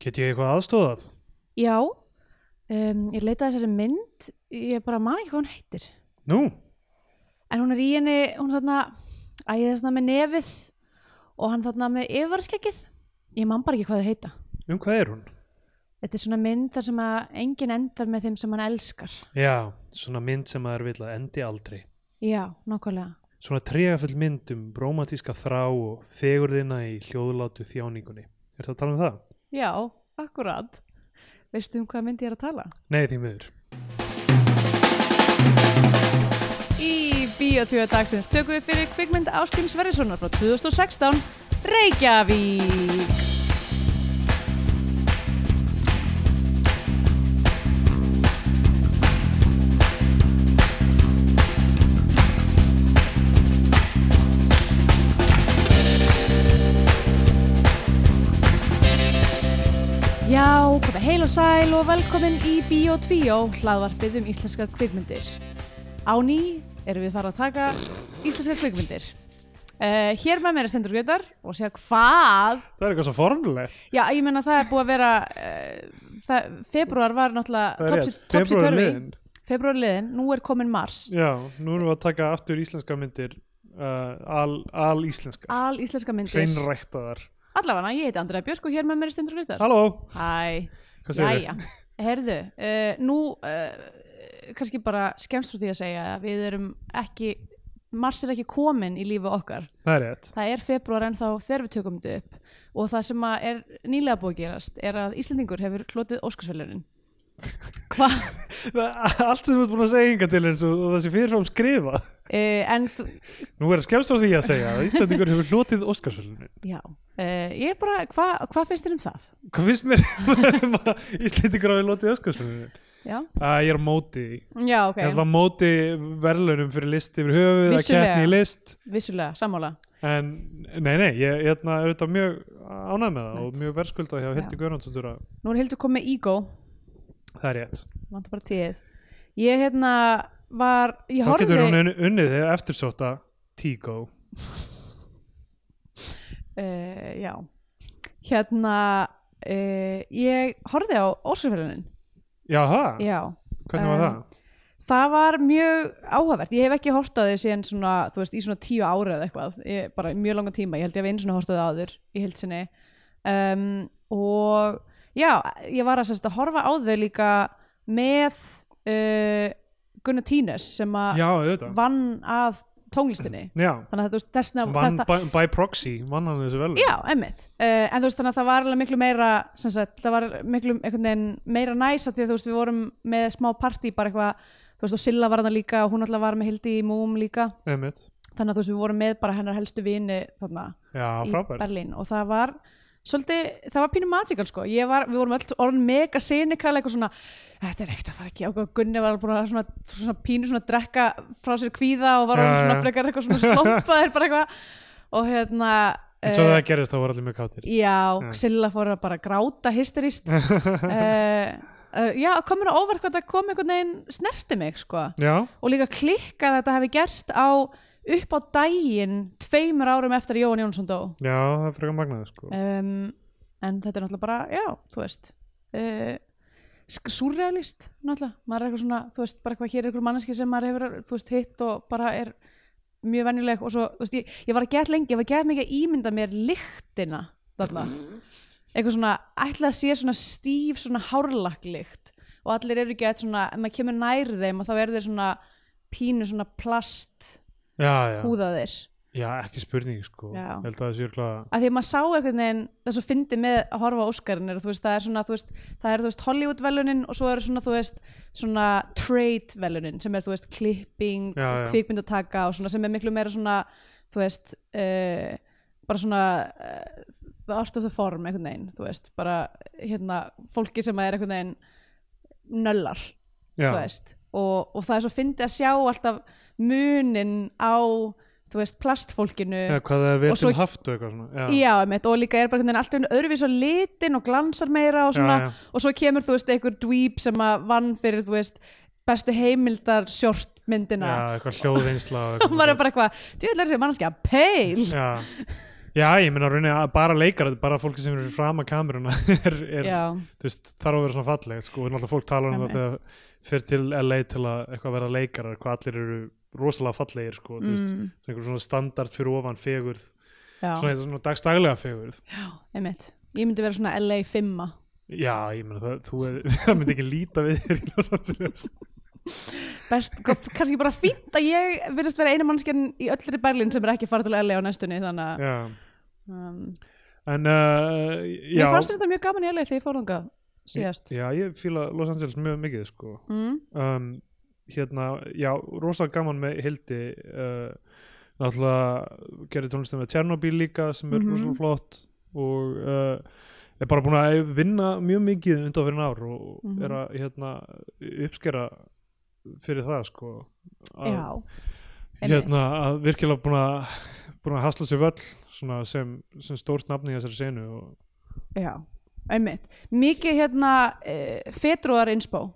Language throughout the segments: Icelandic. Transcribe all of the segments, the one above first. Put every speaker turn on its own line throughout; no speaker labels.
Get ég eitthvað aðstóðað?
Já, um, ég leita að þessari mynd, ég bara man ekki hvað hún heitir.
Nú,
En hún er í henni, hún er þarna, æðið þarna með nefið og hann þarna með yfarskegið. Ég man bara ekki hvað þau heita.
um hvað er hún?
Þetta er svona mynd þar sem að enginn endar með þeim sem hann elskar.
Já, svona mynd sem maður vil að endi aldrei.
Já, nokkulega.
Svona tregafull mynd um romantíska þrá og fegurðina í hljóðlátu þjáningunni. Er það að tala um það?
Já, akkurat. Veistu um hvað mynd ég er að tala?
Nei, því miður.
Í Bíotvíu dagsins tökum við fyrir kvikmynd Áskrim Sverrissonar frá 2016, Reykjavík. Já, komið heil og sæl og velkomin í Bíotvíu, hlaðvarpið um íslenskar kvikmyndir. Á ný erum við fara að taka íslenskar kvikmyndir. Uh, hér með mér er Stendur Greitar og segja hvað?
Það er eitthvað svo formulegt.
Já, ég meina það er búið að vera, uh, það, februar var
Það
náttúrulega
er
topsi,
rétt,
topsi
febrúar er
törfi.
liðinn.
Februar er liðin, nú er komin mars.
Já, nú erum við að taka aftur íslenska myndir, uh, al, al íslenska,
Al íslenska myndir.
hreinræktaðar.
Allavega, ég heiti Andrea Björk og hér með mér er Stendur Greitar.
Halló,
Hæ,
hvað segir
jæja, herðu, uh, nú uh, kannski bara skemmst frá því að segja að við erum ekki, mars er ekki komin í lífi okkar.
Það er rétt.
það er februar en þá þegar við tökum þetta upp og það sem að er nýlega búið að gerast er að Íslendingur hefur hlotið Óskarsvelunin hvað?
Allt sem þú ert búin að segja hinga til eins og og það sé fyrirfram skrifa.
Uh, en þú-
Nú er að skemmst á því að segja að Íslandingur hefur hlotið Óskarsvöldinu.
já, uh, ég er bara hvað hva finnst þér um það?
Hvað finnst mér um að Íslendingur hafi lotið Óskarsvöldinu?
Já,
Að ég er á móti því.
já ok,
Okay. Er það á móti verðlaunum fyrir list yfir höfuð að
Vissulega.
keppni í list?
vissulega, sammála
En nei, nei, ég ég hérna, er auðvitað mjög ánægð með það
Einmitt.
og mjög verðskulda hjá Hildi Guðnáttúr að
Nú er Hildur komið ígó,
það er rétt.
vantar bara tíð Ég hérna var, ég
Þá
horfði
getur hún un- unnið þegar eftirsóta Tígó.
uh, Já, hérna uh, ég horfði á Óskarsvelunin
Jaha,
Já
hvernig var
um,
það?
Það var mjög áhugavert. Ég hef ekki hort á þau síðan svona, þú veist, í svona tíu ára eða eitthvað, ég, bara í mjög langa tíma. Ég held ég hef einu svona hort á þau áður í heilsinni. Um, og já, ég var að, sérst, að horfa á þau líka með uh, Gunnar Tínes sem að
Já, auðvitað.
vann að tónlistinni.
Já,
Þannig að þú veist, þessna...
vann by, by proxy, vann hann þessu verðlaun.
Já, emmitt. Uh, en þú veist þannig að það var alveg miklu meira, sem sagt, það var miklu einhvern veginn meira næs að því að þú veist við vorum með smá partí bara eitthvað, þú veist og Silla var þarna líka og hún alltaf var með Hildi í Múm líka.
Einmitt.
Þannig að þú veist við vorum með bara hennar helstu vini þarna
Já,
í
frábært.
Berlín og það var svolítið, það var pínu magical sko Ég var, við vorum öll orðin mega sinikal eitthvað svona, þetta er ekkert að fara ekki ákvað Gunni var alveg búin að svona, svona pínu svona drekka frá sér kvíða og var
Já,
hann svona
já.
frekar eitthvað svona slópaðir bara eitthvað og hérna
En svo
eh,
það gerist þá var allir mjög káttir.
Já,
Já.
Silla fór að bara gráta hysterist uh, uh, Já, komur á óvart hvað það kom einhvern veginn snerti mig sko.
Já,
og líka klikkað að þetta hefði gerst á upp á daginn tveimur árum eftir að Jóhann Jónsson dó
já, það er frekar magnaði sko.
um, en þetta er náttúrulega bara já, þú veist uh, surrealist náttúrulega, maður er eitthvað svona, þú veist, bara eitthvað hér er eitthvað manneski sem maður hefur, þú veist, hitt og bara er mjög venjuleg og svo, þú veist, ég, ég var að geta lengi, ég var að geta mikið að ímynda mér lyktina þarna, eitthvað svona ætla að sé svona stíf, svona hárlakklykt og allir eru gett svona ef maður kemur nær þeim og þá eru þeir svona pínu svona plast
Já, já.
húðaðir
Já, ekki spurning sko.
Já.
Ég held að það sé örgla...
að því að maður sá einhvern veginn það er svo fyndi með að horfa á Óskarinn er að þú veist, það er svona, þú veist, það er þú veist Hollywood-velunin og svo eru svona, þú veist svona trade-velunin sem er, þú veist klipping,
Já, já.
kvikmyndataka og svona sem er miklu meira svona, þú veist uh, bara svona uh, the art of the form einhvern veginn, þú veist, bara hérna, fólki sem er einhvern veginn nöllar,
Já,
þú veist og, og það er svo fyndi að sjá alltaf munin á þú veist, plastfólkinu
Já, hvað það er vel
Og
til
svo-
haft og eitthvað svona. Já,
Já, einmitt, og líka er bara einhvern veginn alltaf einhvern öðruvís á litin og glansar meira og svona,
Já, já.
og svo kemur, þú veist, einhver dweeb sem að vann fyrir, þú veist, bestu heimildar
já
sjortmyndina
eitthvað hljóðvinnsla og
og maður er bara eitthvað, djöðlega þessi mannskja, peil
Já, Já, ég meina rauninni að bara leikar bara fólki sem eru fyrir fram að kameruna er, er,
já,
þú veist, þarf að vera svona falleg sko, og náttúrulega fólk talar um það
Einmitt.
þegar fyrir til LA til að eitthvað vera leikarar hvað allir eru rosalega fallegir sko, þú veist,
mm,
svona einhver svona standard fyrir ofan fegurð,
já,
svona, svona dagstaglega fegurð
já, einmitt ég myndi vera svona LA 5
Já, ég meina það, þú er, það myndi ekki líta við þér í Los Angeles
best, kannski bara fínt að ég virðist vera einu mannskjarn í öllri Berlín sem er ekki að fara til LA á næstunni þannig að
Já,
um,
en uh, já,
ég fannst þetta mjög gaman í LA þegar ég fór þangað síðast
já, ég fíla Los Angeles mjög mikið sko
mm,
um, hérna, já, rosa gaman með Hildi uh, náttúrulega gerir tónlistin með Tjernobyl líka sem er
Mhm.
rosalega flott og uh, er bara búin að vinna mjög mikið undan fyrir ár og
Mhm.
er að hérna, uppskera fyrir það sko að,
já, einmitt.
hérna, að virkilega búin að búin að hasla sér völl svona, sem, sem stórt nafni í þessari senu og
já, einmitt mikið hérna uh, fetruðar innspó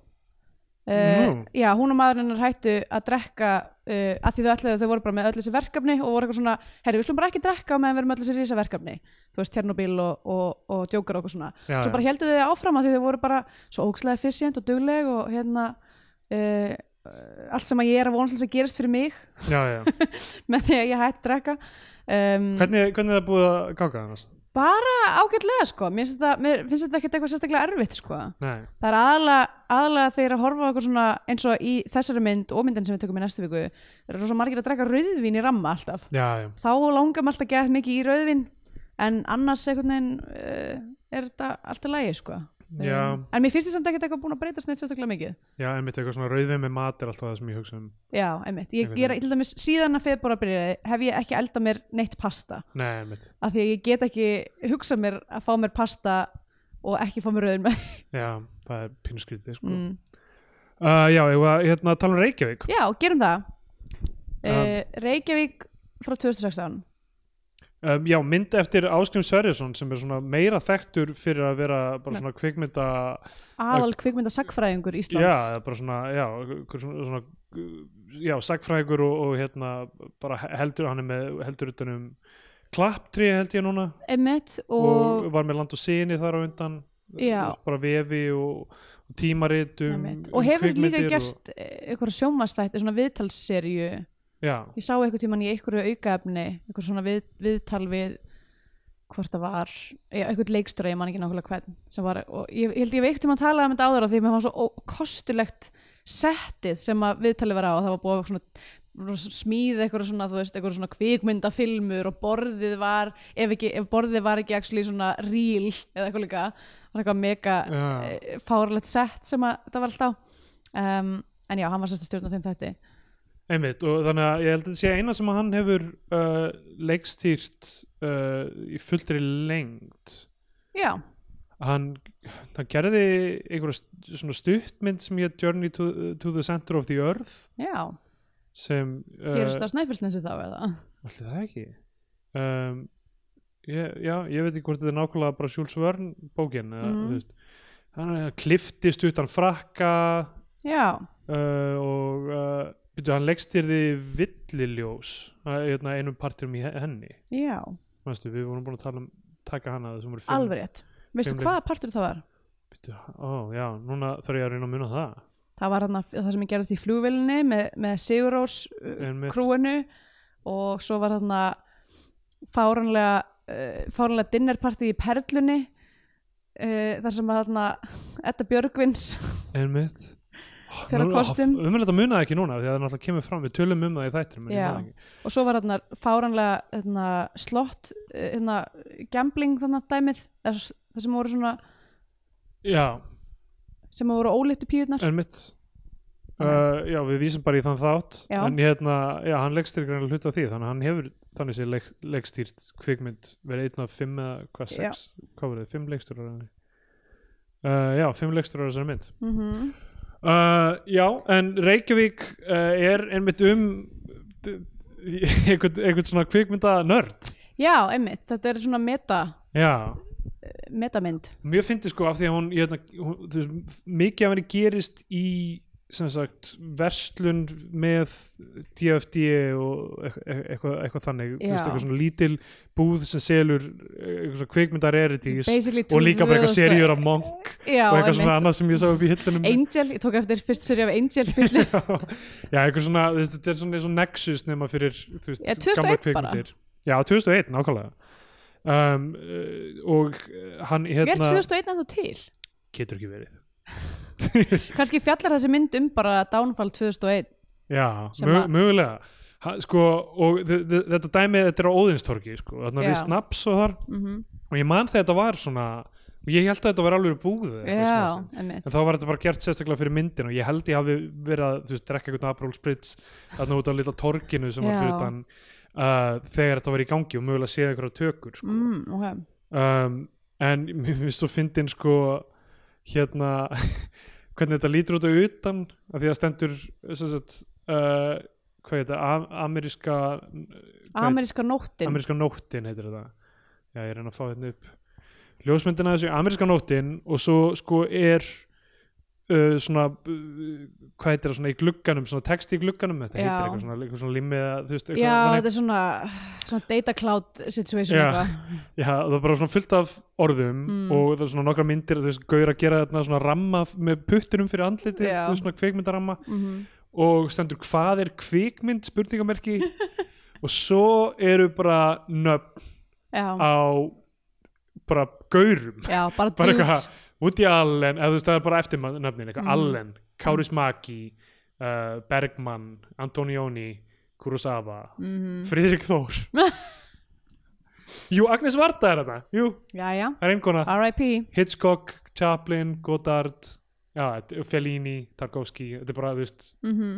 Uh,
Nú.
já, hún og maðurinn hennar hættu að drekka uh, að því þau ætlaði að þau voru bara með öll þessi verkefni og voru eitthvað svona, herri, við slum bara ekki drekka á meðan við erum með öll þessi rísaverkefni þú veist, Tjernobyl og, og, og Joker og eitthvað svona
já,
svo bara heldur þau áfram að því þau voru bara svo ókslega efficient og dugleg og hérna uh, allt sem að ég er að vonast til að gerist fyrir mig
já, já.
með því að ég hætti að drekka um,
Hvernig, hvernig er það búið að ganga annars?
bara ágætlega sko mér finnst þetta, mér finnst þetta ekkert eitthvað sérstaklega erfitt sko
Nei,
það er aðalega, aðalega þegar ég er að horfa á eitthvað svona eins og í þessari mynd og myndin sem við tökum í næstu viku er rosa margir að drekka rauðvín í ramma alltaf
já, já
þá langar maður alltaf að geta mikið í rauðvín en annars einhvern veginn uh, er þetta alltaf lægi sko
Já,
Um, en mér finnst þið samt ekkert eitthvað búin að breytast neitt sérstaklega mikið
Já, einmitt eitthvað svona rauðvið með mat er alltaf það sem ég hugsa um.
já, einmitt, ég,
Einhvern
ég er til dæmis síðan að februar byrjaði hef ég ekki elda mér neitt pasta
Nei, einmitt.
af því að ég get ekki hugsað mér að fá mér pasta og ekki fá mér rauðin með
Já, það er pínuskrítið, sko.
mm.
Uh, já, ég var hérna að tala um Reykjavík.
já, gerum það uh, Reykjavík frá 2016
Um, já, mynd eftir Áskrim Sverjesson sem er svona meira þekktur fyrir að vera bara
Nei.
svona kvikmynda...
aðal kvikmynda sagfræðingur
Já,
Íslands
eða bara svona, já, einhver svona, svona uh, já, sagfrægur og, og hérna bara heldur, hann er með heldur utan um klapptri held ég núna
einmitt
og,
og,
var með land og sinni þar á undan
Já.
bara vefi og, og tímarit um,
einmitt.
um
og hefur líka
kvikmyndir og-
gerst og... eitthvað sjómastætti, svona viðtalsseríu
já,
ég sá eitthvað tíman í einhverju aukaefni eitthvað svona við, viðtal við hvort það var, já, eitthvað leikstöra ég man ekki nákvæmlega hvern sem var og ég, ég held ég veikt um að tala um þetta áður á því mér var svo ó- kostulegt settið sem að viðtalið var á það var búið að svona smíð eitthvað svona, þú veist, eitthvað svona kvikmyndafilmur og borðið var, ef, ekki, ef borðið var ekki actually svona ríl eða eitthvað líka, var eitthvað mega
Já.
ja. fárlegt sett sem að það var alltaf um, en já, hann var sérst að stjórna þeim þetta
Einmitt, og þannig að ég held að þetta sé eina sem að hann hefur uh, leikstýrt uh, í fulltri lengd
já,
hann, hann gerði einhverja st- svona stuttmynd sem ég Journey to, to the Center of the Earth
já
sem uh,
Gerist það á Snæfellsnesi þá eða?
allir það ekki um, ég, já, ég veit ekki hvort þetta er nákvæmlega bara Jules Verne bókin eða,
Mm.
þú veist, hann eh, kliftist utan frakka
Já,
uh, og uh, byrju, hann leikstýrði villiljós uh, hérna, einum partinum í he- henni
já,
Manstu, við vorum búin að tala um taka hana sem voru fimm
alveg rétt. Veistu
fimm
hvaða partur það var?
Bittu, ó, já, núna þarf ég að reyna að muna það
Það var hana, það sem ég gerðist í flugvillinni með, með Sigurós uh,
Einmitt.
krúinu og svo var þarna fáranlega, uh, fáranlega dinnerpartið í Perlunni uh, þar sem að þarna Edda Björgvins
einmitt
Hver á kostum?
um þetta munaði ekki núna því að það náttúrulega kemur fram við tölum um það í þættir
Já. og svo var þarna fáranlega þarna, slott, uh, hérna, gambling þarna dæmið þar þar sem voru svona,
já,
sem voru ólittu píurnar.
einmitt uh, já, við vísum bara í þann þátt
Já.
en hérna, já, hann leikstýr grannlega hluta af því þannig að hann hefur þannig sér leik, leikstýrt kvikmynd verið einn af fimm eða hvað sex, hvað verið, fimm leikstýrar uh, já, fimm leikstýrar þessar mynd
Mm
Uh, já, en Reykjavík uh, er einmitt um d- d- einhvern, einhvern svona kvikmynda nörd
Já, einmitt, þetta er svona meta
Já,
metamynd
mjög fyndi sko af því að hún, ég, hérna, hún þú veist, mikið af henni gerist í sem sagt verslun með DFD og eit- eit- eitthvað, eitthvað þannig þú veist,
Já.
eitthvað svona lítil búð sem selur e-, eitthvað svona kvikmyndar erities
Basically
og líka bara eitthvað
2000
seríur af Monk
Já,
og eitthvað svona
einmitt.
annað sem ég sá upp í hillunum
Angel, ég tók eftir fyrst sér af Angel byllu.
já, eitthvað svona, þú veist, þetta er svona, svona nexus nema fyrir, þú veist,
Já, 2001
gamla
bara.
kvikmyndir já, 2001, nákvæmlega um, eh, og eh, hann
Ég er
hérna
2001 en þú til
getur ekki verið
Kanski fjallar þessi mynd um bara Downfall 2001
já,
Sem
mö,
að-
mögulega ha, sko, og þ- þ- þetta dæmi þetta er á Óðinstorgi, sko, þarna við
Já.
snaps og þar,
mm
og ég man þegar þetta var svona, og ég held að þetta var alveg búð eða eitthvað í
Já,
smástund.
einmitt
En þá var þetta bara gert sérstaklega fyrir myndin og ég held ég hafi verið að, þú veist, drekka einhvern Aperol Spritz þarna út á litla torginu sem var
Já.
fyrir þann uh, þegar þetta var í gangi og mögulega séð einhverja tökur, sko.
mm, okay.
Um, en mér finnst svo fyndin, sko, hérna, hvernig þetta lítur út á utan, af því að stendur, sem sagt, uh, hvað heit þetta, a- ameríska, hvað heit-
Ameríska nóttin
ameríska nóttin heitir þetta. Já, ég reyna að fá þetta upp. Ljósmyndina af þessu ameríska nóttin og svo sko er uh, svona uh, hvað heitir það svona í glugganum, svona text í glugganum þetta
Já.
heitir eitthvað svona, eitthvað svona limmið þú veist,
Já,
eitthvað
þetta er svona, svona data cloud situation
Já.
eitthvað.
Já, það er bara svona fullt af orðum
Mm.
og það er svona nokkra myndir, þú veist, gaur að gera þarna svona ramma f- með puttunum fyrir andlitið,
Já.
þú veist, svona kveikmyndaramma
Mhm.
og stendur hvað er kveikmynd spurningamerki og svo eru bara nöfn
Já,
á bara gaurum
já, bara
bara
dudes
eitthvað Woody Allen, eða þú veist það er bara eftir nöfnin
Mm.
eitthvað Allen, Kári Smaki uh, Bergmann, Antonioni Kurosawa,
Mhm.
Friðrik Þór Jú, Agnes Varda er þetta Jú,
Jæja,
það er einhverna
R.I.P.
Hitchcock, Chaplin, Goddard já, þetta er Fellini, Tarkovsky þetta er bara, þú veist,
Mm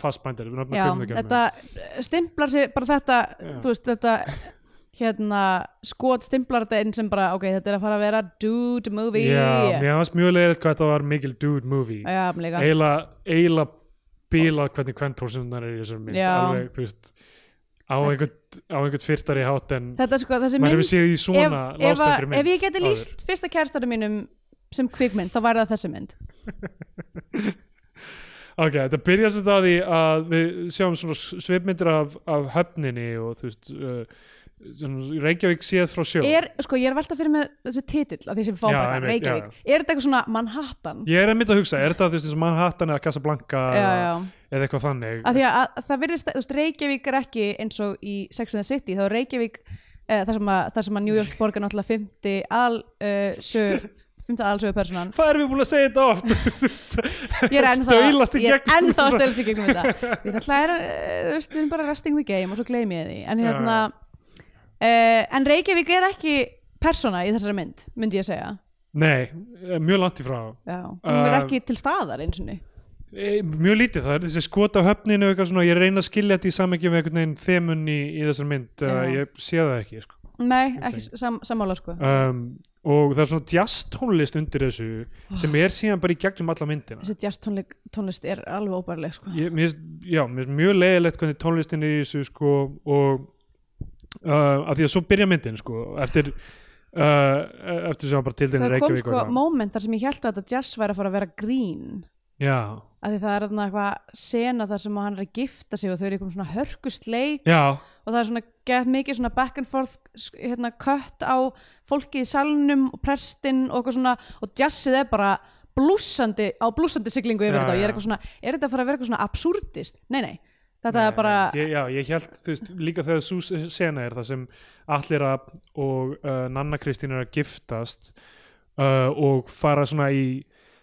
fastbændir
Já, þetta stimplar sér bara þetta,
Já.
þú veist, þetta hérna, skot stimplar þetta inn sem bara, ok, þetta er að fara að vera dude movie
Já, mér fannst mjög leiðilegt hvað þetta var mikil dude movie
Já, mér líka
eiginlega eiginlega bílað hvernig hvern prósentunar er í þessari mynd
Já.
alveg, þú veist á einhvern, á einhvern fyrtari hátt en
Þetta er sko, þessi
maður
mynd
hefur séð í svona
ef, ef, að-
lástættri mynd
ef ég geti
áður.
líst fyrsta kærastanum mínum sem kvikmynd, þá væri það þessi mynd
ok, þetta byrjar sem það á því að við sjáum svona svipmyndir af, af höfninni og þú veist uh, svona í Reykjavík séð frá sjó
er, sko, ég er velta fyrir með þessi titill af því sem við fáum
Já,
bara,
einmitt,
Reykjavík
já.
er þetta eitthvað svona Manhattan?
ég er einmitt að hugsa, er þetta þú veist eins og Manhattan eða Casablanca
já, já,
eða eitthvað þannig
af því að, að það virðist, þú veist, Reykjavík er ekki eins og í Sex and the City, þá er Reykjavík eh, þar sem, að- þar sem að New York borgar náttúrulega 50 al, uh, sjö, 50 alsögu personan
hvað erum við búin að segja þetta oft
ég er ennþá,
Staulast í
ég er
gegnum
ennþá að
þessa-
stölast í gegnum þetta ég er alltaf, eh, þú veist, við erum bara resting the game og svo gleymi ég því en,
Já,
hérna, uh, en Reykjavík er ekki persóna í þessari mynd myndi ég að segja
nei, eh, mjög langt í frá
Já. hún er
Eh,
ekki til staðar eins og
E, mjög lítið það er þessi skot á höfninu og eitthvað svona, ég reyna að skilja þetta í samengi með einhvern veginn þemun í, í þessar mynd uh,
Já.
ég sé það ekki sko.
nei, ekki sam, sammála sko
um, og það er svona jazztónlist undir þessu
Ah.
sem er síðan bara í gegnum alla myndina
þessi jazz tónleik, tónlist er alveg óbærileg sko.
ég, mér, finnst- já, mér er mjög leiðilegt hvernig tónlistin er í þessu sko, og uh, af því að svo byrja myndin sko, eftir uh, eftir sem hann bara tildeina
það kom
Reykjavík
sko
og eitthvað.
moment þar sem ég held að þetta jazz væri að fara að vera grín
já,
af því það er þarna eitthvað sena þar sem hann er að gifta sig og þau eru í eitthvað svona hörkusleik
já,
og það er svona gett mikið svona back and forth s- hérna kött á fólki í salnum og prestinn og eitthvað svona og jazzið er bara blúsandi á blúsandi siglingu yfir
Já,
þetta og ég
já.
er eitthvað svona er þetta að fara að vera eitthvað svona absúrtist? Nei, nei þetta
Nei,
er bara
nei, ég, Já, ég held, þú veist, líka þegar sú sena er það sem allir að og uh, Nanna Kristín er að giftast uh, og fara svona í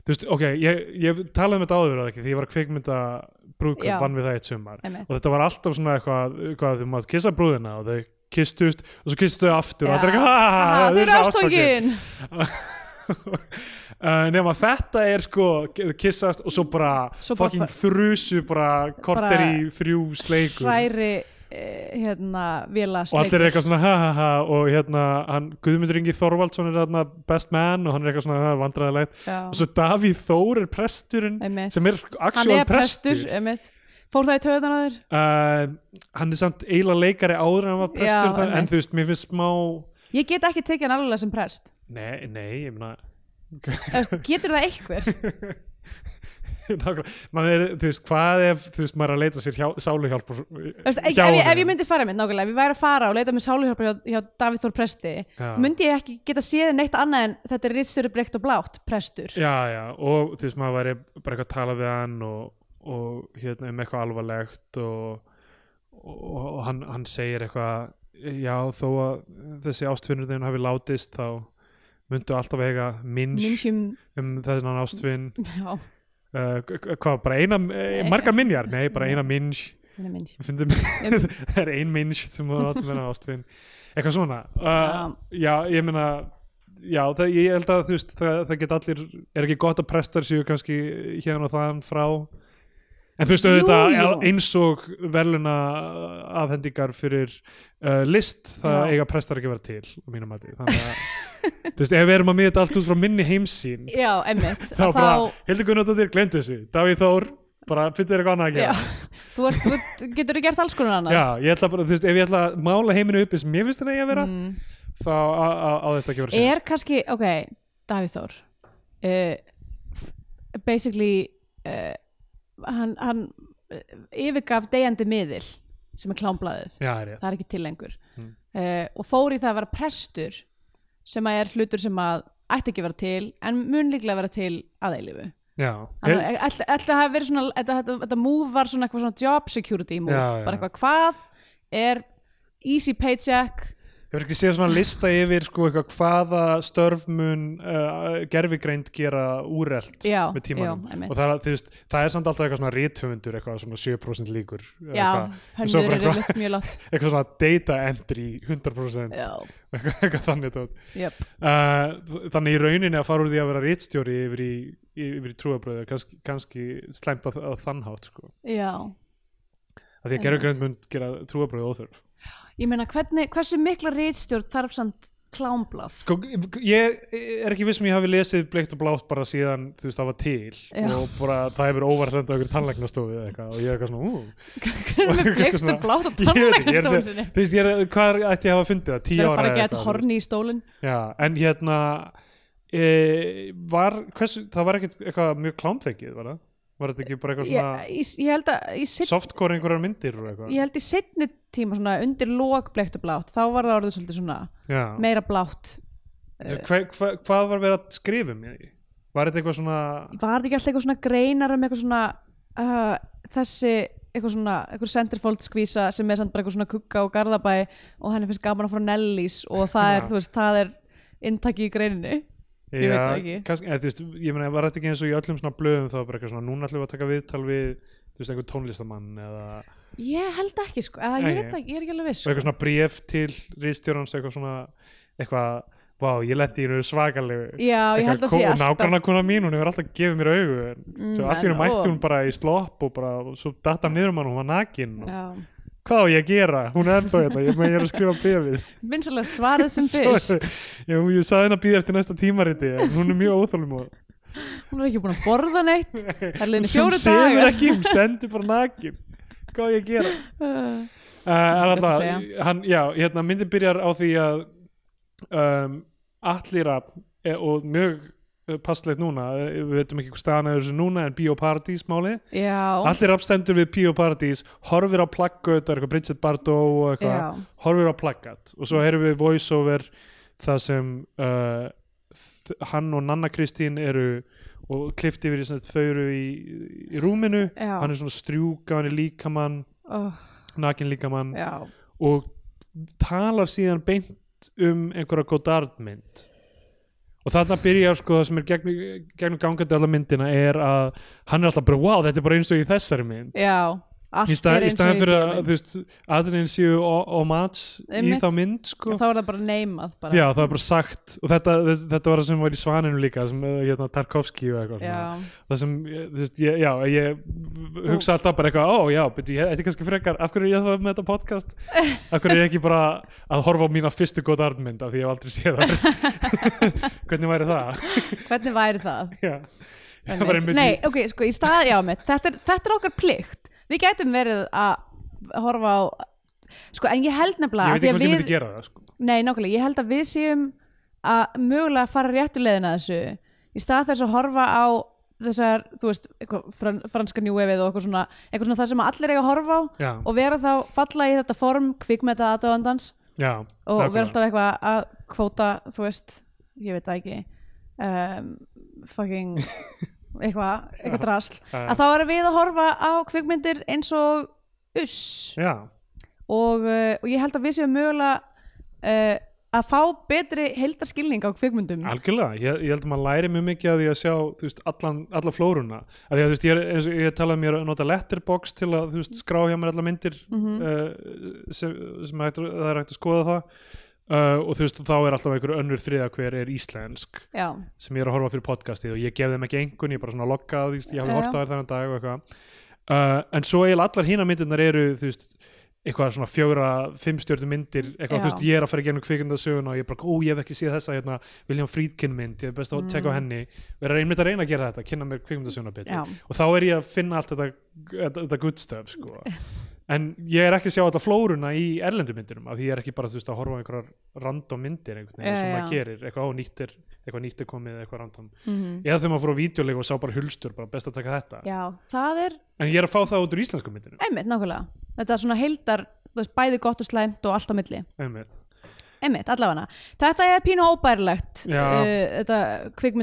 þú veist, ok, ég, ég hef talað um þetta áður eða ekki, því ég var að kveikmynda
Já.
brúkum, vann við það eitt sumar
Einmitt.
og þetta var alltaf svona eitthvað, eitthvað þau mátt kissa brúðina og þau kistust og svo kistust þau aftur og
Já.
Ah, þetta er eitthvað, ha, ha,
Aha,
ha, þau
þau eru
svo ástfangin.
ástókin
Uh, nema þetta er sko þau kissast og svo bara
Svo bara
fucking
fa-
þrusu bara korter
Bara
í þrjú sleikur
hræri eh, hérna vila
og allir er
sleikur
eitthvað svona ha ha ha og hérna hann Guðmundur Ingi Þorvaldsson er þarna best man og hann er eitthvað svona "Ah, vandræðilegt
Já.
og svo Davíð Þór er presturinn
Einmitt.
sem er sko
hann
actual
er prestur,
prestur
einmitt. fór það í töðan að þér?
uh, hann er samt eiginlega leikari áður en hann var prestur
Já,
þann,
einmitt.
en þú veist, mér finnst smá
ég get ekki tekið hann alveg sem prest
nei, nei, ég meina
Þú veist, getur það einhver
Nákvæmlega. maður er, þú veist, hvað ef þú veist, maður er að leita sér hjá, sáluhjálp og-
Veist, ef,
hjá
ef, ég, ef ég
honum?
myndi fara með, nákvæmlega, ef ég væri að fara og leita með sáluhjálpa hjá, hjá Davíð Þór Presti
Já.
myndi ég ekki geta séð neitt annað en þetta er ritstöru breikt og blátt prestur
já, já, og þú veist, maður væri bara eitthvað að tala við hann og, og hérna, um eitthvað alvarlegt og, og, og hann, hann segir eitthvað já, þó að þessi ástfinnur þinn hafi látist, þá myndu alltaf eiga minns
minnsjum,
um þennan ástfinn
já,
uh, k- k- hvað, bara eina eh, margar minjar, nei, bara eina minns
minna minns
Við fundum, það er ein minns sem þú áttum hennar ástfinn eitthvað svona uh, já, ég meina já, það, ég held að þú veist það, það get allir, er ekki gott að prestar séu kannski hérna og þaðan frá en þú veist
Jú,
auðvitað
jú.
eins og veluna afhendingar fyrir uh, list það
Já.
eiga prestar ekki að vera til á mínum mati þannig að, þú veist, ef við erum að miða þetta allt út frá minni heimsýn
já, emmitt
þá bara, Hildur Gunnardóttir, glemdu þessu Davíð Þór, bara fyrir eitthvað annað að
já,
gera
þú, ert, þú getur gert alls konar annað
Já, ég ætla bara, þú veist, ef ég ætla að mála heiminu uppi sem ég finnst henni að vera,
Mm.
þá á- á á þetta ekki að vera sér.
er kannski, ok, Davíð Þór uh, basically uh, hann, hann eh, yfirgaf deyjandi miðil sem er klámblaðið
Já, er ég.
það er ekki til lengur
Mm.
uh, og fór í það að vera prestur sem að er hlutur sem að ætti ekki að vera til en mun líklega að vera til aðeilifu
Já, er,
alltaf það hafi verið svona þetta, þetta, þetta move var svona eitthvað svona job security move
Já, já.
bara eitthvað hvað er easy paycheck
hefur ekki séð svona lista yfir sko eitthvað hvaða störf mun uh, gerfigreind gera úrelt
Já,
með tímanum.
já, einmitt.
og það, er- þú veist, það er samt alltaf eitthvað svona rithöfundur, eitthvað svona 7% líkur. eða
já,
eitthvað, En svo
hönnur
bara
er
eitthvað-
yfirleitt mjög látt
eitthvað svona data entry 100%
já,
eitthvað, eitthvað þannig tótt.
jöp
Uh, þannig í rauninni að fara úr því að vera rítstjóri yfir í, yfir í trúabröðu kannski, kannski slæmt að, að þannhátt sko.
já,
að því að
Einmitt.
gerfugreind mun gera trúabröðu óþörf
ég meina hvernig, hversu mikla rítstjórn þarf samt klámblað
Sko, ég er ekki viss sem ég hafi lesið bleikt og blátt bara síðan þú veist það var til
Já.
og bara það hefur óvart enda okkur tannlæknastofu eða eitthvað og ég er eitthvað svona ú,
hvernig með bleikt og blátt og
Ég veit ekki, ég er
tannleikastofun
að
sinni
segja- þú veist, ég er- hvað ætti ég að hafa fundið það,
það
tíu
er
ára
bara að
eða
geta
eitthvað,
horni í stólinn
Já, en hérna e, var, hversu, það var ekkert eitthvað mjög klámþekið, var það? Var þetta ekki bara eitthvað svona
ég, ég, ég held að í sit,
softcore einhverjar myndir og eitthvað
ég held í setni tíma svona undir lók bleikt og blátt þá var það orðið svolítið svona
Já.
meira blátt
Þú- hva, hva, hvað var verið að skrifa um ég? var þetta eitthvað svona
var þetta ekki alltaf eitthvað svona greinar um eitthvað svona uh, þessi eitthvað svona, eitthvað centerfold skvísa sem er samt bara eitthvað svona kukka og garðabæ og henni finnst gaman að fara á Nellís og það er,
Já.
þú veist, það er inntaki í greininni Ég veit það ekki.
kannski, eða, þú veist, ég meina, var þetta ekki eins og í öllum svona blöðum þá var bara eitthvað svona, núna ætlum við að taka viðtal við þú veist, einhver tónlistamann eða og
ég held ekki sko,
Nei,
eða ég veit
nei.
það ekki, ég er ekki alveg viss sko.
eitthvað svona bréf til ríðstjórans eitthvað svona, eitthvað vá, ég letti í hennu svakalegu
já, ég held að sé alltaf
nákvæmna kona mín, hún hefur alltaf gefið mér augu en
Mm,
svo allt í
en-
hennu
og-
mætti hún bara í slopp og bara, og svo datta hann niður um hann og hún var nakin og,
já.
hvað á ég að gera, hún er ennþá hérna ég, meina, ég er að skrifa bréfið
vinsalega svarið sem fyrst
Sorry. Já, ég saði henni að býða eftir næsta tímariti en hún er mjög óþólum og
hún er ekki búin að borða neitt það er liðin
hún
fjóru
sefur
dagar
ekki, hún stendur bara nakin hvað á ég að gera
Uh,
uh, en
Erfitt að
alltaf,
segja.
hann, já, hérna myndin byrjar á því að um, allir að og mjög eh, passlegt núna eh, við veitum ekki hvað staðan er þessu núna en Bíóparadís máli,
já,
allir abstendur við Bíóparadís, horfir á plakkut eitthvað Bridget Bardot og eitthvað
já,
horfir á plakkat og svo heyrðum við voiceover það sem uh, þ- hann og Nanna Kristín eru og klifti yfir í sem sagt þau eru í, í rúminu
Já.
hann er svona að strjúka, hann er líkamann
oh,
nakin líkamann
já
og talar síðan beint um einhverja Godard-mynd og þarna byrja sko það sem er gegn, gegnum gangandi alla myndina er að hann er alltaf bara wow þetta er bara eins og í þessari mynd
já, allt
í, stað,
er
í
eins og
staðan fyrir að
bíómynd.
þú veist, aðrin séu o- homage í
Einmitt.
þá mynd sko.
þá er það bara neymað bara.
já það er bara sagt og þetta, þess- þetta var það sem var í svaninu líka sem eh, hérna, Tarkovski og eitthvað svona.
Já.
það sem, eh, þú veist, ég, já ég hugsa alltaf bara eitthvað, ó já beti, ég, þetta er kannski frekar, af hverju er ég það með þetta podcast af hverju er ég ekki bara að horfa á mína fyrstu góð artmynd af því ég hef aldrei séð það hvernig væri það
hvernig væri það?
já,
Einmitt.
það var einmitt
Nei, ok, sko, í stað, já, mitt, þetta, er, þetta er okkar plikt við gætum verið að horfa á sko, en ég held
ég
nefnilega
veit ekki
af
hvort
því
ég
að
myndi gera það sko.
nei, nákvæmlega, ég held að við séum að mögulega fara réttu leiðina að þessu í stað þess að horfa á þessar, þú veist, eitthvað, fran, franska njúefið og eitthvað svona, eitthvað svona það sem allir eiga að horfa á
já,
og vera þá falla í þetta form kvikmeta aðdóðandans
já
og
nákvæmlega.
vera alltaf eitthvað að kvóta, þú veist, ég veit það ekki um, fucking eitthvað,
Já.
eitthvað drasl
Já,
að þá erum við að horfa á kvikmyndir eins og uss
já,
og, uh, og ég held að við séum mögulega uh, að fá betri heildarskilning á kvikmyndum
algjörlega, ég, ég held að maður læri mjög mikið að því að sjá, þú veist, allan, alla flóruna að því að, þú veist, ég, er- eins og ég talaði mér að nota letterbox til að, þú veist, skrá hjá mér alla myndir
mm
uh, sem, sem hægt, það er hægt að skoða það uh, og þú veist, þá er alltaf einhver önnur þriða hver er íslensk
já,
sem ég er að horfa á fyrir podcastið og ég gef þeim ekki engun, ég bara svona lokka þú veist, ég hafi
Já.
horft á þær þennan dag og eitthvað uh, en svo eiginlega allar hína myndirnar eru þú veist, eitthvað svona fjögra fimmstjörnum myndir, eitthvað,
Já.
þú veist, ég er að fara í gegnum kvikundasöguna og ég bara, ó, ég hef ekki séð þessa hérna, William Friedkin mynd, ég er best að
Mm.
tjekka á henni vera einmitt að reyna að gera þetta, kynna mér kvikundasöguna betur
já,
og þá er ég að finna allt þetta, þetta, þetta good stuff, sko en ég er ekki að sjá alltaf flóruna í erlendu myndinum af því ég er ekki bara þú veist, að horfa á einhverjar random myndir einhvern veginn
Já,
sem
já.
maður gerir eitthvað á nýttir, eitthvað nýttir komið eitthvað random
mm
eða þegar maður fór á vídeoleik og sá bara hulstur bara best að taka þetta
já það er
en ég er að fá það út úr íslensku myndinu
einmitt nákvæmlega þetta er svona heildar, þú veist, bæði gott og slæmt og allt á milli,
einmitt
einmitt, allavega þetta er pínu óbærilegt eh,
Já.
þetta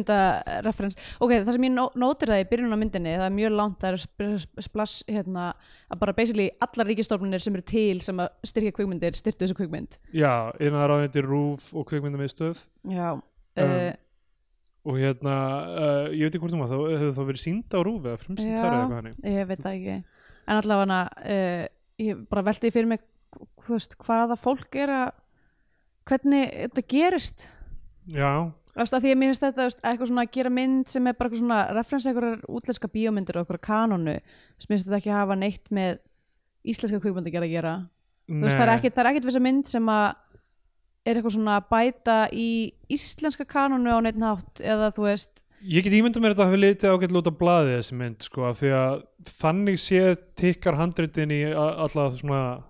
kvikmyndareferens ok, það sem ég nó- nótir það í byrjun á myndinni það er mjög langt, það er sp- splass hérna, að bara basically allar ríkistofnunir sem eru til sem að styrkja kvikmyndir styrtu þessu kvikmynd
já, innanraðinni rúf og kvikmyndamiðstöð
já,
Um,
uh,
og hérna, uh, ég veit ekki hvort um að þá hefur þá verið sínd á rúf eða frumsýnd þar eða
Já.
eitthvað hannig
ég veit það ekki en allavega uh, ég bara velti fyrir mig þú veist, hvaða fólk er að hvernig þetta gerist
já,
Þú veist, að því að mér finnst þetta þú veist, eitthvað svona að gera mynd sem er bara eitthvað svona referensa einhverjar útlenska bíómyndir og einhverjar kanonu þú veist, mér finnst þetta ekki hafa neitt með íslenska kvikmyndi að gera þú veist, það er
nei.
ekkit, það er ekkit við þessa mynd sem að er eitthvað svona að bæta í íslenska kanonu á neitt nátt eða þú veist,
Ég get ímyndað mér að þetta hafi litið ágætt lúta blaðið þessi mynd sko af því að þannig séð tikkar handritin í a- alla svona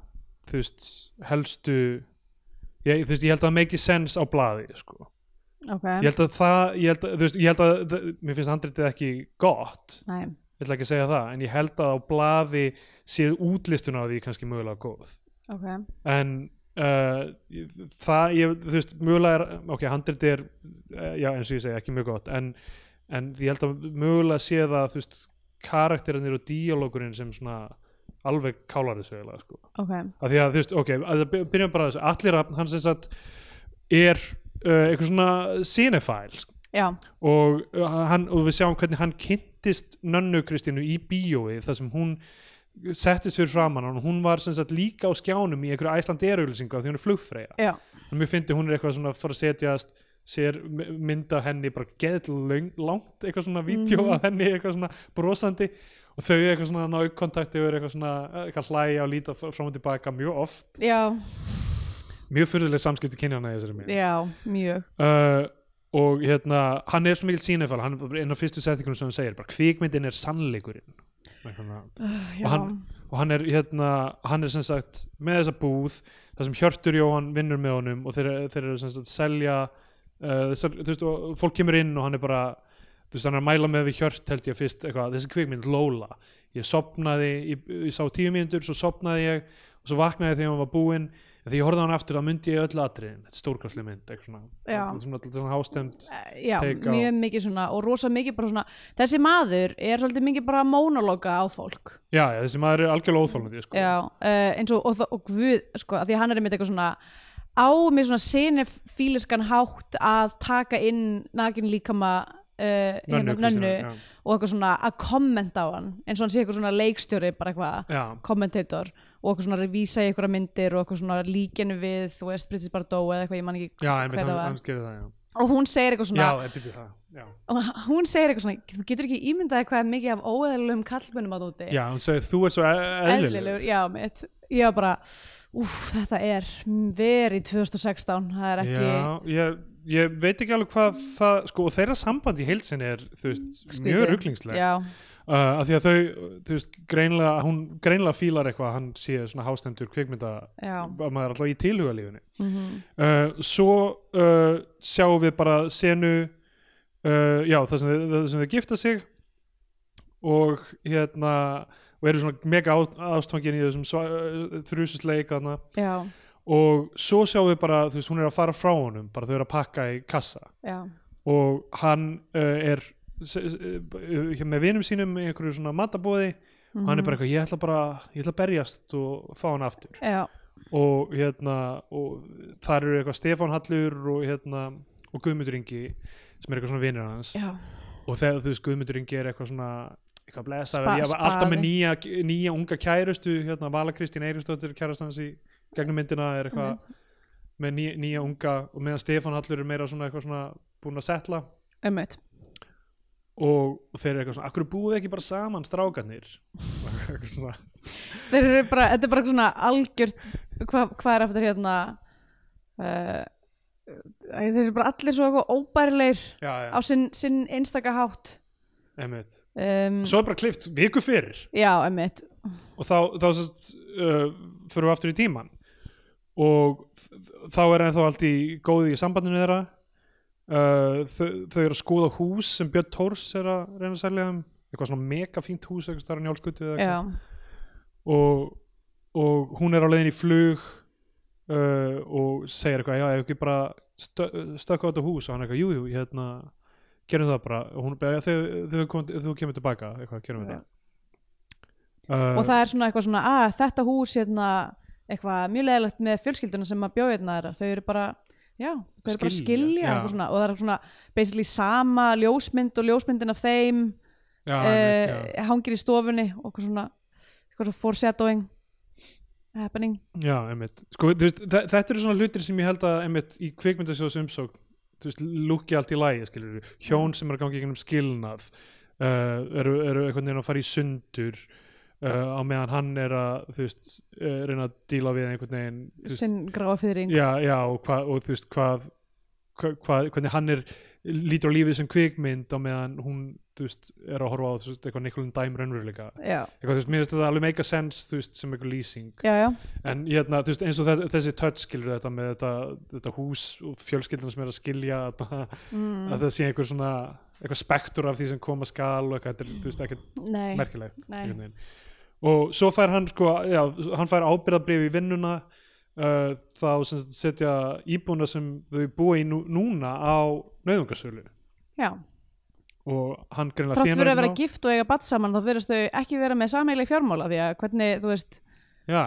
þú veist helstu ég, þú veist, ég held að það make sense á blaði sko.
ok
ég held að það ég held að, þú veist, ég held að það- mér finnst handritið ekki gott
Nei,
ég ætla ekki að segja það en ég held að á blaði séð útlistun á því kannski mögulega góð
ok,
en uh, ég- það ég, þú veist, mögulega er ok, handriti er, uh, já eins og ég segi ekki mjög gott, en, en ég held að mögulega sé það, þú veist karakterinir og díalókurinn sem svona alveg kálar þessu eiginlega sko.
ok
af því að þú veist, ok, að það by- byrjum bara á þessu allir að hann sem sagt er uh, eitthvað svona cinefæl sko
Já,
og, uh, hann, og við sjáum hvernig hann kynntist nönnu Kristínu í bíói þar sem hún settist fyrir framann hann og hún var sem sagt líka á skjánum í einhverju æslandeirauðlýsingu af því hún er flugfreyja
já,
en mér fyndi hún er eitthvað svona að fara að setjast sér mynda henni bara geðlöng langt eitthvað svona vídeo
Mhm.
af henni eitthvað svona brosandi og þau eitthvað svona ná uppkontakti og eru eitthvað svona eitthvað hlæja og líta fr- fram og tilbaka mjög oft
já,
mjög fyrðuleg samskipti kynjana í þessari mynd
já, mjög
uh, og hérna hann er svo mikil sínefæl, hann er bara inn á fyrstu setningunum sem hann segir, bara kvikmyndin er sannleikurinn Eitthvað svona.
uh,
Og
Já,
hann- og hann er hérna hann er sem sagt með þessa búð þar sem Hjörtur Jóhann vinnur með honum og þeir, þeir eru sem sagt selja uh, sel, þú veist, og fólk kemur inn og hann er bara, þú veist, hann er að mæla með við Hjört held ég fyrst, eitthvað, þessi kvikmynd Lola ég sopnaði, ég, ég sá tíu mínútur svo sopnaði ég og svo vaknaði ég þegar hann var búinn, en þegar ég horfði á hann aftur þá myndi ég öll atriðin, þetta er stórkastli mynd eitthvað svona,
Já.
þetta er svona, alltaf svona hástemt
já,
take á-
mjög mikið svona og rosa mikið bara svona, þessi maður er svolítið mikið bara að monologa á fólk
já, já, þessi maður er algjörlega óþólandi sko.
Já, uh, eins og, og, þa- og Guð, sko, að því að hann er einmitt eitthvað svona á með svona sinefíliskan hátt að taka inn nakin líkama uh, hérna,
Kristínu,
nönnu og eitthvað svona að kommenta á hann eins og hann sé eitthvað svona leikstjóri bara eitthvað
já, já,
kommentator og eitthvað svona að vísa í eitthvað myndir og eitthvað svona líkinu við þú veist Bridget Bardot eða eitthvað ég man ekki
já, einmitt,
Hver það
hann,
var?
hann gerir það já.
og hún segir eitthvað svona
Já, byrju það Já,
og hún segir eitthvað svona þú getur ekki ímyndaði hvað er mikið af óeðlulegum kallmönnum á úti
já hún segir þú er svo e- eðlilegur,
eðlilegur, já, mitt ég var bara, úff, þetta er verið 2016, það er ekki
Já, ég, ég veit ekki alveg hvað það sko, og þeirra samband í heilsin er þú veist, mjög
Skrítið.
ruglingsleg uh,
já,
af því að þau, þú veist, greinlega hún greinlega fílar eitthvað að hann sé svona hástendur kvikmynda,
já,
að maður er alltaf í tilhugalífunni
mm
uh, svo uh, sjáum við bara senu uh, já, það sem, þau- það sem þau gifta sig og hérna og eru svona mega á- ástfangin í þessum þrjusisleik þarna
já,
og svo sjáum við bara, þú veist, hún er að fara frá honum bara þau eru að pakka í kassa
já,
og hann uh, er s- s- eh, með vinum sínum í einhverju svona matabóði og hann er bara eitthvað, ég ætla bara ég ætla að berjast og fá hann aftur
já,
og hérna og þar eru eitthvað Stefán Hallur og hérna og Guðmundur Ingi sem er eitthvað svona vinir hans
já,
og þegar þú veist Guðmundur Ingi er eitthvað svona eitthvað blessa,
Spa-
ég var alltaf með
spaði.
nýja, nýja unga kærustu hérna Vala Kristín Eiristóttir kærast hans í gegnum myndina er eitthvað með nýja, nýja unga og meðan Stefán Hallur er meira svona eitthvað svona búin að setla
einmitt
og, og þeir eru eitthvað svona, akkur búið ekki bara saman strákanir Eitthvað svona,
þeir eru bara, þetta er bara svona algjört hvað hva er eftir hérna uh, þeir eru bara allir svo eitthvað óbærilegir
já, já,
á sinn, sinn einstaka hátt
einmitt
um,
svo er bara klift viku fyrir
já, emmitt
og þá, þá sest, uh, fyrir við aftur í tíman og þ- þá er ennþá allt í góði í sambandinu þeirra uh, þau, þau eru að skoða hús sem Björn Tórs er að reyna að selja þeim eitthvað svona mega fínt hús eitthvað starf njálskutu eða
já,
eitthvað og, og hún er á leiðin í flug uh, og segir eitthvað, já, ef ekki bara stö, stökka á þetta hús og hann er eitthvað, jú, jú, hérna gerum það bara, og hún er bara, "Já, þegar þegar kom- þegar þú kemur tilbaka, eitthvað, gerum við
Já.
það Uh,
og það er svona eitthvað svona að þetta hús hérna, eitthvað mjög leðilegt með fjölskylduna sem að bjóða hérna þeirra þau eru bara, já, þau eru bara að
Skilja,
skilja
já.
eitthvað svona, og það er svona basically sama ljósmynd og ljósmyndin af þeim
já, einmitt, já.
uh, hangir í stofunni og eitthvað svona, eitthvað svona foreshadowing happening
Já, einmitt. Sko, þú veist, þe- þetta eru svona hlutir sem ég held að, einmitt, í kvikmyndasjóðs umsókn, þú veist, lúkki allt í lægi, skilur við, hjón sem er að gangi gegnum skilnað, uh, eru, eru einhvern veginn að fara í sundur, uh, á meðan hann er að, þú veist, uh, reyna að díla við einhvern veginn, þú veist,
sinn gráa fyrring
já, já, og, hva, og þú veist, hvað, hva, hva, hvernig hann er, lítur á lífið sem kvikmynd á meðan hún, þú veist, er að horfa á, þú veist, eitthvað Nikolun Dæm raunveruleika.
já,
Eitthvað, þú veist, mér finnst þetta alveg make a sense, þú veist, sem eitthvað lýsing
já, já,
en hérna, þú veist, eins og þessi, þessi touch skilur þetta með þetta, þetta hús og fjölskyldina sem er að skilja að,
mm,
að það sé einhver svona eitthvað spektur af því sem koma skal og eitthvað, þetta er, þú veist, ekkert
nei
merkilegt
Nei.
einhvern veginn. og svo fær hann sko, já, hann fær ábyrðabrif í vinnuna uh, þá sem sagt setja íbúna sem þau búa í nú, núna á nauðungarsölu
já,
og hann greinlega
þrátt
þénar
fyrir að
ekki
vera
nóg.
gift og eiga batt saman þá verðast þau ekki vera með sameileg fjármála því að hvernig, þú veist,
Já,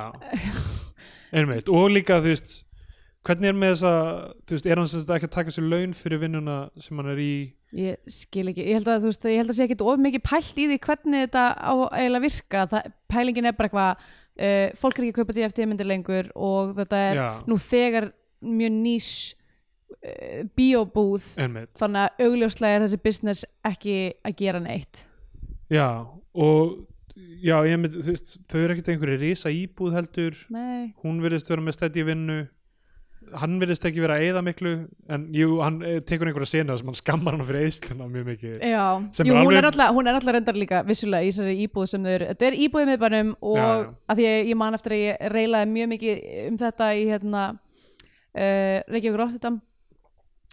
einmitt og líka þú veist hvernig er með þessa, þú veist, er hann sem þetta ekki að taka sér laun fyrir vinnuna sem hann er í
Ég skil ekki, ég held að þú veist, ég held að sé ekkit of mikið pælt í því hvernig þetta á eiginlega að virka, það, pælingin er bara eitthvað, uh, fólk er ekki að kaupa því eftir myndir lengur og þetta er
Já,
nú þegar mjög nýs uh, biobúð,
einmitt,
þannig að augljóslega er þessi business ekki að gera neitt.
já og já, ég mynd, þú veist þau eru ekkert einhverju risa íbúð heldur
Nei,
hún virðist vera með stætti vinnu hann virðist ekki vera að eyða miklu en jú, hann eh, tekur einhverja sena sem hann skammar hann fyrir eysluna mjög mikið
já,
Sem
Jú,
er
hún,
alveg-
er alltaf, hún er alltaf reyndar líka vissulega í þessari íbúð sem þau eru, þetta er íbúð með bænum og
Já,
já,
já.
að því ég, ég man eftir að ég reylaði mjög mikið um þetta í hérna, uh, Reykjavík Rotterdam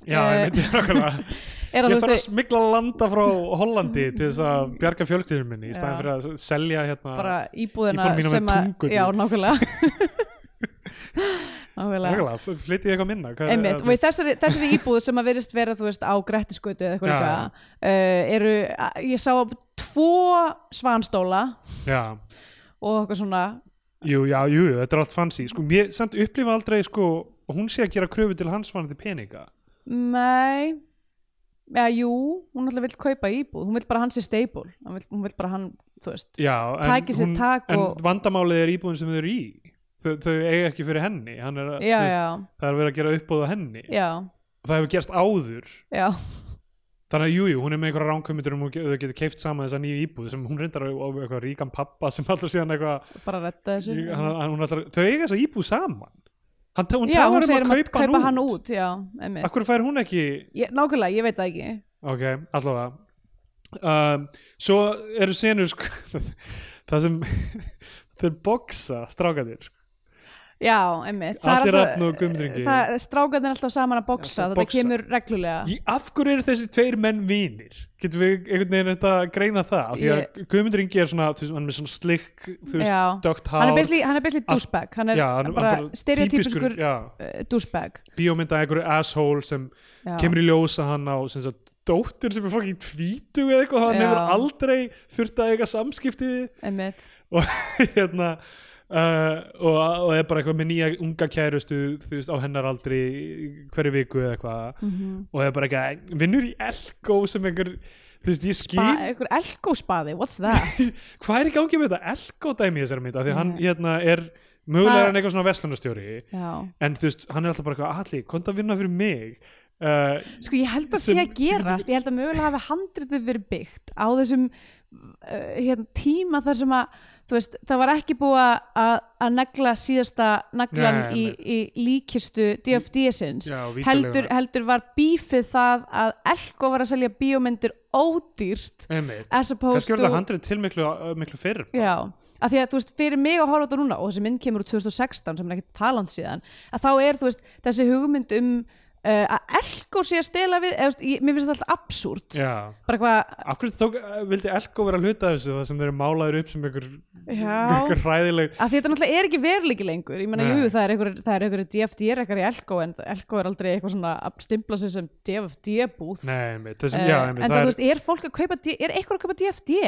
Já, einmitt, ég nákvæmlega
Eh, er að
Ég
þú
þarf að
veist,
smigla landa frá Hollandi til þess að bjarga fjölkliður minni í staðin
Já.
fyrir að selja hérna
bara íbúðina
Íbúðin mín á
sem
með
að,
tungu.
já, nákvæmlega nákvæmlega
Nákvæmlega, f- flytið eitthvað minna hvað-
Einmitt, og í þessari, þessari íbúð sem að verðist vera þú veist á Grettisgötu eða eitthvað
Já,
líka uh, eru, a- ég sá tvo svanstóla
Já,
og eitthvað svona
jú, já, jú, þetta er allt fancy Sko, mér samt upplifa aldrei, sko og hún sé að gera kröfu til hans vanandi peninga
nei eða jú, hún alltaf vill kaupa íbúð hún vill bara hans í stable hún vill, hún vill bara hann, þú veist
Já, en,
Taki sér
hún,
tak
en
og-
vandamálið er íbúin sem þau eru í Þau, þau eiga ekki fyrir henni Hann er, að-
já,
þú
já,
það er verið að gera uppbóð á henni
já,
Það hefur gerst áður
já
Þannig að jú, jú, hún er með einhverja ránkomundur um hún ge- þau getur keift saman þessa nýju íbúð sem hún reyndar á, á eitthvað ríkan pappa sem alltaf síðan eitthvað
bara retta þessu
hann, hann, hún allar, Þau eiga þessa íbúð saman Hann, ta- hún
já, hún
talar um
segir
að kaupa,
kaupa hann út já, einmitt
Akkur fær hún ekki
ég, nákvæmlega, ég veit það ekki
ok, allavega um, svo eru senur sko, það sem þeir boksa strákanir
já, einmitt Það er
Allir
alltaf-
Rafn og Guðmundur Ingi.
það- Strákarnir er alltaf saman að boksa,
Alltaf
þetta
boxa.
kemur reglulega
Í- Af hverju eru þessi tveir menn vinir? Getum við einhvern veginn þetta að greina það? Af því að Guðmundur Ingi er svona, þú veist, hann er með svona slikk, þú veist,
Já.
dögt hár.
Hann er basically, hann er basically
Allt-
douchebag Hann er
já, hann er
bara
bara
stereotypiskur
já,
uh, douchebag
bíómynda einhverju asshole sem
Já.
kemur í ljósa hann á sem sagt, dóttur sem er fokkin tvítu eða eitthvað, hann
Já.
hefur aldrei þurft að eiga samskipti við
einmitt
hérna Uh, og, og er bara eitthvað með nýja unga kærustu þú veist á hennar aldri hverju viku eða eitthvað
Mhm.
og er bara eitthvað vinnur í Elko sem einhver þú veist ég skil
Ba- einhver elgóspaði, what's that
hvað er í gangi með þetta Elko dæmi í þessari mynd af því að hann
Nei.
hérna er mögulega
Það-
er hann eitthvað svona verslunarstjóri
já.
en þú veist hann er alltaf bara eitthvað allir komdu að vinna fyrir mig uh,
sko ég held að sé
Sem-
að gerast ég held að mögulega hafi handritið verið byggt á þessum uh, hérna, tíma þar sem að þú veist, það var ekki búið að- að að negla síðasta naglan
Nei,
í, í líkistu DFD-sins
Já, vídeóleiguna.
heldur, heldur var bífið það að Elko var að selja bíómyndir ódýrt
einmitt
as opposed
kannski
to
verður það handrið til miklu, uh, miklu fyrr
Já, af því að þú veist, fyrir mig að horfa á þetta núna og þessi mynd kemur úr 2016 sem er ekkert taland síðan að þá er þú veist, þessi hugmynd um uh, að elko sé að stela við eða, þú veist, ég, mér finnst þetta alltaf absúrt
já
bara hvað,
Af hverju tók, eh, vildi Elko vera hluta af þessu það sem þeir eru málaður upp sem einhver,
Já.
einhver hræðileg
að því þetta náttúrulega er ekki veruleiki lengur ég meina,
Nei.
jú, það er einhver, það er einhver DFD er ekkert í elko en elko er aldrei eitthvað svona að stimpla sig sem DFD búð
Nei, einmitt, þessum,
Eh,
já, einmitt,
en
það
það,
er,
þú veist, er fólk að kaupa D- er eitthvað að kaupa DFD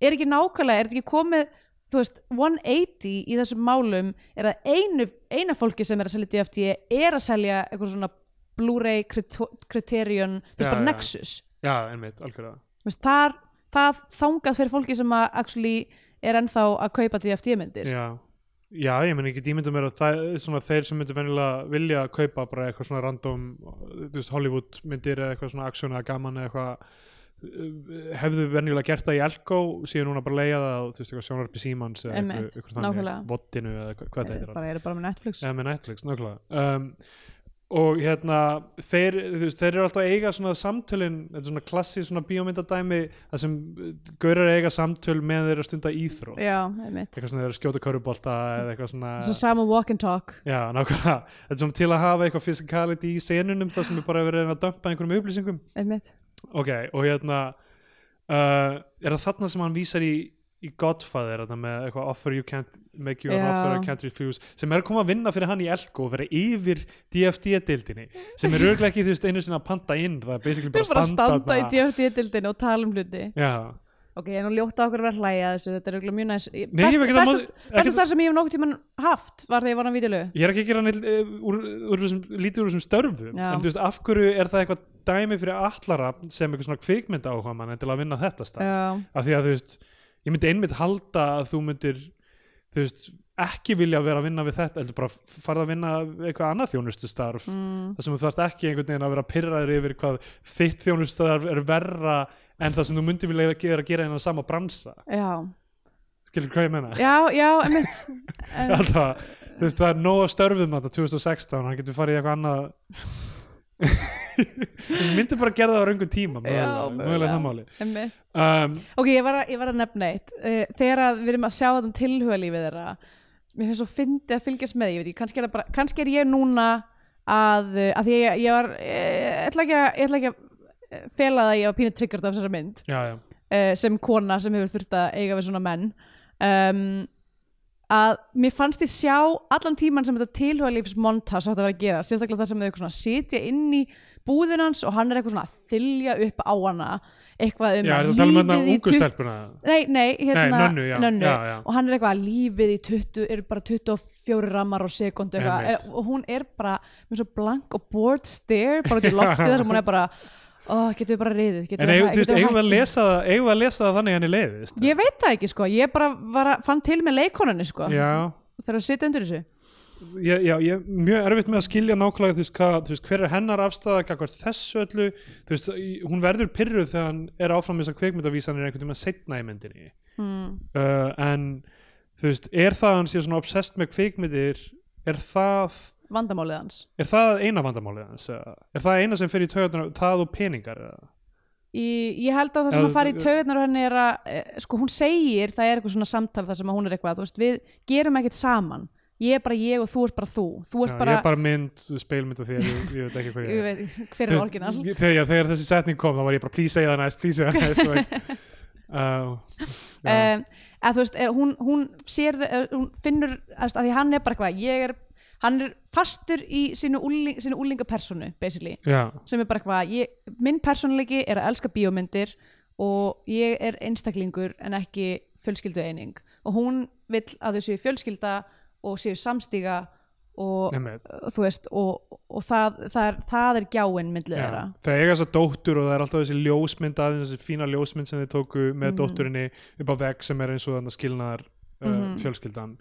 er ekki nákvæmlega, er þetta ekki komið þú veist, 180 í þessum málum er að einu, eina fólki sem er að selja DFD er að selja eitthvað svona Blu-ray krito- Criterion, þú veist,
Já,
bara
já.
Nexus
já, einmitt, algjörða
þú veist, þar, það þangað fyrir fólki sem að actually er ennþá að kaupa DFD myndir
já. já, ég menn ekki dýmyndum er að það, svona, þeir sem myndu venjulega vilja kaupa bara eitthvað svona random þú veist, Hollywood myndir eða eitthvað svona aksjón eða gaman eða eitthvað eh, hefðu venjulega gert það í Elko síðan núna bara leiða það á, þú veist, eitthvað sjónarpi Símans eða eitthvað,
Einmitt,
eitthvað þannig,
nákvæmlega. Eh,
vottinu eða hvað, hvað það heitir
bara eru bara með Netflix
eða með Netflix, nákvæmlega um, og hérna þeir, þú veist, þeir eru alltaf að eiga svona samtölin þetta er svona klassið svona bíómyndadæmi það sem uh, gaurar eiga samtöl með þeir að stunda íþrótt
já, einmitt
eitthvað svona þeir eru að skjóta körfubolta eða eitthvað svona
svo saman walk and talk
já, nákvæmlega, þetta er svona til að hafa eitthvað physicality í senunum þar sem er bara verið að reyna að dömpa einhverjum upplýsingum
einmitt,
ok, og hérna uh, er það þarna sem hann vísar í í Godfather, þetta með eitthvað offer you can't make you an
Já.
offer, I can't refuse sem er að koma að vinna fyrir hann í Elko og vera yfir DFD-dildinni sem er rauglega ekki, þú veist, einu sinna að panta inn það er basically
við
bara,
erum bara að standa í
þarna.
DFD-dildinu og tala um hluti
Já,
Ok, en hún ljóta okkur að vera að hlæja að þessu, þetta er örugglega mjög næs. Ég-
Nei, ég hef ekkert að
Best,
móti-
best,
ekkert-
bestast þar sem ég hef nokkuð tímann haft var þegar ég var á vídjulegu.
ég er ekki að gera neitt, eh, úr, úr þessum, lítið úr þessum störfum
Já.
en þú veist, af hverju er það eitthvað dæmi fyrir allara sem eitthvað svona kvikmynda áhuga mann til að vinna þetta stað
Já,
af því að þú veist ég myndi einmitt halda að þú myndir þú veist, ekki vilja vera að vinna við þetta heldur bara f- farð að vinna við eitthvað annað þjónustustarf mm. þar sem þú þarft ekki einhvern veginn að vera pyrraður yfir hvað þitt þjónustustarf er verra en það sem þú myndir vilja gera, gera innan sama bransa
já,
skilur hvað ég menna
já, já, emitt. En,
Alltaf, þú veist, það er nóg að störfum þetta 2016, hann getur farið í eitthvað annað þessi myndir bara gerða það á raungum tíma mögulega, mögulega það máli
Emitt.
um,
Ok, ég var, að, ég var að nefna eitt. Eh, Þegar að við erum að sjá þetta tilhugalífið þeirra, mér finnst svo fyndið að fylgjast með því, ég veit ég, kannski er, það bara, kannski er ég núna að, eh, að því ég, ég var, eh, ég ætla ekki að, ég ætla ekki að eh, fela það að ég var pínu triggert af þessara mynd.
já, já,
uh, sem kona sem hefur þurft að eiga við svona menn um, að mér fannst ég sjá allan tíman sem þetta tilhugalífs montas átt að vera að gera, sérstaklega þar sem þau eitthvað svona sitja inn í búðin hans og hann er eitthvað svona að þylja upp á hana eitthvað um
já er það að tala um þetta ungu stelpuna
Nei, nei, hérna,
Nei, Nönnu, já, já, já.
og hann er eitthvað að lífið í 20, er bara 24 rammar á sekundu eitthvað,
Einmitt.
er, og hún er bara með svo blank og bored stare bara út í loftið þar sem hún er bara oh, getur við bara riðið, getur
En
við
eigum,
hæ-
þú veist,
getum við
eigum við að
hætt?"
lesa það eigum við að lesa það þannig að henni leiðist
Ég veit það ekki sko, ég bara var að, fann til með leikonunni sko
Já,
þegar að sitja undir þessu
ég, já, ég er mjög erfitt með að skilja nákvæmlega þú veist, hvað, þú veist, hver er hennar afstæða gagvart þessu öllu, þú veist, í- hún verður pyrruð þegar hann er áfram með þessar kveikmyndavísanir einhvern tímann seinna í myndinni
mm.
uh, en þú veist, er það að hann sé svona obsessed með kveikmyndir er það
Vandamálið hans
er það eina vandamálið hans eða? er það eina sem fer í töðunar það og peningar eða?
í, Ég held að það sem
Já,
að fara í
þú-
taugarnar á henni er að, eh, sko hún segir það er eitthvað svona samtal þar sem að hún er eitthvað þú veist, við gerum ekkert saman ég er bara ég og þú ert bara þú þú ert
Já,
bara,
ég er bara mynd, speilmynd af þér ég, ég veit ekki hvað ég
ég
er
veit, hver
Þú
er
veist,
orginal
ég- þegar, já, þegar þessi setning kom þá var ég bara please segja það næst, please segja það næst og, uh, já,
um, að þú veist, er, hún, hún sér þe- eh, hún finnur, að, að því hann er bara eitthvað ég er, hann er fastur í sínu, úling, sínu úlingapersonu basically,
já,
sem er bara eitthvað ég, minn persónuleiki er að elska bíómyndir og ég er einstaklingur en ekki fjölskyldu eining og hún vill að þau séu fjölskylda og séu samstíga og
einmitt.
þú veist og, og það, það, er, það er gjáin myndlið
Já,
þeirra
það eiga þess að dóttur og það er alltaf þessi ljósmynd aðeins þessi fína ljósmynd sem þið tóku með dótturinni upp á vegg sem er eins og þannig skilnaðar uh,
Mhm.
fjölskyldan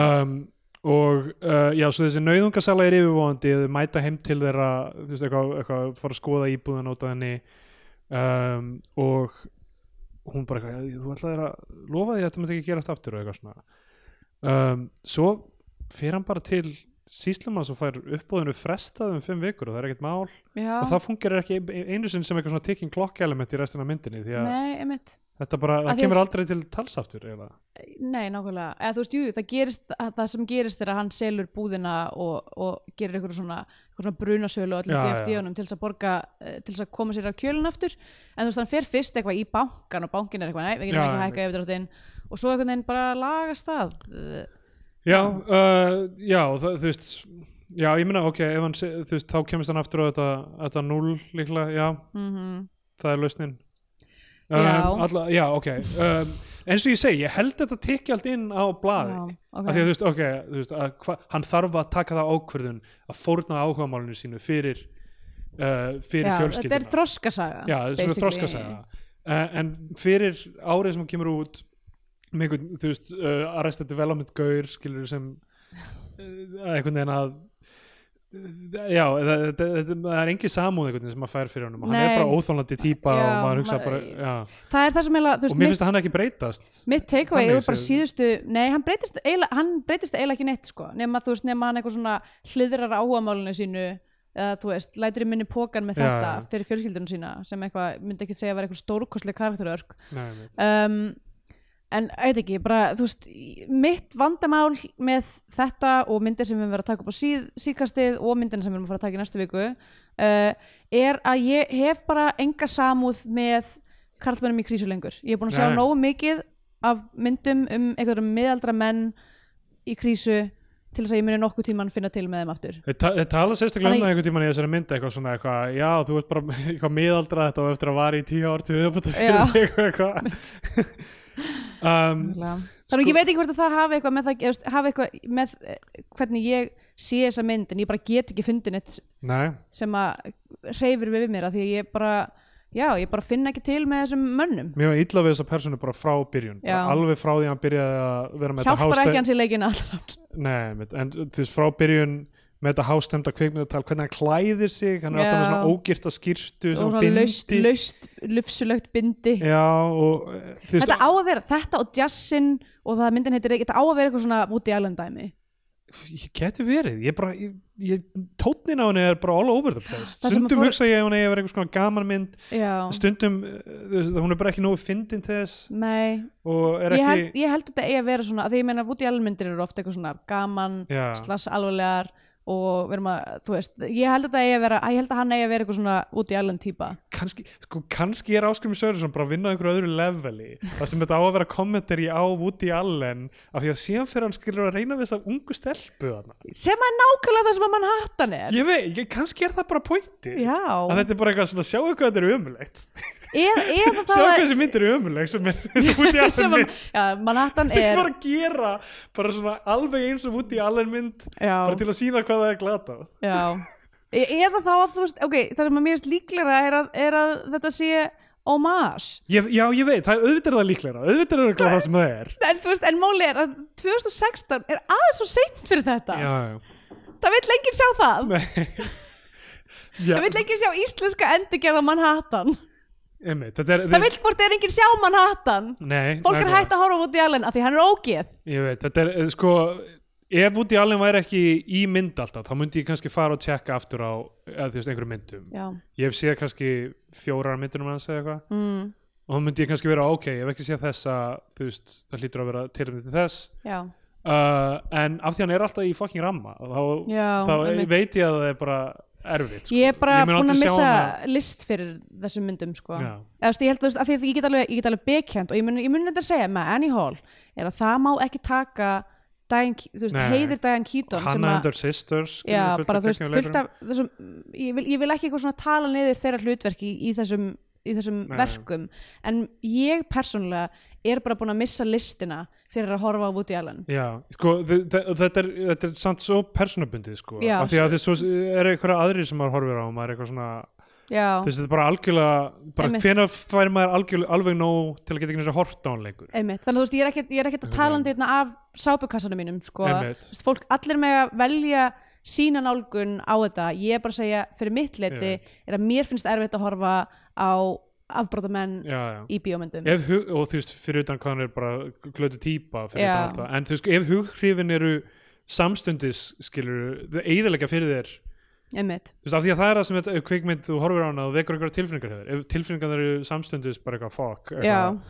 um, og uh, já, svo þessi nauðungasala er yfirvóandi þau mæta heim til þeirra þú veist, eitthvað, eitthvað, fara að skoða íbúðan út af henni um, og hún bara eitthvað, þú ætlaðir að lofa því að þetta myndi ekki gerast aftur og eitthvað svona um, svo fer hann bara til síslumann og fær uppbúðinu frestað um fimm vikur og það er ekkert mál
Já,
og það fungerir ekki einu sinni sem eitthvað svona ticking clock element í restina af myndinni því að
nei, einmitt
þetta bara,
Af
það
því
kemur
að-
aldrei til talsaftur eiginlega.
Nei, nákvæmlega, eða þú veist, jú, það gerist að það sem gerist er að hann selur búðina og, og gerir einhverju svona, einhverju svona brunasölu og
Já,
öllum
já.
DFD-unum til þess að borga eh, til þess að koma sér af kjölun aftur en þú veist, hann fer fyrst eitthvað í bankan og bankin er eitthvað, nei, við
Já,
getum ekki að
einmitt.
hækka yfirdráttinn og svo einhvern veginn bara lagast það Eh,
já, uh, já það, þú veist já, ég meina, ok, ef hann, se- þú veist þá kemist hann aftur á þetta, þetta 0 líklega, já,
mhm.
það er lausnin
Já.
alla, já ok um, eins og ég segi, ég held þetta tikki allt inn á blaði
Já, ok.
af því að þú veist, ok, þú veist að, hva, hann þarf að taka það ákvörðun að fórna áhugamálinu sínu fyrir uh, fyrir
Já,
fjölskylduna
Þetta er þroskasaga
já, þetta er svona
basically.
þroska segja uh, en fyrir árið sem hún kemur út með einhvern, þú veist, uh, Arrested Development gaur, skilur sem uh, einhvern veginn að já, það, það, það, það er engin samúð einhvern veginn sem maður fær fyrir honum hann
Nei.
er bara óþólandi típa
Já,
og maður hugsa
maður-
bara, já
Það er það sem eiginlega, þú
og
veist,
mér
mitt,
finnst að hann ekki breytast
mitt takeaway
Þannig
er bara
séð.
síðustu Nei, hann breytist eiginlega hann breytist eiginlega ekki neitt, sko nema, þú veist, nema hann eitthvað svona hliðrar áhugamálinu sínu eða, þú veist, lætur í minni pókan með
Já,
þetta
já.
fyrir fjölskyldunum sína sem eitthvað, myndi ekki segja að vera eitthvað stórkostleg karakterörk
Nei, nei.
um, en ég veit ekki, bara þú veist, í- mitt vandamál með þetta og myndir sem við verðum að taka upp á síð, síðkastið og myndina sem við erum að fara að taka í næstu viku uh, er að ég hef bara enga samúð með karlmennum í krísu lengur ég er búin að sjá
Nei.
nógu mikið af myndum um einhverjum miðaldra menn í krísu til þess að ég muni nokkuð tíman finna til með þeim aftur
Þeir ta- þeir tala sérstaklega um
Þannig-
það einhvern tímann í þessari mynd eitthvað svona eitthvað, já þú ert bara eitthvað miðaldra þetta og eftir að vara í tíu ár til þau
Já.
fyrir þig og eitthvað um,
þannig ég veit ekki hvort að það hafi eitthvað með, það, eða, þú veist, hafi eitthvað með eh, hvernig ég sé þessa mynd en ég bara get ekki fundin eitt
Nei,
sem að hreyfir við mér að því að ég bara já, ég bara finn ekki til með þessum mönnum
mér var illa við þessa persónu bara frá byrjun, bara
Já.
alveg frá því að hann byrjaði að vera með
hjálpar
hástæ-
ekki hans í leikinu allra
Nei, einmitt, en þú veist frá byrjun með þetta hástemda kvikmyndatal, hvernig hann klæðir sig hann er alltaf með
Já.
svona ógirta skýrtu
og
svona
svona
bindi
laust, laust, lufsulögt bindi
Já, og eh, þú veist,
þetta á að vera, þetta og jazzin og það myndin heitir, þetta á að vera eitthvað svona Woody Allen dæmi
ég geti verið ég bara, ég, ég, tónnin á henni er bara all over the place
Það sem að
stundum
fór-
hugsa ég um að hún eigi að vera einhvers konar gaman mynd
já,
stundum, eh, þú veist, hún er bara ekki nógu fyndin til þess
nei
og er
ég
ekki
held, ég held þetta eigi að vera svona að því ég meina Woody Allen myndir eru ofta eitthvað svona gaman,
Já.
slass alvarlegar og verðum að, þú veist, ég held þetta eigi að vera, ég held að hann eigi að vera eitthvað svona Woody Allen típa
kannski, sko, kannski er Áskrimur Sörjusson bara að vinna á einhverju öðru leveli það sem þetta á að vera kommentari á Woody Allen af því að síðan fyrir hann skilur að reyna við þess að ungu stelpu hana.
sem er nákvæmlega það sem að mann hattan er
ég veit, ég, kannski er það bara pointi
Já.
að þetta er bara eitthvað svona, sjáu hvað þetta er ömulegt
eða,
sjáu
eða það
hvað
að-
þessi mynd er ömuleg sem er, sem Woody Allen
sem
mynd
að, já, Manhattan
þeir
er
bara gera bara svona alveg eins og Woody Allen mynd
já,
bara til að sína hvað það er glata
já. E eða þá að þú veist, ok, það sem að mér erst líklega er að, er að þetta sé homage
ég, já ég veit, það, auðvitað er það líklegra auðvitað er það glata sem það er
en, þú veist, en máli er að 2016 er aðeins svo seint fyrir þetta
já, já.
það vill enginn sjá það
Já,
það vill enginn sjá íslenska endurgerða Manhattan
einmitt, þetta er,
það vill hvort er enginn sjá Manhattan
nei,
fólk er
nákvæmlega.
hægt að horfa út í alveg að því hann er ógeð
ég veit, þetta er eh, sko ef Woody Allen væri ekki í mynd alltaf þá myndi ég kannski fara og tjekka aftur á eða, þú veist, einhverjum myndum
já,
ég hef séð kannski fjórar um myndunum hans eða eitthvað
mm,
og þá myndi ég kannski vera ok, ég hef ekki séð þessa þú veist, það hlýtur að vera tilhengið til þess
já.
uh, en af því hann er alltaf í fucking ramma þá,
Já,
þá
einmitt.
veit ég að það er bara erfitt sko.
Ég er bara
Ég mun
búin að
aldrei sjá
missa
hana-
list fyrir þessum myndum sko.
Já.
Eða, þú veist, ég held þú veist, af því að ég get alveg, ég get alveg bekjönd og ég mun, ég mun þetta að segja með Annie Hall er að það má ekki taka Diane, Ke- þú veist,
Nei.
heiðir Diane Keaton sem
Hanna
að-
and her sisters skilur,
já,
fullt
bara
af
þú veist,
geggjum
fullt
leikurum.
af þessum, ég, vil, ég vil ekki eitthvað svona tala niður þeirra hlutverki í, í þessum, í þessum
Nei.
verkum en ég persónulega er bara búin að missa listina fyrir að horfa á Woody Allen
Já, sko, þe- þe- þetta er, þetta er samt svo persónabundið, sko
Já,
af því að þessu er einhverja aðrir sem maður horfir á og maður er eitthvað svona,
já,
þessi þetta er bara algjörlega bara
Einmitt.
hvenær fær maður algjör, alveg nóg til að geta ekki hort á hann lengur
Einmitt. Þannig að þú veist, ég er ekkert, ég er ekkert að tala um þetta af sápukassanum mínum, sko.
Einmitt.
Þú veist, fólk allir með að velja sína nálgun á þetta. Ég er bara að segja, fyrir mitt leti,
Einmitt.
er að mér finnst erfitt að horfa á afbrotamenn
Já, já
í bíómyndum.
ef, hug- og þú veist, fyrir utan hvað hann er bara glötu típa fyrir
Já.
utan allt það en þú veist, ef hughrifin eru samstundis skilur, þau eigðilega fyrir þér þú
Einmitt.
veist, af því að það er það sem þetta er kvikmynd, þú horfir á hana og vekur einhverja tilfinningar hefur ef tilfinningar eru samstundis bara eitthvað fuck,
Já.
eitthvað,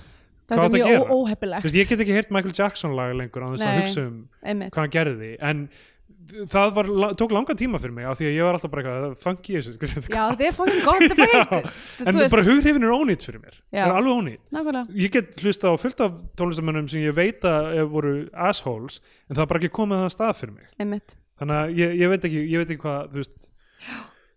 Þetta
Hvað
er
átti að
mjög
gera?
ó-
þú
óheppilegt.
veist, ég get ekki heyrt Michael Jackson lag lengur á þess að
Nei.
hugsa um
Einmitt.
hvað hann gerði, en það var, tók langan tíma fyrir mig af því að ég var alltaf bara eitthvað, funky þessu skilurðu.
Já, þetta er fókin gott, þetta er fókin
en
Þú veist,
bara hughrifin er ónýtt fyrir mér,
Já.
er alveg ónýtt
nákvæmlega.
ég get hlusta á fullt af tónlistamönnum sem ég veit að ef voru assholes en það var bara ekki komið að það stað fyrir mig
Einmitt.
þannig að ég, ég veit ekki ég veit ekki hvað þú veist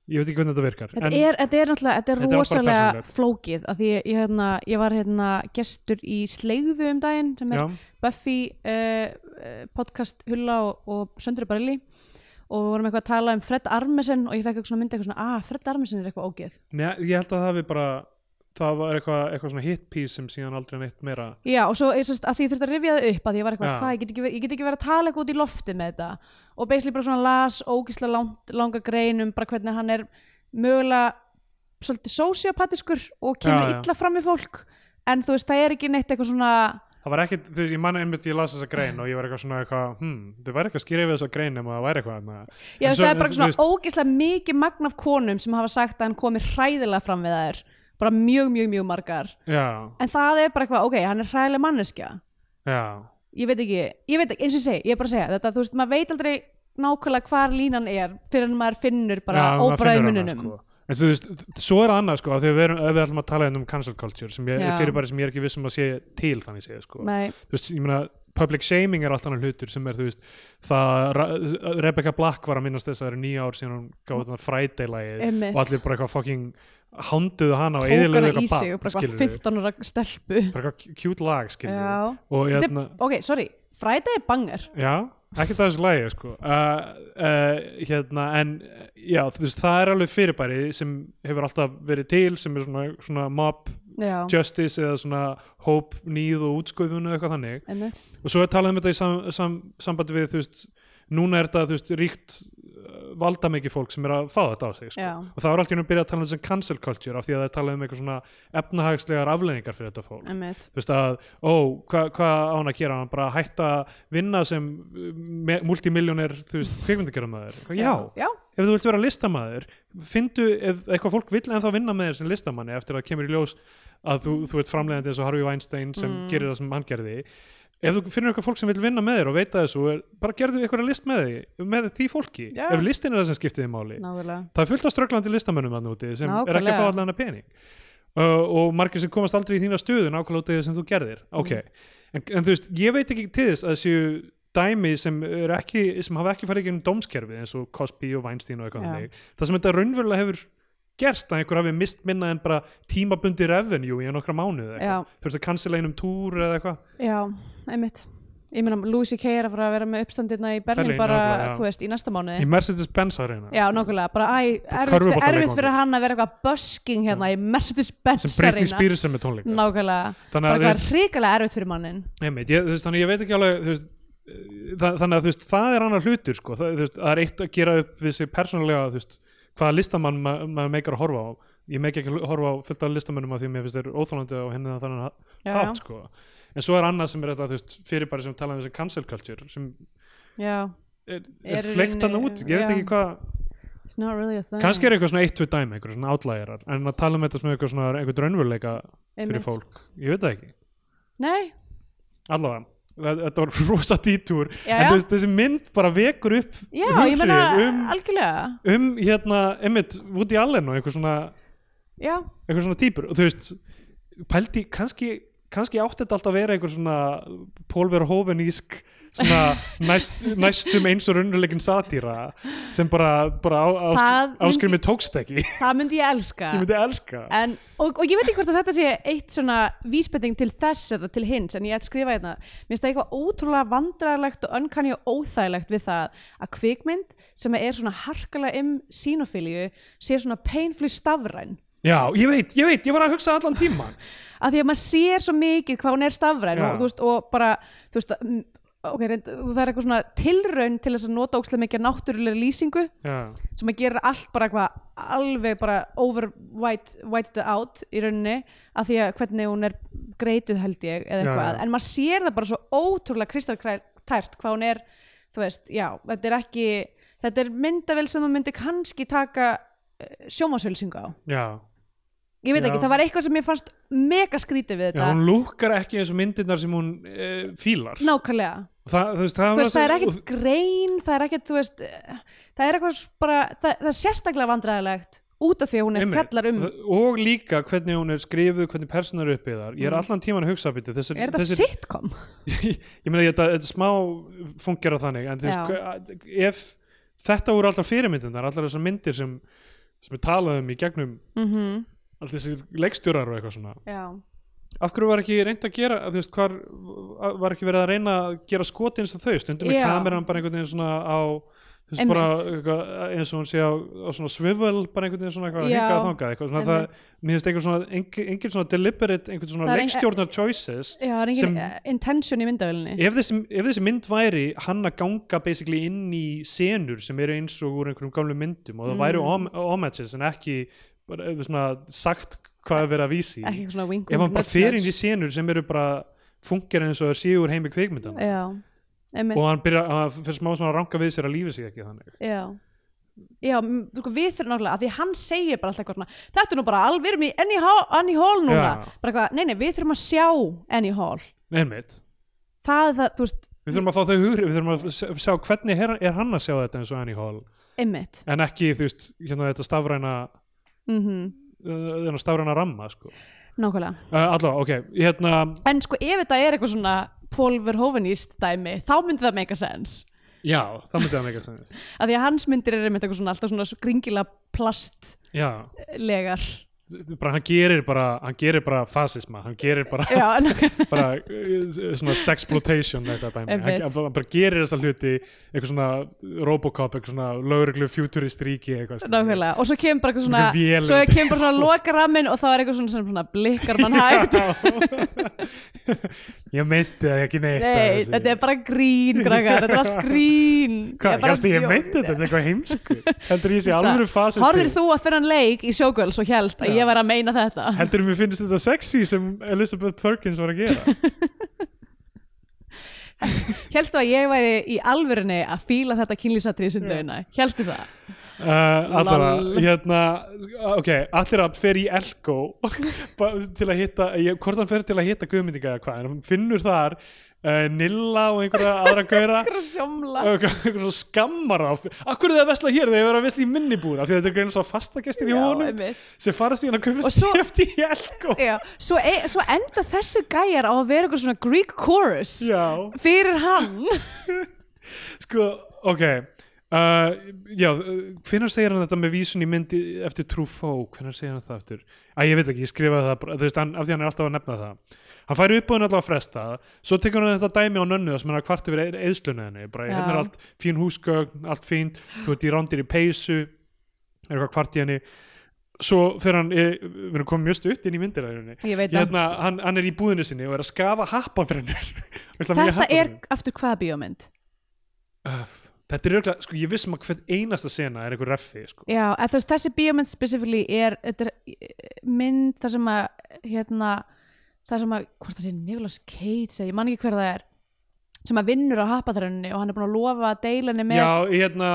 ég veit ekki hvernig þetta virkar
Þetta
en
er, þetta er náttúrulega, þetta er
Þetta er allt bara
rosalega
persónulegt.
flókið af því ég, ég, hérna, ég var hérna gestur í Sleigðu um daginn sem er
já,
Buffy uh, podcast Hulla og, og Söndri Barili og við vorum eitthvað að tala um Fred Armisen og ég fekk eitthvað svona myndi eitthvað svona að Fred Armisen er eitthvað ógeð
ne, ég held að það hafi bara það var eitthvað eitthvað svona hit piece sem síðan aldrei neitt meira
já og svo ég, sest, að því ég þurfti að rifja það upp að því ég var eitthvað
Já.
hvað ég get, ekki, ver- ég get ekki verið að tala eitthvað út í lofti með þetta og basically bara svona las ógeðslega langt, langa grein um bara hvernig hann er mögulega svolítið sociopatiskur og kemur
Já, já.
illa fram við fólk en þú veist það er ekki neitt eitthvað svona
það var ekki þú veist ég manna einmitt ég las þessa grein og ég var eitthvað svona eitthvað hm, þau væri eitthvað skýrið við þessa grein ef það væri eitthvað þarna.
Já,
En
svo,
svo-
það er bara
en
svona
þú veist-
ógeðslega mikið magn af konum sem hafa sagt að hann komi hræðilega fram við þær bara mjög, mjög, mjög margar
já,
en það er bara eitthvað, ok, hann er hræðilega manneskja
já
ég veit ekki, ég veit ekki, eins og ég segi ég er bara að segja þetta, þú veist, maður veit aldrei nákvæmlega hvar línan er fyrir en maður finnur bara
Já, maður
óbræði
finnur hana,
mununum
sko. En þú veist, svo er það annað sko, af því að við, erum, ef við ætlum að tala hérna um cancel culture sem ég,
Já.
fyrirbæri sem ég er ekki vissum að sé til þannig séð sko.
Nei,
Þú veist, ég meina, public shaming er allt annar hlutur sem er, þú veist, það Ra- Rebecca Black var að minnast þess að það eru nýja ár síðan hún gáði þarna frædeilagið
Einmitt.
og allir bara eitthvað fucking handuðu hana og
tók
eðilöðu
hana í
eitthvað
sig og
barn,
bara eitthvað
skilur við
15 ára stelpu
bara eitthvað cute lag, skilur við og
Já, Þetta
hérna,
er, ok, sorry, Friday er banger
já ekkert að þessu lagi, sko uh, uh, hérna, en já, þú veist, það er alveg fyrirbæri sem hefur alltaf verið til, sem er svona, svona mob
Já,
justice eða svona hóp nýð og útsköfun eða eitthvað þannig
einmitt,
og svo er talað um þetta í sam, sam, sambandi við þú veist, núna er þetta þú veist, ríkt valda mikið fólk sem er að fá þetta á sig sko.
Já.
og það var alltaf að byrja að tala um þessum cancel culture af því að það er talað um eitthvað svona efnahagslegar afleiðingar fyrir þetta fólk
einmitt
þú veist að, ó, hvað hva á hann að gera hann bara að hætta að vinna sem eh, me, multimilljónir, þú veist, kvikmyndagerðamaður Eitthvað, já,
Já,
ef þú vilt vera listamaður findu, ef eitthvað fólk vill en þá vinna með þér sem listamanni eftir að kemur í ljós að þú, þú ert framleiðandi eins og Harvey Weinstein sem gerir það sem hann gerði ef þú finnur eitthvað fólk sem vill vinna með þér og veita þessu, er, bara gerðu eitthvað list með, því, með því fólki,
Já.
ef listin er það sem skiptið í máli
nákvæmlega
það er fullt af strögglandi listamönnum þannig úti sem er ekki
Nákvæmlega.
að fá allan að pening uh, og margir sem komast aldrei í þína stöðu nákvæmlega út af því sem þú gerðir
Mm.
ok, en, en þú veist, ég veit ekki til þess að séu dæmi sem, er ekki, sem hafa ekki farið ekki um dómskerfið eins og Cosby og Weinstein og eitthvað
Já.
þannig það sem þetta raunverulega hefur gerst að einhver hafi mist minna en bara tímabundi revenue í nokkra mánuð
Já.
þú veist að cancela einum túr eða eitthvað
Já, einmitt Ég meina, Louis C.K. er að fara að vera með uppstandirna í Berlín
Berlín,
bara,
nákvæmlega, já.
þú veist, í næsta mánuði
í Mercedes-Benz arena
Já, nákvæmlega, bara æ, erfitt,
körfuboltaleik
fyr, erfitt fyrir
vonandi.
hann að vera eitthvað busking hérna í Mercedes-Benz
sem Britney
arena.
Spears sem er tónleika
Nákvæmlega,
Þannig að,
bara
þú
eitthvað hrikalega erfitt fyrir mannin
Einmitt, ég, þú veist, þannig ég veit ekki alveg þú veist, eh, þa þannig að þú veist, það er annar hlutur sko. það, þú veist, það er eitt að gera upp við sig persónulega þú veist, hvaða listamann ma maður meikar að horfa á ég meik ekki að horfa á fullt af listamönnum af því að mér finnst þeir óþólandi og henni þannig ha-
Já, já.
hátt sko. en svo er annað sem er þetta þú veist, fyrirbæri sem tala um þessi cancel culture sem
Já,
er,
Er
er fleikt hann
rauninni-
út ég veit
já.
ekki hvað,
it's not really a thing
kannski er eitthvað svona eitt við dæmi eitthvað svona átlægjarar, en að tala um þetta sem eitthvað svona einhver draunveruleika fyrir
Einmitt.
fólk ég veit það ekki,
Nei,
allavega þetta var rosa dítúr
Já,
en
já.
þessi, þessi mynd bara vekur upp
já,
hughrif
ég meina
um,
algjörlega
um hérna, einmitt, Woody Allen og einhver svona
já,
eitthvað svona týpur og þú veist, pældi kannski, kannski átti þetta alltaf að vera einhver svona Pólver Hóvenísk svona næst, næstum eins og raunurleikin satýra sem bara, bara á, á,
Það myndi-
áskrimi tókst ekki ég
það myndi ég elska
myndi elska
En, og, og ég veit ekki hvort að þetta sé eitt svona vísbending til þess eða til hins en ég ætti að skrifa hérna, mér finnst það eitthvað ótrúlega vandræðilegt og önkanni og óþægilegt við það að kvikmynd sem er svona harkalega um sínofilíu sé svona painfully stafræn
já, ég veit, ég veit, ég var að hugsa allan tíman
að því að maður sér svo mikið hvað hún er stafræn
Já.
og, þú veist, og bara þú veist, mm, ok, reynd, það er eitthvað svona tilraun til þess að nota ókslega mikið af náttúrulega lýsingu
já,
sem að gera allt bara eitthvað alveg bara over white, whited out í rauninni af því að hvernig hún er greituð held ég eða
Já,
eitthvað,
já.
en maður sér það bara svo ótrúlega kristaltært hvað hún er þú veist, já, þetta er ekki þetta er myndavel sem maður myndi kannski taka sjómasölsingu á
já,
ég veit
Já.
ekki, það var eitthvað sem ég fannst mega skrítið við
já
þetta
hún lúkkar ekki eins og myndirnar sem hún e, fílar
nákvæmlega
það, þú veist, það,
þú veist, það er
var-
ekkert grein það er ekkert, þú veist eh, það er eitthvað s- bara, það, það er sérstaklega vandræðilegt út af því að hún er
Einmitt.
fjallar um
Það- og líka hvernig hún er skrifuð hvernig personar uppið þar, ég er allan tíman að hugsa byrju, þessir,
Mm. Er þetta
þessir
sitcom?
ég meina ég- þetta, þetta smá fungera þannig en þú veist,
Já.
hva- ef þetta voru alltaf fyrirmyndirnar, allar þessar myndir sem sem við talaðum í gegnum
Mm -hmm.
allir þessir leikstjórar og eitthvað svona
Já,
af hverju var ekki reynd að gera þú veist, hvar var ekki verið að reyna að gera skoti eins og þau, stundum er
Já.
kameran bara einhvern veginn svona á þú veist,
Einmitt.
bara, eitthvað, eins og hún sé á, á svona svivel bara einhvern veginn svona eitthvað
Já.
hingað og þangað eitthvað, svona, það,
einmitt.
mér finnst einhvern svona engin, engin svona deliberate, einhvern
Það
svona
er ein-
leikstjórnar choices
Já, það er engin
Sem-
sem... intention í myndavélinni
ef þessi, ef þessi mynd væri hann að ganga basically inn í senur sem eru eins og úr einhverjum gamlu myndum og það
Mm.
væri om- homages en ekki bara, eh, svona, sagt hvað er verið að vísi
Ekki
í.
eitthvað svona wink
ef hann bara
nudge,
fer
nudge.
inn í senur sem eru bara funkar eins og það séu úr heimi kveikmyndan
Já, einmitt
og hann byrja að fyrir smá svona að ranka við sér að lífi sig ekki þannig
Já Já, m- sko, við þurfum náttúrulega að því hann segir bara alltaf eitthvað svona, þetta er nú bara alveg, við erum í Annie Hall, Annie Hall núna
Já.
bara eitthvað, nei, nei, við þurfum að sjá Annie Hall,
Einmitt.
það er það, þú veist
við þurfum að fá þau hugrið, við þurfum að sjá- sjá hvernig er, er hann að sjá þetta eins og Annie Hall
einmitt
en ekki þú veist hérna þetta stafræna
mm
uh, þennan stafræna ramma sko. uh,
nákvæmlega
allá, ok, hérna
En sko, ef þetta er eitthvað svona Paul Verhoevenist dæmi, þá myndi það make a sense
já, það myndi það meika sens
af því að hans myndir er einmitt eitthvað svona alltaf svona gringila plastlegar
Já, bara, hann gerir bara hann gerir bara fasisma, hann gerir bara,
Já, nákvæmlega
bara eh, svona sexploitation eitthvað dæmi,
Einmitt.
hann, hann bara gerir þessa hluti eitthvað svona Robocop, eitthvað svona lögreglu futurist ríki eitthvað svona.
Nákvæmlega, og svo kemur bara eitthvað svona
Einhver vél
svo
eða-
kemur bara svona lokaraminn og þá er eitthvað svona, svona, svona blikkar mann hægt
Ég meinti það ekki neitt af
Nei,
þessu.
þetta er bara grín, krakkar, þetta er allt grín
Hvað,
bara
jástu, ég
djók.
meinti þetta, þetta er eitthvað heimsku Heldur ég sé alvöru fasisti
Horfir þú að þennan leik í Showgirls og hélst að
Já.
ég var að meina þetta
Heldur mér finnst þetta sexy sem Elizabeth Perkins var að gera
Hélstu að ég væri í alvörinni að fíla þetta kynlýsatrið sem döina Hélstu það?
Uh, allavega,
Lol.
hérna ok, allir að fer í Elko bara til að hitta ég, hvort hann fer til að hitta guðmyndinga eða hvað en hann finnur þar uh, Nilla og einhverja aðra gæra
Hvað er sjómla?
einhverja skammar á akkur er það að vesla hér þegar það er að vesla í minnibúð af því að þetta er greina svo fastagestir í
Já,
honum
einmitt.
sem fara síðan að köpa
Og svo-
stjæft í Elko
Já, svo, e, svo enda þessi gæjar á að vera eitthvað svona Greek chorus
já,
fyrir hann
sko, ok Uh, já, hvenær segir hann þetta með vísun í myndi eftir Truffaut hvenær segir hann það eftir? Æ, ég veit ekki, ég skrifaði það bara, þú veist, hann, af því hann er alltaf að nefna það hann fær uppbúðin alltaf að fresta svo tekur hann þetta dæmi á nönnu þar sem hann er kvart yfir eðslunni henni, bara
Já.
hérna er allt fín húsgögn, allt fínt, þú ert í rándir í peysu er eitthvað kvart í henni svo fyrir hann, eh, við erum komið mjög stutt inn í myndir
Ég veit það
hérna, hann, hann er í búðinu sinni og er að skafa happafrennur
Þetta er aftur hvaða bíómynd?
Öff. Þetta er auðvitað, sko ég vissum að hvert einasta sena er einhver reffi, sko.
Já, eða þú veist, þessi bíómynd specifíli er, þetta er eh, mynd þar sem að hérna, þar sem að, hvort það sé Nicolas Cage, eða ég man ekki hver það er sem að vinnur á happaþrönni og hann er búin að lofa að deila henni með
Já, hérna,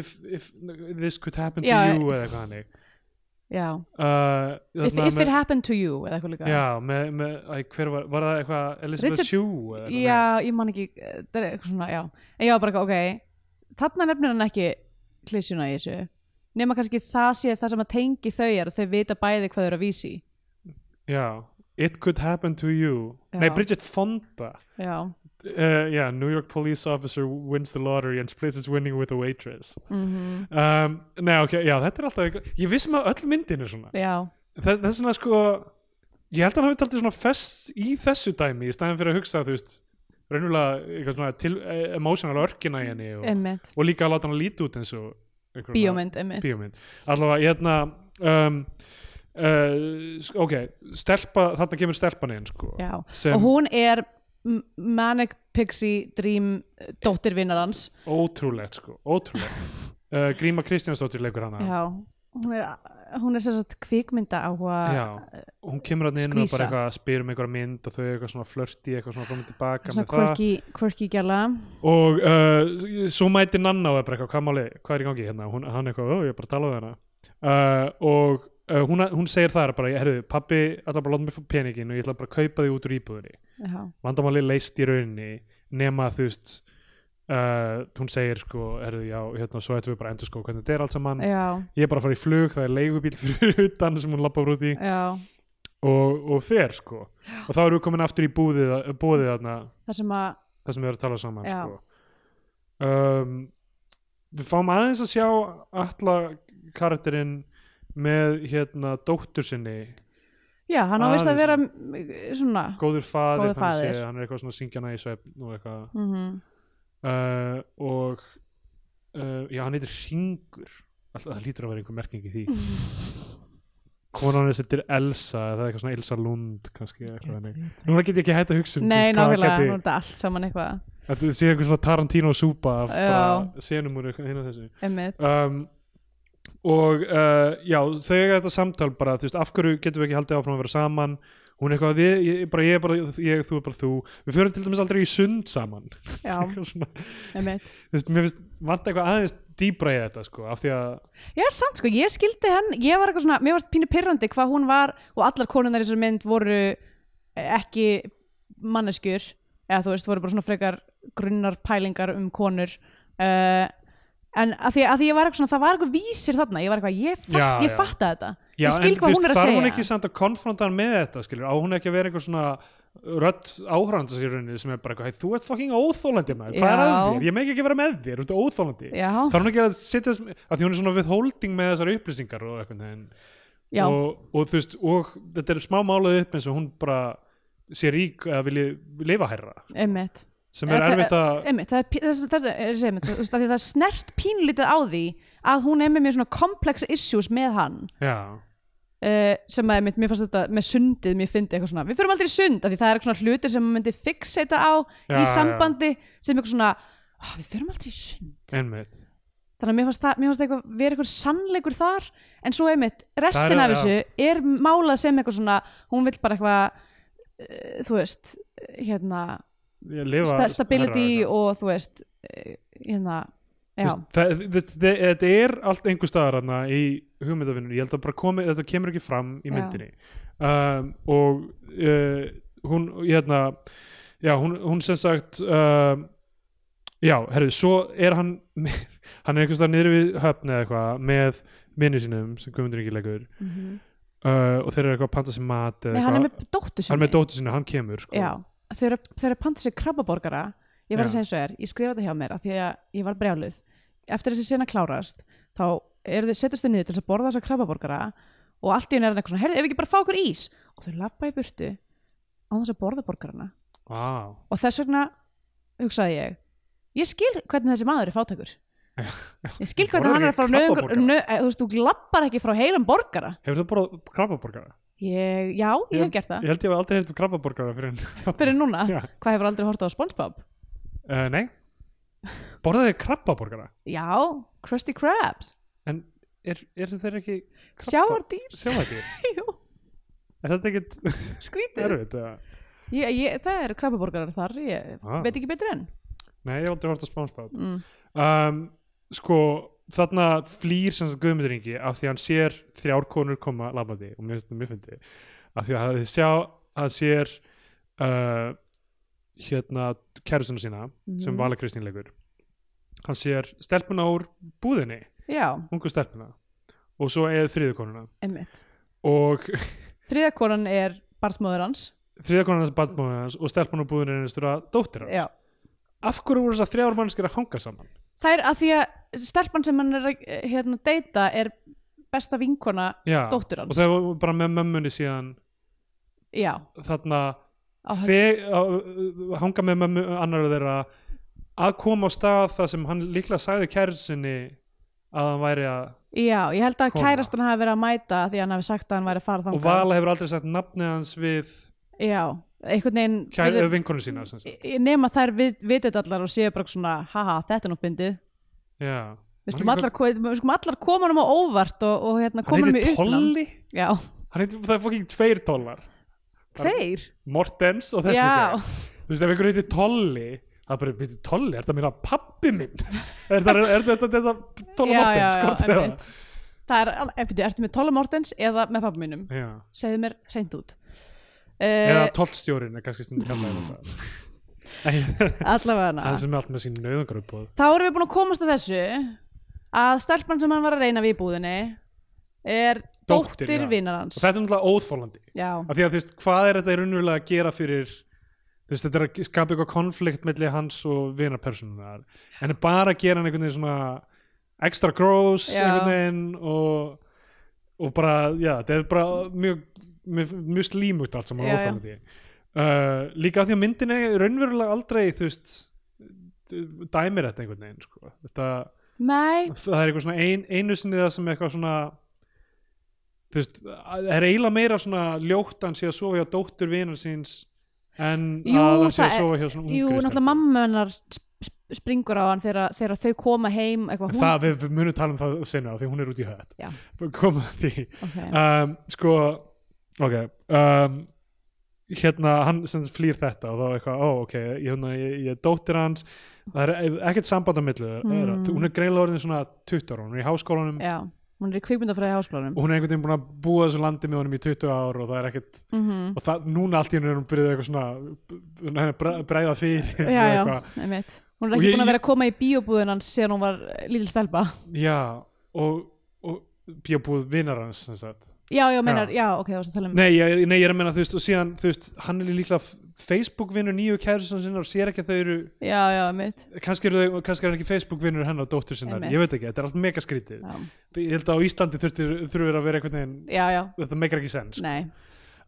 if, if this could happen to
Já,
you eða eitthvað hannig.
já,
uh,
if,
þarna
if it
með-
happened to you eða eitthvað líka
Já, með, með, æ, hver var, var það eitthvað Elizabeth
Richard-
Shue? eða eitthvað?
Já, ég man ekki, eh, það er eitthvað svona, já En ég var bara, eitthvað, ok, þarna nefnir hann ekki klissjuna í þessu Nema kannski það sé það sem að tengi þau er og þau vita bæði hvað þau eru að vísi í.
Já, It Could Happen to You
Já.
Nei, Bridget Fonda
Já,
uh, Já, New York police officer wins the lottery and splits his winning with a waitress
mm
um, Nei, ok, já, þetta er alltaf eitthvað- Ég vissum að öll myndin er svona
já,
Þa, Þess vegna sko Ég held að hann hafi taldið svona fest í þessu dæmi í staðin fyrir að hugsa, þú veist raunverulega eitthvað svona til, eh, emotional örkina í henni og,
emmitt
og líka að láta hann líti út eins og einhver svona-
Bíómynd, emmitt
bíómynd allavega hérna um, uh, sk- ok, stelpa þarna kemur stelpan inn sko
Já,
sem
og hún er m- Manic Pixie Dream dóttirvinnar hans
ótrúlegt sko, ótrúlegt uh, Gríma Kristjánsdóttir leikur hana
Já, hún er, hún er sér satt kvikmynda áhuga
Já, hún kemur hann inn og
Skvísa.
bara eitthvað spyr um einhverja mynd og þau eitthvað svona flörti eitthvað svona fram og tilbaka
Svona
með það
quirky, quirky gæla
og uh, svo mæti Nanna og er bara eitthvað, hvað máli, hvað er í gangi hérna hún, hann eitthvað, "Ó, ég er bara að tala við hana uh, og uh, hún, hún segir það bara, herðu, pabbi, allar bara láta mig fá peningin og ég ætla bara að kaupa þig út úr íbúðinni
Já,
vandamáli leist í rauninni nema þú veist uh, hún segir sko, herðu, já, hérna svo ættum við bara endur sko hvernig þetta er allt saman
já,
ég er bara að fara í flug, það er leigubíl fyrir utan sem hún lappar út í
já
og, og fer sko og þá eru við komin aftur í búðið, búðið þarna,
Það sem að,
það sem við erum að tala saman
Já.
sko um, við fáum aðeins að sjá alla karakterinn með hérna dóttur sinni
já, hann á vist að
Aðeins.
vera mm, svona
góður faðir,
Góður
þannig
faðir.
séð, hann er eitthvað svona að syngja hana í svefn og eitthvað
mm
uh, og uh, já, hann heitir Hringur alltaf það lítur að vera einhver merking í því konan hans heitir Elsa eða það er eitthvað svona Elsa Lund kannski eða eitthvað þannig. núna get ég ekki hætt að hugsa um þú
Nei,
veist, hvað
nákvæmlega, nú
geti,
er þetta allt saman eitthvað
að þetta sé eitthvað svona Tarantino súpa af
Já.
bara senum úr eitthvað hinn og þessu
Emmitt,
um, og uh, já, þau eiga þetta samtal bara, þú veist, af hverju getum við ekki haldið áfram að vera saman hún er eitthvað, við, ég, bara, ég er bara ég, þú er bara þú, við förum til dæmis aldrei í sund saman
já,
Eitthvað svona,
emmitt
þú veist, mér finnst vant eitthvað aðeins dýbra í þetta sko, af því að
Já, samt sko, ég skildi henn Ég var eitthvað svona, mér varst pínu pirrandi hvað hún var og allar konunar í þessari mynd voru ekki manneskjur eða þú veist, voru bara svona frekar grunnar pælingar um konur uh, en að því, að því ég var eitthvað svona það var eitthvað vísir þarna, ég var eitthvað ég, fatt,
Já,
ég
já.
fatta þetta,
já,
ég skil
en,
hvað
þú
hún er að
þarf
segja
hún ekki samt að konfronta hann með þetta skilur, á hún ekki að vera eitthvað svona rödd áhrænda sér rauninni sem er bara eitthvað "Hey, þú ert fucking óþólandi maður, hvað er
Já.
að þér ég megi ekki vera með þér, þú ert óþólandi
Já,
þarf hún ekki að sitja, af því hún er svona við holding með þessar upplýsingar og eitthvað en,
já,
og, og þú veist, og þetta er smá málað upp eins og hún bara sé rík að vilja lifa herra
emmitt
sem er
Þetta- e-
erfitt að
einmitt, það er pí- þess- þess er sem, þú veist, af því það er snert pínlítið á því að hún er með mér svona komplexa issues með hann
já,
uh, sem að einmitt, mér fannst þetta með sundið mér fyndi eitthvað svona, við fyrir aldrei í sund af því það er eitthvað svona hlutir sem maður myndi fixeita á
Já,
í
já.
sambandi sem eitthvað svona oh, við fyrir aldrei í sund
einmitt
þannig að mér fannst, það, mér fannst eitthvað vera eitthvað sannleikur þar en svo einmitt,
Það
restin
er-
af þessu er málað sem eitthvað svona hún vill bara eitthvað uh, þú veist, hérna
Ég lifa
sta stability
herra,
og þú veist eh, hérna
Þú
já,
veist, það- þ- þ- þetta er allt einhver staðar hana í hugmyndavinnunni, ég held að bara komi, þetta kemur ekki fram í
Já.
myndinni um, og uh, hún hérna, já hún, hún sem sagt um, já, herrðu, svo er hann hann er einhvers staðar niður við höfn eða eitthvað með vinni sínum sem Guðmundur ekki leikur uh, og þeir eru eitthvað að panta sér mat eða
nei, hann er
eitthvað,
með dóttu
hann
sinni
er með dóttu sína, hann kemur sko.
já, þau eru, þau eru að panta sér krabbaborgara ég var
Já.
að segja eins og er, ég skrifa þetta hjá mér af því að ég var brjáluð eftir þessi sena klárast þá er, þau- setjast þau niður til þess að borða þessa krabbaborgara og allt í henni er hann eitthvað svona, heyrðu, ef við ekki bara fá okkur ís og þau lappa í burtu á þess að borða borgarana
Vá.
og þess vegna hugsaði ég ég skil hvernig þessi maður er fátækur ég skil hvernig
Borðar
hann er
ekki
að fara nöðungur
krabbaborgara?
nöð, eh, þú veist, þú lappar ekki frá heilum borgara
hefur það bara krabbaborgara?
ég, já, ég hef gert það
ég held ég hef aldrei hefði krabbaborgara fyrir hann
fyrir núna,
Já.
hvað hefur aldrei hortað á Spongebob
Uh, nei Borðaði krabbaborgara
já, Krusty Krabs
En er, er þeir ekki krabba-
sjávardýr,
Sjávardýr
jú,
Er þetta ekkit
skrítið
erfitt? eða?
ég, ég, það eru krabbaborgarar þar ég
Ah.
veit ekki betur enn
Nei, ég hef aldrei hort að spánspáð
mm.
um, Sko, þarna flýr sem sagt Guðmundur Ingi af því að hann sér þrjár konur koma labandi og mér finnst þetta mjög fyndi af því að hann sjá hann sér uh, hérna kærustuna sína sem Vala Kristín leikur hann sér stelpuna úr búðinni
Já,
ungu stelpuna og svo eða þriðukonuna
einmitt
og
Þriða konan er barnsmóður hans
þriðukonuna sem bandmóðið hans og stelpuna úr búðinni er einhverjum dóttir hans
Já
af hverju voru þessar þrjár mannskir að hanga saman
Það er að því að stelpan sem hann er að eh, hérna, deyta er besta vinkona
Já,
Dóttir hans.
og það var bara með mömmunni síðan
Já,
þarna
á höfn
þeg, að, hanga með mömmu annar þeirra að koma á stað þar sem hann líklega sagði kærisinni að hann væri að
Já, ég held að
Koma.
kærastan hafi verið að mæta af því að hann hafi sagt að hann væri að fara
og
þangað
Vala hefur aldrei sagt nafnið hans við
Já, einhvern veginn
kær,
verið-
vinkonu sína sem sagt.
Ég- nema þær vit- vitið allar og séu bara svona haha, þetta er nú fyndið
Já. Man
við skulum
ekki
allar, ko- við skulum allar koma hann á óvart og, og hérna, koma
hann
hann í
heitir
uppnám
Tolli
já,
hann heitir, það er fokking tveir tollar
tveir
Mortens og þessi
já,
gæjar. þú veist ef einhver heitir Tolli það er bara, veitir Tolli, er það meina pappi minn er það, er þetta þetta Tolla
já, já,
Mortens,
já
hvort er
einmitt. það er, al- en byrju, ertu með Tolla Mortens eða með pappa mínum,
það já.
segðu mér hreint út
eða
uh,
tollstjórin er kannski stundum kallaði þetta Nei,
allavega
það sem er allt með sín nöðungar uppbóð
þá erum við búin að komast að þessu að stelpan sem hann var að reyna við í búðinni er
Dóttir, já.
dóttir, dóttir vinnar hans
og þetta er náttúrulega óþólandi
já,
af því að þú veist, hvað er þetta í raunverulega að gera fyrir þú veist, þetta er að skapa eitthvað konflikt milli hans og vinarpersonunar en er bara að gera hann einhvern veginn svona extra gross
Já.
einhvern veginn og, og bara, já, þetta er bara mjög, mjög, mjög slímugt allt saman
Já, já.
óþólandi uh, líka af því að myndin er raunverulega aldrei þú veist dæmir þetta einhvern veginn sko. þetta
nei,
það er eitthvað svona ein, einu sinni það sem eitthvað svona þú veist, það er eiginlega meira svona ljótt að hann sé að sofa hjá dóttur vinar síns en
Jú,
að hann sé að
það er-
sofa hjá svona ungri
jú, náttúrulega
stelpu.
mamma hennar sp- sp- springur á hann þegar, þegar þau koma heim eitthvað,
En
hún,
það, við, við munum tala um það senna því hún er út í hött
Já.
koma að því
okay.
um, sko, ok um, hérna, hann sem sagt flýr þetta og þá er eitthvað, ó, ok ég, hérna, ég, ég er dóttir hans það er ekkert samband á milli mm.
Mm.
hún er greinlega orðin svona 20 ára, hún er í háskólanum
já, hún er í kvikmyndafræði háskólanum
og hún er einhvern veginn búin að búa þessu landi með honum í 20 ár og það er ekkert
mm
og það, núna allt í hennu er hún byrjuð eitthvað svona hún er að bre- bregða fyrir
já, já,
eitthvað.
einmitt hún er
Og
ekki
ég-
búin að vera
ég-
að koma í bíóbúðin hans síðan hún var eh, lítil stelpa
já og, og bíobúð vinar hans sem sagt.
já, já, meinar, já, ok, það var að tala um
nei ég, nei, ég er að menna þú veist og síðan þú veist, hann er líklega Facebook vinnur nýju kærisum sinna og sér ekki að þau eru
já, já, einmitt
kannski, eru þau, kannski er hann ekki Facebook vinnur hennar og dóttur sinna,
Einmitt.
ég veit ekki, þetta er allt mega skrítið
já,
ég held að á Íslandi þurftir, þurfir að vera einhvern veginn
já, já,
þetta meikar ekki sens
nei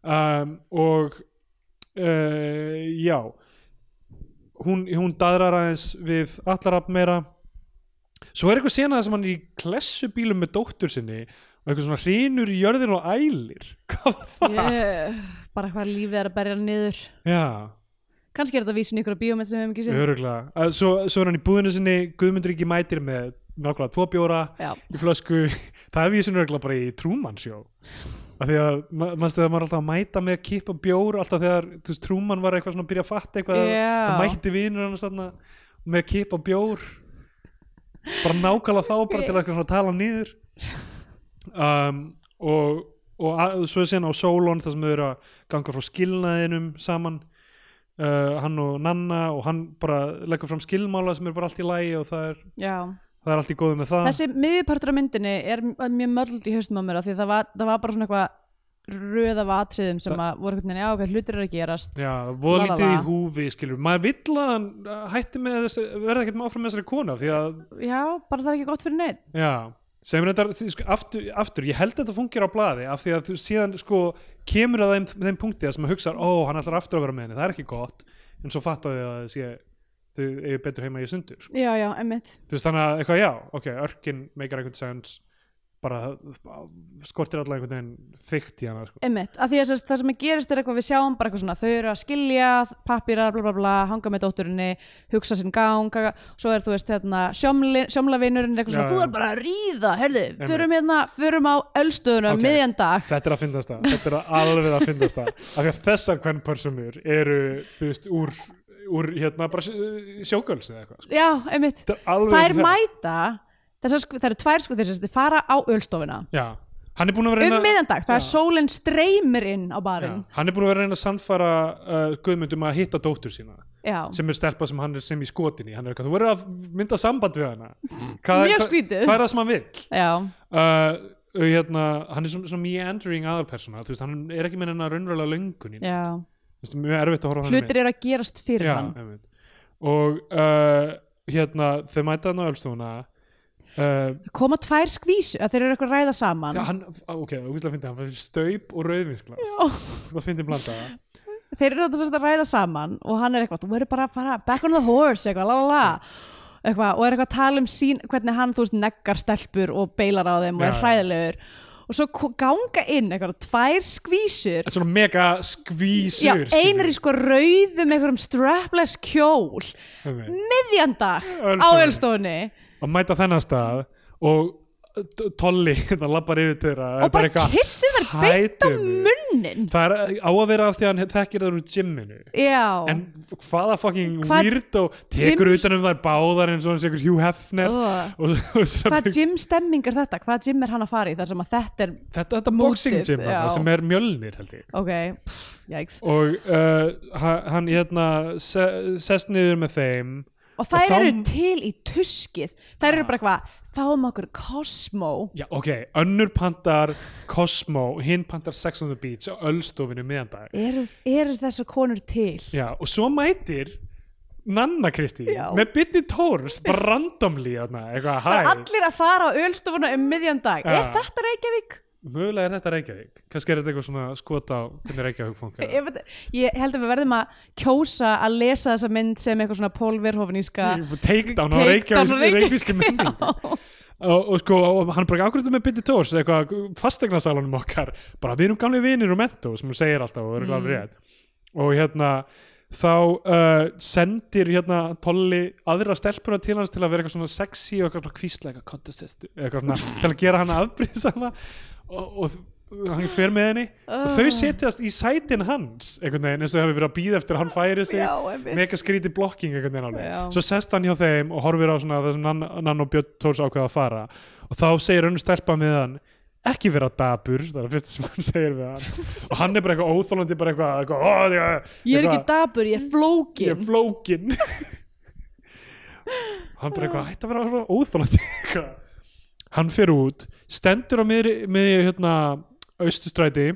um, og uh, já hún, hún daðrar aðeins við allarab meira svo er eitthvað senað sem hann er í klessubílum með dóttur sinni og eitthvað svona hrínur í jörðin og ælir hvað var það?
ég, bara hvað lífið er að berja niður
já,
kannski er þetta vísun í ykkur á bíómynd sem við hefum ekki séð
öruglega uh, svo, svo er hann í búðinu sinni, Guðmundur ekki mætir með nákvæmlega tvo bjóra
já,
í flösku, það er vísin öruglega bara í trúmannsjó af því að, ma- manstu að maður er alltaf að mæta með kipp og bjór alltaf þegar, þú veist, trúmann var eitthvað svona að byrja að fatta eitthvað að- það
já.
mætti vinur hann þarna með kipp og bjór bara nákvæmlega þá bara til að eitthvað svona tala hann niður um, og, og að, svo er síðan á Solon þar sem þau eru að ganga frá skilnaðinum saman uh, hann og Nanna og hann bara leggur fram skilmála sem er bara allt í lægi og það er,
já.
það er allt í góðu með það
þessi miðpartur af myndinni er m- mjög mörld í haustum á mér af því það var, það var bara svona eitthvað röða vatriðum sem að voru hvernig, já, ok, hlutir eru að gerast
Já, voða
La, la,
lítið í
la.
húfi skilur, maður vill að hann uh, hætti með þessi, verða ekkert með áfram með þessari kona því að
já, bara það er ekki gott fyrir neitt
Já, sem er þetta því, sko, aftur, aftur, ég held að þetta fungir á blaði af því að þú síðan sko kemur að þeim, þeim punkti að sem maður hugsa ó, hann ætlar aftur að vera með henni, það er ekki gott en svo fattar þau að þau sé þau eru betur heima í sundur sko.
já, já, emmitt,
þú veist þannig að eitthvað já, ok, örkin meikar einhvern sens bara skortir allavega einhvern veginn þykkt í hana sko.
emmitt af því að þess- það sem gerist er eitthvað við sjáum bara eitthvað svona þau eru að skilja, pappírar, bla bla bla hanga með dótturinni, hugsa sinn gang gaga, svo er þú veist, hérna, sjómli- sjómlavinurinn er eitthvað
Já,
svona, þú
já.
er bara að ríða herðu,
Einmitt.
förum hérna, förum á ölstöðuna
Ok.
okay. miðjan dag
þetta er að finnast það, þetta er að alveg að finnast það af því að þessar kvennpersonur eru, þú veist, úr, úr hérna bara sjókölsi eða eitthvað sko.
já, emmitt
Þetta er alveg
þær
hérna.
mæta þessar, sko, það eru tvær sko þessar, þið fara á ölstofuna
já, hann er búin að vera
um
að reyna-
miðandag, það er
Já.
sólinn streymir inn á
já,
barinn
hann er búin að vera að reyna að sannfara uh, Guðmundum að hitta dóttur sína
já,
sem er stelpa sem hann er sem í skotinni hann er eitthvað, þú verður að mynda samband við hana hvað,
Mjög
hvað-
skrítið.
hvað er það sem hann vil
já,
uh, og hérna, hann er svona, svona meandering aðalpersona, þú veist, hann er ekki með hennar raunröla löngun í
já.
þú veist, mjög erfitt að horfa á hann
hlutir eru að gerast fyrir
já,
hann
einmitt. og uh, hérna, þau mæta hann á Ölstofuna uh,
koma tvær skvísu, að þeir eru eitthvað að ræða saman
já, hann, ah, ok, það er fyndið hann fyrir staup og rauðvinsglas
Ó,
það fyndið blanda það
þeir eru þess að ræða saman og hann er eitthvað, þú verður bara að fara back on the horse, eitthvað, la la la eitthvað, og er eitthvað að tala um sín hvernig hann, þú veist, neggar stelpur og beilar á þeim og er
Já, já.
hræðilegur og svo ko- ganga inn eitthvað, tvær skvísur
Þetta er svona mega skvísur
já, einar í sko rauðum einhverjum strapless kjól
sko
miðjandag á
Ölstofunni.
Ölstofunni
að mæta þennan stað og uh, t- Tolli, það lappar yfir til þeirra
og bara
eitthvað,
kissir þær beint á
"Hættu mig."
munnin
það er á að vera af því að hann þekkir þær úr gymminu
já,
en f- hvaða fucking
Hvað-
weird og tekur
Gym-
utan um þær báðar eins og hann segur Hugh Hefner
Ugh.
og, og svo-
hvað gym stemming er þetta? hvað gym er hann að fara í þar sem að þetta er
þetta, þetta boxing
Mótið,
gym þarna
já.
sem er mjölnir held ég
ok, pff, jæks
og uh, ha- hann hérna se, sest niður með þeim
og þær
Og þá-
eru til í tuskið þær eru bara eitthvað, fáum okkur Cosmo
já ok, önnur pantar Cosmo, hinn pantar Sex on the Beach á Ölstofinu miðandag
eru, eru þessar konur til
Já, og svo mætir Nanna Kristín
Já.
með Bitni Tórs bara randomly þarna, eitthvað,
það er
hæ,
allir að fara á ölstofuna um miðjan dag
Já.
er þetta Reykjavík?
mögulega er þetta Reykjavík kannski er þetta eitthvað svona skot á hvernig Reykjavík funkar
Ég, veit, ég held að við verðum að kjósa að lesa þessa mynd sem eitthvað svona pólverhofiníska
takedown á
Takedown á
Reykjavík
Reykjavík,
Reykjavíkski mynding og, og sko, og hann bara, akkur þetta með Bitni Tórs eitthvað, fastegnasalunum okkar bara, við erum gamli vinir og mentó sem hún segir alltaf og er mm. rétt og hérna, þá uh, sendir hérna Tolli aðra stelpuna til hans til að vera eitthvað svona sexy og eitthvað kvísla, eitthvað contest eitthvað svona, til að gera hann afbrýðsama og, og hann fer með henni og þau setjast í sætin hans einhvern veginn, eins og þau hafi verið að býða eftir að hann færi sig
Já, einmitt.
mega skríti blokking einhvern veginn alveg
Já.
svo sest hann hjá þeim og horfir á svona þessum nann, nann og Björn Tóls ákveða að fara og þá segir önnur stelpa með hann ekki vera dabur, það er það fyrsta sem hann segir við hann og hann er bara eitthvað óþólandi bara eitthvað, eitthvað, ó, eitthvað,
ég er ekki dabur, ég er flókin
ég er flókin hann bara eitthvað hætti að vera svona óþólandi eitthvað. hann fer út stendur á miðri, miðri hérna, austustræti,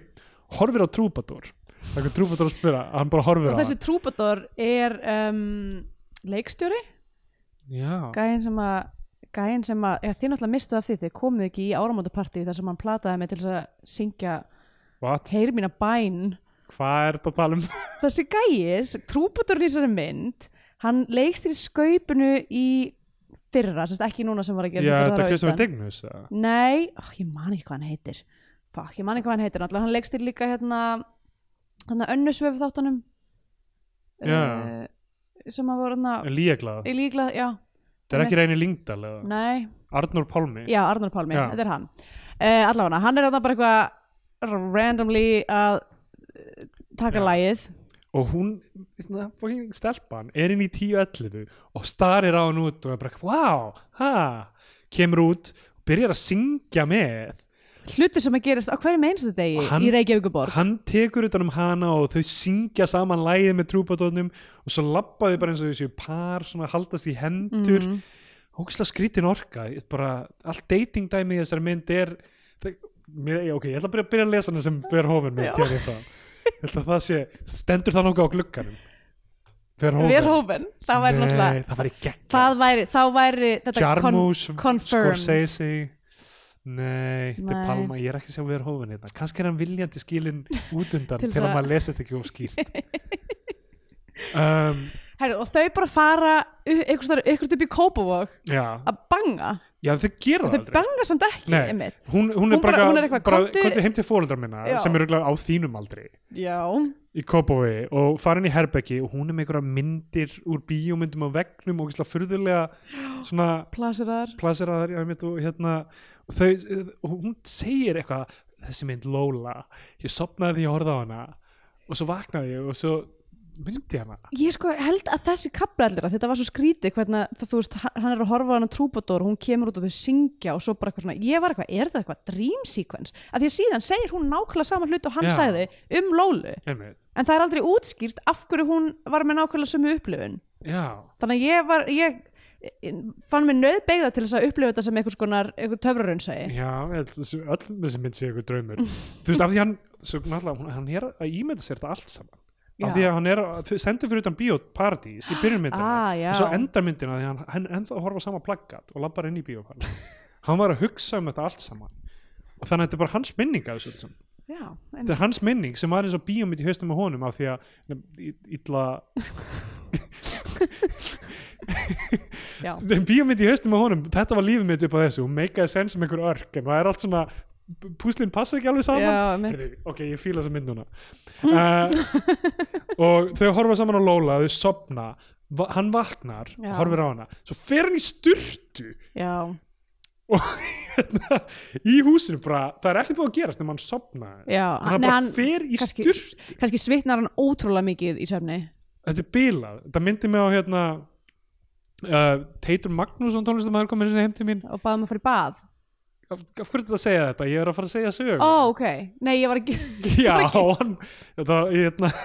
horfir á trúbator eitthvað trúbator að spila hann bara horfir á
og þessi trúbador er um, leikstjóri
hann já,
gæinn sem að gæinn sem að, eða þið náttúrulega mistuð af því þið komuð ekki í áramótapartí þar sem hann plataði mig til þess að syngja
what?
heyri mína bæn
hvað er þetta að tala um?
þessi gæis, trúbadorinn í þessari mynd hann leikst í skaupinu í fyrra, sérst ekki núna sem var að gera
Já, þetta
sem
er
gerði þar á
Kristoffer
undan.
Dignus eða?
Nei, ó, ég man ekki hvað hann heitir Fuck, ég man ekki hvað hann heitir Náttúrulega hann leggst til líka hérna hérna önnusvefu þáttunum
Já.
sem að voru hérna
Líaglað,
í líkla, já,
þetta er ekki reyni Lingdal eða?
nei
Arnór Pálmi
Mm. Já, Arnar Pálmi,
Já.
þetta er hann uh, Allána, hann er hérna bara eitthvað randomly að eh, taka
Já.
lagið
og hún, svona, fucking stelpan er inn í 10.11 og starir á hann út og er bara, wow, ha kemur út og byrjar að syngja með
hlutir sem að gerast á hverjum einstu degi
Og hann-
í Reykjavíkuborg
hann tekur utan um hana og þau syngja saman lægið með trúbadónum og svo labba þau bara eins og þau séu par svona haldast í hendur
Mhm.
mm. ógislega skrítin orka Ég bara, allt dating dæmi í þessari mynd er það, mér, já, ok, ég ætla að byrja, byrja að lesa hana sem fer hófin
Já.
mynd hér í það ég ætla að það sé, stendur það nokkuð á glugganum fer
Við
hófin
hófin, það væri náttúrulega
það væri gegn
það væri, þá væri þetta
Jarmus,
confirmed.
Scorsese Nei, þetta er
Nei.
Palma, ég er ekki sem við erum hófin hérna. Kannski er hann viljandi skilin út undan
Til
til,
þess
að
að-
maður lesa þetta ekki of skýrt. um,
Herru, og þau bara fara ykkur upp í Kópavog
já,
að banga
já þau gera það
þau
aldrei.
banga samt ekki
Nei,
einmitt.
Hún, hún er
Hún bara-
bara,
hún er eitthvað,
bara
"Komdu-
komdu heim til fóreldrar minna
Já.
sem eru örugglega á þínum aldri
já,
í Kópavogi og farin í herbeggi og hún er með einhverja myndir úr bíómyndum á veggnum og gísla furðulega svona
plasir þar
plaseraðar já, einmitt, og hérna og þau, og hún segir eitthvað þessi mynd Lola, ég sopnaði því að horfa á hana og svo vaknaði ég og svo myndi hana
Ég sko held að þessi kapla allir að þetta var svo skrítið hvernig það, þú veist, hann- hann er að horfa á hana trúbador hún kemur út og þau syngja og svo bara eitthvað svona ég var eitthvað, er þetta eitthvað dream sequence? Af því að síðan segir hún nákvæmlega saman hlut og hann
Já.
sagði um Lólu
einmitt,
en það er aldrei útskýrt af hverju hún var með nákvæmlega sömu upplifun
já,
þannig að ég var, ég fann mig nöðbeigða til þess að upplifa þetta sem eitthvað skonar, eitthvað töfraraunsæi
já ég held að þessi- öll þessi mynd sé eitthvað draumur þú veist af því hann, svo, náttúrulega, hún- hann er að ímynda sér þetta allt saman af
Já.
því að hann er að sendur fyrir utan bíóparadís í byrjunmyndina
Ah, já.
og svo endar myndina því hann, hann ennþá að horfa á sama plaggat og lappar inn í bíóparadís hann var að hugsa um þetta allt saman og þannig að þetta er bara hans minning að þessu öllu saman.
Já, en,
þetta er hans minning sem var eins og bíómynd í haustum á honum af því að nefn, í- illa
já.
bíómynd í haustum á honum, þetta var lífið mitt upp á þessu og make a sense um einhver örk en það er allt svona, púslinn passa ekki alveg saman
Já, einmitt.
Heyrðu, ok, ég fíla þessa mynd núna uh, og þau horfa saman á Lola þau sopna, va hann vaknar
Já.
horfir á hana, svo fer hann í styrtu
já,
og hérna í húsinu bara, það er ekkert búið að gerast nema hann sopnaði
já
hann
Nei,
bara fer í
kannski,
styrtu
kannski svitnar hann ótrúlega mikið í söfni
þetta er bílað, þetta myndi mig á hérna uh, Teitur Magnússon tónlistamæður komið sinni heim til mín
og baðum að fara í bað
af, af hverju þetta að segja þetta, ég er að fara að segja sög
Ó, ok, nei ég var ekki
já, hann þetta, hérna,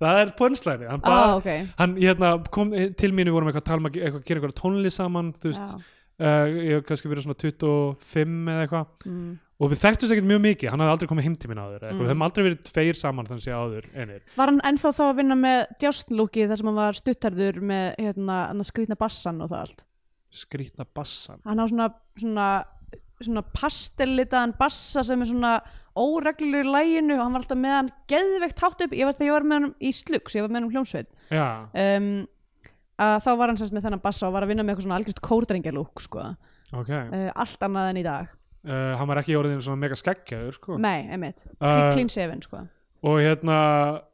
það er pönslæni hann,
Ó,
bað,
ok,
hann hérna, kom til mín við vorum eitthvað að tala um að ge- eitthvað, gera eitthvað tónlist saman þú
já,
veist, uh, ég hef kannski verið svona 25 eða eitthvað
mm,
og við þekktum ekkert mjög mikið, hann hafði aldrei komið heim til mín áður eða eitthvað,
Mm.
við höfum aldrei verið tveir saman þannig sé áður einir
Var hann ennþá þá að vinna með djástnlúkið þar sem hann var stuttarður með hérna, hann að skrýtna bassan og það allt
skrýtna bassan
Hann á svona, svona, svona pastellitaðan bassa sem er svona óreglulegur í læginu og hann var alltaf með hann geðveikt hátt upp ég var, þegar ég var með hann í slugs, ég var með hann um hljómsveit
já,
um, að þá var hann sérst með þennan bassa og var að vinna með eitthvað svona algjörst kórdrengjalúk sko,
ok
uh, allt annað en í dag
uh, hann var ekki orðin svona mega skeggjaður sko.
Nei, einmitt,
Uh,
uh, clean seven sko
og hérna,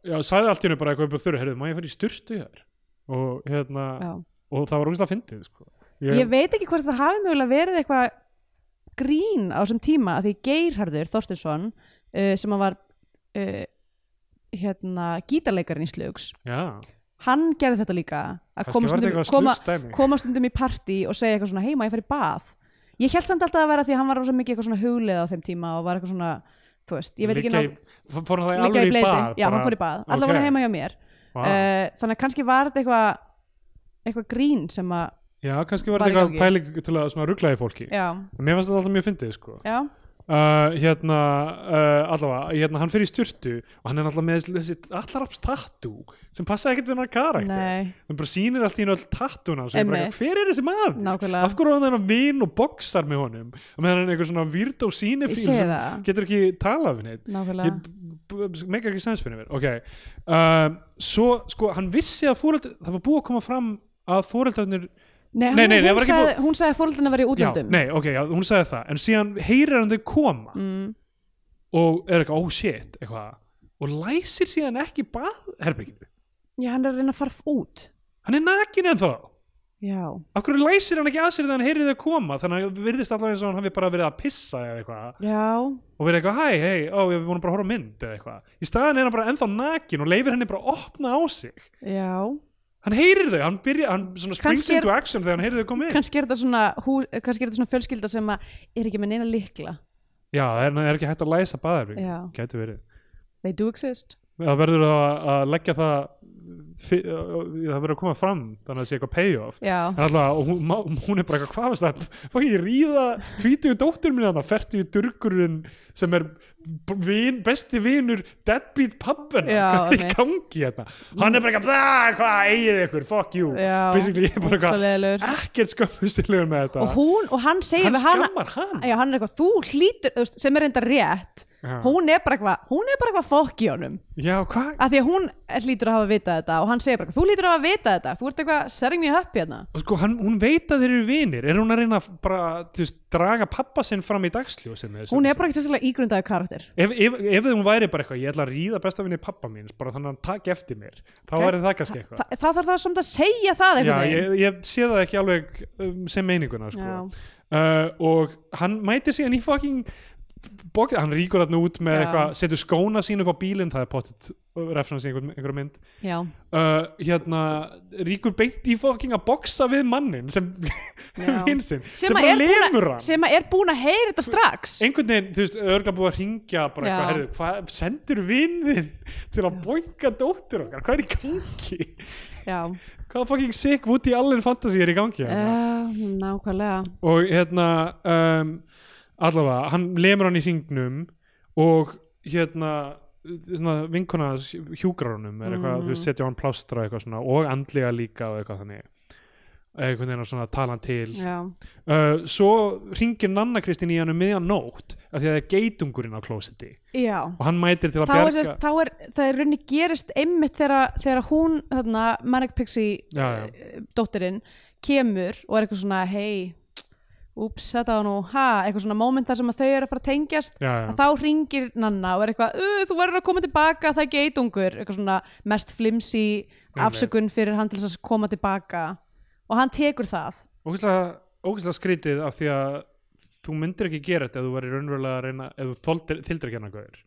já, sagði allt í hennu bara eitthvað upp á þurru, heyrðu, má ég fyrir í styrtu hér og hérna,
Já.
og það var ógæslega fyndið, sko ég,
ég veit ekki hvort það hafi mögulega verið eitthvað grín á þessum tíma af því Geirharður Þorstinsson uh, sem hann var uh, hérna gítarleikarinn í slugs
já,
hann gerði þetta líka að
kannski
koma
var þetta
stundum,
eitthvað
koma,
slugstæmi
koma stundum í partí og segja eitthvað svona heima ég fari í bað ég held samt alltaf að vera því að hann var rosa mikið eitthvað svona huglið á þeim tíma og var eitthvað svona þú veist, ég veit ekki ná-
ná fór hann það
liggja
alveg í
bleyti.
bað
já, hann fór í bað, allavega
Ok. Ah.
heima hjá mér
wow.
uh, þannig að kannski var þetta eitthvað eitthvað grín sem að,
já, kannski var
var í
þetta eitthvað
gangi.
pæling til að svona rugglaði fólki
já,
mér fannst þetta alltaf mjög fyndið, sko
já
Uh, hérna, uh, allavega, hérna, hann fyrir í styrtu og hann er alltaf með þessi- þessi allaraps tattoo sem passa ekkert við hann karakter
nei
hann bara sýnir allt í hennu öll tattúna og svo er bara,
Einmitt.
eitthvað, hver er þessi maður?
Nákvæmlega.
af hverju á hann þennan vin og boxar með honum og meðan hann er einhver svona výrd og
Ég
sínefíl
sé
sem
það.
getur ekki talað við neitt
Nákvæmlega.
ég b- b- meikar ekki sens fyrir mér ok, uh, svo sko hann vissi að fóreldur, það var búið að koma fram að fóreldarnir,
Nei,
Nei, nei, nei, það
hún, hún,
var ekki
sagði, hún sagði að fóröldina var í
já,
útlöndum
nei, ok, já, hún sagði það en síðan heyrir hann þau koma
mm,
og er eitthvað, oh shit, eitthvað og læsir síðan ekki baðherbygginu
Já, hann er að reyna að fara út
hann er nakin en þá
Já,
Af hverju læsir hann ekki að sér þegar hann heyrið þau koma þannig að virðist allavega eins og hann hafi bara verið að pissa eða eitthvað
já,
og verið eitthvað hæ, hei, ó, við vorum bara að horfa á mynd eða eitthvað í staðan er hann bara ennþá nakin og leifir henni bara að opna á sig
já
hann heyrir þau, hann byrja, hann svona springs
Kannski er-
into action þegar hann heyrið þau koma inn
Kannski er þetta svona, hú, kannski er þetta svona fjölskylda sem að er ekki með neina líkla
já, það er, er ekki hægt að læsa baðarbygg
Já,
gæti verið,
they do exist
það verður að, að leggja það fi- það verður að koma fram þannig að það sé eitthvað payoff
Já,
En Alltaf, og hún, ma- hún er bara eitthvað hvað varst það, fók ég ríða tvítugu dóttur minna þannig, fertugu durkurinn sem er b- vin, besti vinur deadbeat pappina
Já,
hvað er í
einmitt.
gangi þetta hann er bara eitthvað, "Bla, hvað eigið ykkur, fuck you
já
basically ég er bara eitthvað
ógeðslega leiðilegur.
ekkert skömmustilegur með þetta
Og hún, og hann segir
hann
við hana
skammar hann
Já, hann er eitthvað, þú hlýtur, þú veist, sem er enda rétt
Já.
Hún er bara eitthvað, hún er bara eitthvað fokk í honum
já, hvað,
að því að hún er- hlýtur að hafa vitað þetta og hann segir bara, þú hlýtur að hafa vitað þetta þú ert eitthvað setting me up hérna
og sko hann, hún veit að þeir eru vinir er hún að reyna að bara, þú veist, draga pappa sinn fram í dagsljósi með þessu
hún er bara ekki sérstaklega ígrundaði karakter
Ef, ef, ef hún væri bara eitthvað, ég ætla að ríða bestafinni pappa míns, bara þannig að hann takk eftir mér þá
Ok.
væri það kannski eitthvað
Þa, það þarf það samt að segja það
Já,
einhvern
ég, ég sé það ekki alveg um, sem meininguna sko.
Já.
uh, og hann mætir síðan í fucking bók, hann ríkur hann út með
Já.
eitthvað, setur skóna sín upp á bílinn það er pottet referens í einhver, einhver mynd
já,
uh, hérna, ríkur beint í fokking að boxa við mannin sem
Já.
vinsinn,
Sem
sem
að
bara
er búin að-
lemur hann
sem að er búin að heyra þetta strax
einhvern veginn, þú veist, örgla búið að ringja bara
Já.
eitthvað, herðu, hvað sendur vinn þinn til að boinga dóttir okkar hvað er í gangi?
já,
Hvað fucking sick Woody Allen fantasy er í gangi? hérna?
uh, nákvæmlega
og hérna um, allavega, hann lemur hann í hringnum og hérna hérna, vinkona hans hjúgrarunum er eitthvað,
Mhm.
þú veist, setja á hann plástra eitthvað svona og andlega líka og eitthvað þannig einhvern veginn að svona tala hann til
já,
uh, svo ringir Nanna Kristín í hann um miðjan nótt af því að það er geitungurinn á klósetti
já
og hann mætir til að
Þá er,
bjarga
sérst, þá er það er raunni gerist einmitt þegar, þegar hún, þarna, Manic Pixie
já, já,
dóttirinn kemur og er eitthvað svona hei, úps, þetta var nú ha, eitthvað svona moment þar sem að þau eru að fara að tengjast
já, já.
að þá ringir Nanna og er eitthvað "Uh, þú verður að koma tilbaka, það er geitungur eitthvað svona mest flimsi afsökun fyrir hann til þess að koma tilbaka og hann tekur það
ógeðslega, ógeðslega skrítið af því að þú myndir ekki gera þetta ef þú væri raunverulega að reyna ef þú þoldir, þildir ekki hann að gauður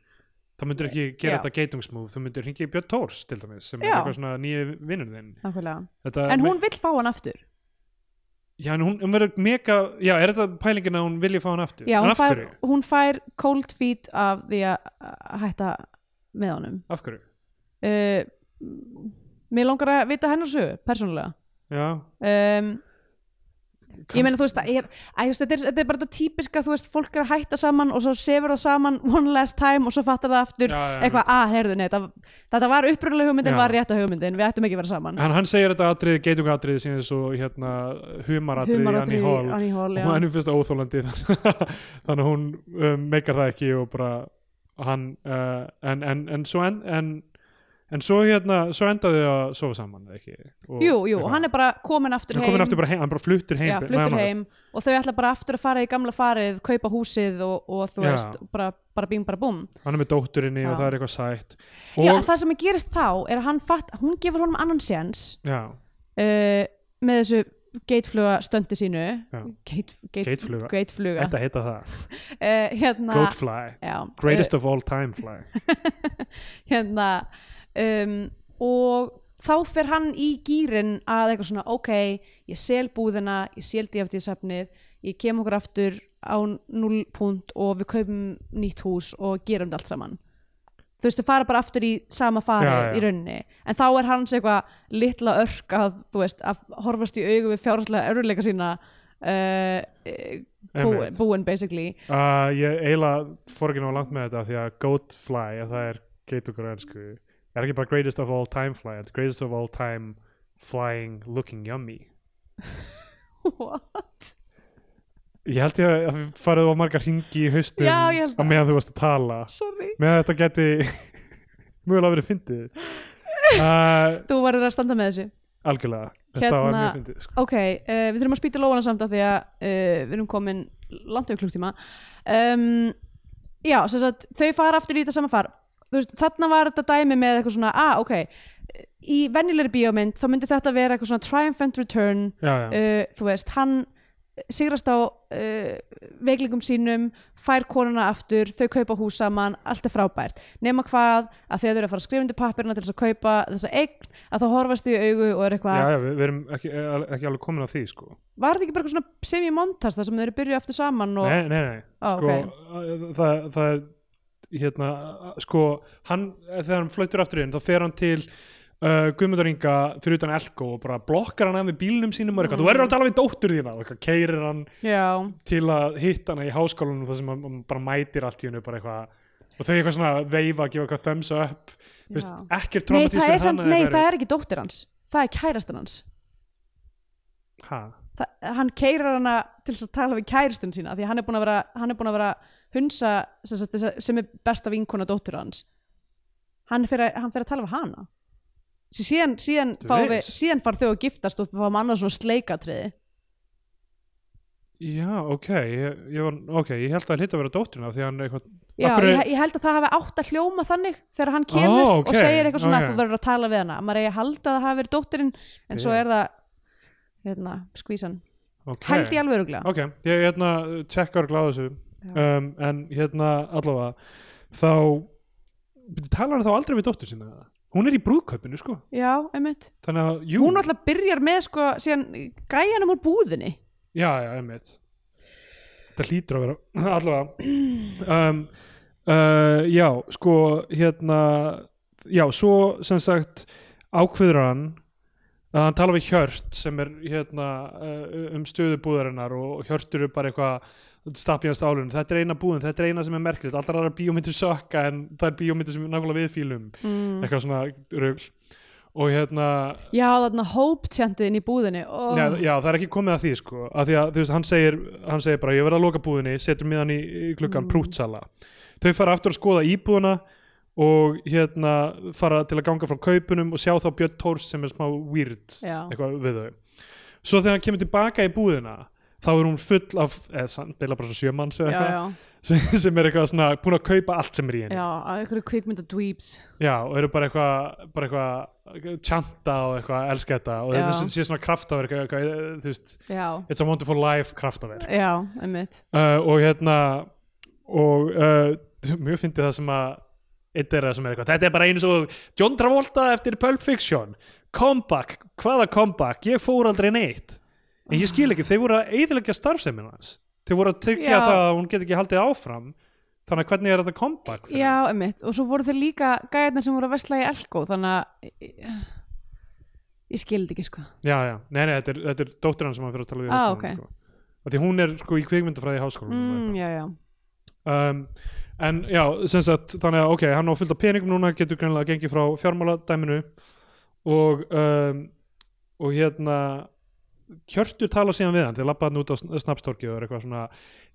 þá myndir ekki gera
Já.
þetta geitungsmúf þú myndir hringi í Björn Tórs til dæmis sem er
Já.
eitthvað svona nýju vinnur þinn
Nákvæmlega.
þetta,
en hún vill fá hann aftur
já, en hún, hún verður mega já, er þetta pælingin að hún vilji fá hann aftur
Já,
en
hún,
af
fær,
hverju?
hún fær cold feet af því að að hætta með honum
af hverju?
uh, mér langar að vita hennar sögu, persónulega
já,
um,
kannski-
ég meina þú veist það er, æ, þú veist, þetta, er, þetta er bara þetta típiska þú veist fólk er að hætta saman og svo sefur það saman one last time og svo fattar það aftur
Já, já,
eitthvað, að, heyrðu, nei, það, þetta var upprunalega hugmyndin
Já.
var rétta hugmyndin, við ættum ekki að vera saman
en hann segir þetta atriði, geitungatriði síðan svo hérna, humaratriði í Annie Hall
Annie Hall
og
já.
hún ennum fyrst óþólandi þannig að hún um, meikar það ekki og bara hann uh, en, en, en svo en, en, en svo hérna, svo endaði að sofa saman eða ekki og,
jú, jú, hann er bara komin aftur
hann
heim,
komin aftur bara heim, hann bara fluttur heim
já, fluttur heim og þau ætla bara aftur að fara í gamla farið kaupa húsið og, og þú
Já.
veist bara, bara bing, bara búm
hann er með dótturinni
Já.
og það er eitthvað sætt
já,
og,
það sem gerist þá er að hann fatt, hún gefur honum annan séns
já,
uh, með þessu geitfluga stöndi sínu
Já.
Geit, geit,
Geitfluga.
geitfluga.
þetta heita það
Uh, hérna,
Goatfly,
já,
greatest of all time fly
uh, hérna um, og þá fer hann í gýrin að eitthvað svona ok, ég sel búðina ég sel DFT-safnið, ég kem okkur aftur á 0 púnt og við kaupum nýtt hús og gerum þetta allt saman þú veist, þau fara bara aftur í sama farið
Já, já.
í rauninni, en þá er hans eitthvað litla örk að, þú veist, að horfast í augu við fjárhanslega örðuleika sína uh, búin,
Einmitt.
búin basically
uh, ég eiginlega fór ekki ná langt með þetta því að Goatfly, að það er geitugur ennsku, er ekki bara greatest of all time fly, þetta er greatest of all time flying looking yummy
What?
ég held ég að- að við farið á margar hringi í haustum
Já, ég held
á
það.
meðan þú varst að tala
Sorry
meðan þetta geti mjögulega verið fyndið uh,
Þú verður að standa með þessu
algjörlega, þetta var
Hérna-
mjög fyndið sko.
Ok, uh, við þurfum að spýta lóana samt af því að uh, við erum komin langt yfir klukktíma um, Já, sem sagt, þau fara aftur í þetta sama far Þú veist, Þarna var þetta dæmi með eitthvað svona ah, ok, í venjulegri bíómynd þá myndi þetta vera eitthvað svona triumphant return
já, já,
uh, þú veist, hann sigrast á uh, veiklingum sínum fær konuna aftur, þau kaupa hús saman allt er frábært, nema hvað að þegar þau eru að fara að skrifa undir pappirna til þess að kaupa þessa eign, að þá horfast þau í augu og
já,
er eitthvað,
já, við, við erum ekki, ekki alveg komin á því sko.
var það ekki bara eitthvað svona semi-montas þar sem þau eru byrjuð aftur saman og,
nei, nei, nei
Ó,
sko,
ok.
uh, það, það er hérna, uh, sko hann, þegar hann flautur aftur inn, þá fer hann til uh, Guðmundur Inga fyrir utan Elko og bara blokkar hann af með bílnum sínum og er eitthvað, þú verður að tala við dóttur þína og eitthvað, keirir hann
já,
til að hitta hana í háskólanum þar sem hann hann bara mætir allt í hennu bara eitthvað og þau eitthvað svona veifa, gefa eitthvað thumbs up þú veist,
Já.
ekkert
nei,
traumatist
það er, samt, nei það er ekki dóttir hans, það er kærastan hans
ha,
Þa, hann keirar hana til þess að tala við kærastun sína því að hann er búin að vera, hann er búin að vera hunsa sem, sagt, þessa- sem er besta vinkona dóttur hans hann fer að, hann fer að tala við hana Sér síðan, síðan,
Þú
fá við,
veist.
síðan far þau að giftast og við fáum annað svona sleikatriði
já, ok ég, ég var, ok, ég held að hlita að vera dótturina því að hann eitthvað,
Já,
Af hverju-
ég, ég held að það hafi átt að hljóma þannig þegar hann kemur
Ó, ok,
og segir eitthvað
ok.
svona að þú verður að tala við hana maður eigi að halda að það hafi verið dóttirinn en svo
Spes.
er það hérna, skvísan,
ok
held ég alveg öruglega
ok, ég hérna tjekkar gláðu þessu um, en hérna allavega þá talar hann þá aldrei við dóttur sína hún er í brúðkaupinu sko
já, einmitt
þannig að, jú,
hún alltaf byrjar með sko síðan gæjanum úr búðinni
já, já, einmitt þetta hlýtur að vera allavega um, uh, já, sko, hérna já, svo sem sagt ákveður hann að hann tala við Hjört sem er hérna uh, um stöðu búðarinnar og Hjörtur er bara eitthvað stapjast álun, þetta er eina búðin, þetta er eina sem er merkilegt alltaf aðra bíómyndir sökka en það er bíómyndir sem nákvæmlega við fílum
mm.
eitthvað svona rugl og hérna,
já, þarna hope tjandið inn í búðinni oh.
já, já, það er ekki komið að því sko, að því að þú veist, hann segir hann segir bara, ég verð að loka búðinni, setur miðan í, í klukkan
Mm.
mm. prútsala þau fara aftur að skoða íbúðina og hérna fara til að ganga frá kaupunum og sjá þá Björn Tórs sem er smá weird
Já.
eitthvað við þau svo þegar hann kemur tilbaka í búðina þá er hún full af, eða sann, deila bara svo sjömanns
já,
eða
já,
eitthvað, sem, sem er eitthvað svona búin að kaupa allt sem er í henni
já, að einhverju kvikmynda dweebs
Já, og eru bara eitthvað bara eitthvað tjanta og eitthvað elska þetta og
Já.
þetta sé svona kraftaverk eitthvað, eitthvað, þú veist,
já,
it's a wonderful life kraftaverk
já, einmitt
uh, og hérna og uh, mjög fyndi það sem að eitt er það sem er eitthvað, þetta er bara eins og John Travolta eftir Pulp Fiction comeback, hvaða comeback ég fór aldrei neitt en ég skil ekki, þeir voru að eiðilegja starfsemin hans þeir voru að tryggja
Já.
það að hún get ekki haldið áfram þannig að hvernig er þetta comeback fyrir hann?
já, einmitt, og svo voru þeir líka gæjarnir sem voru að vesla í Elko þannig að ég, ég skildi ekki sko
Já, já, nei, nei, þetta er, þetta er dóttir hann sem hann fyrir að tala við í
Ah,
háskólanum,
ok.
sko. Af Því hún er sko í kvikmyndafræði í háskólanum
mm,
mm,
já, já,
um, En já, sem sagt, þannig að ok, hann á fullt af peningum núna getur greinlega að gengi frá fjármáladæminu og um, og hérna Hjörtur tala síðan við hann til að labba hann út á snabbstorkið og er eitthvað svona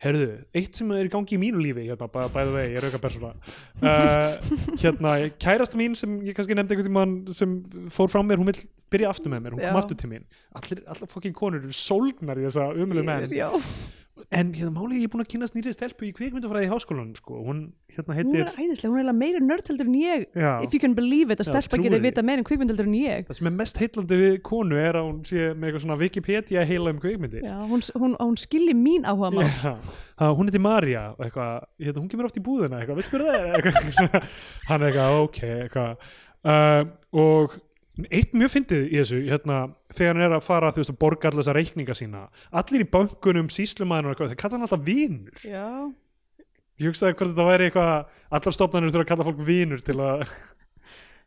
herðu, eitt sem er í gangi í mínu lífi hérna, bæ- bæði vegi, ég er auka persóna uh, hérna, kærasta mín sem ég kannski nefndi einhvern tímann sem fór frá mér, hún vill byrja aftur með mér hún
Já.
kom aftur til mín, allir, allir fokkin konur eru sólgnar í þessa umölu menn
já.
en hérna málið er ég er búin að kynast nýrið stelpu í kvikmyndafræði í háskólanum sko, hún hérna
hún er
heitir
æðislega, hún er eiginlega meira nördheldur en ég
Já.
if you can believe it, að
Já,
stelpa
trúir
getið
því.
vita meira um kvikmyndeldur en ég
það sem er mest heillandi við konu er að hún sé með eitthvað svona Wikipedia heila um kvikmyndir
Já, hún, hún, hún skilji mín áhuga mál
Já, það, hún heiti Marja og eitthvað, hérna, hún kemur oft í búðina eitthvað, veist hver það er eitthvað, hann er eitthvað, ok eitthvað. Uh, og eitt mjög fyndið í þessu hérna, þegar hann er að fara þú veist, að borga allar þessa reikninga sína allir í bankunum, síslumæðinu og eitthvað, þeir kalla hann alltaf vinur
Já,
ég hugsaði hvort þetta væri eitthvað allar stofnanir þurfa að kalla fólk vinur til að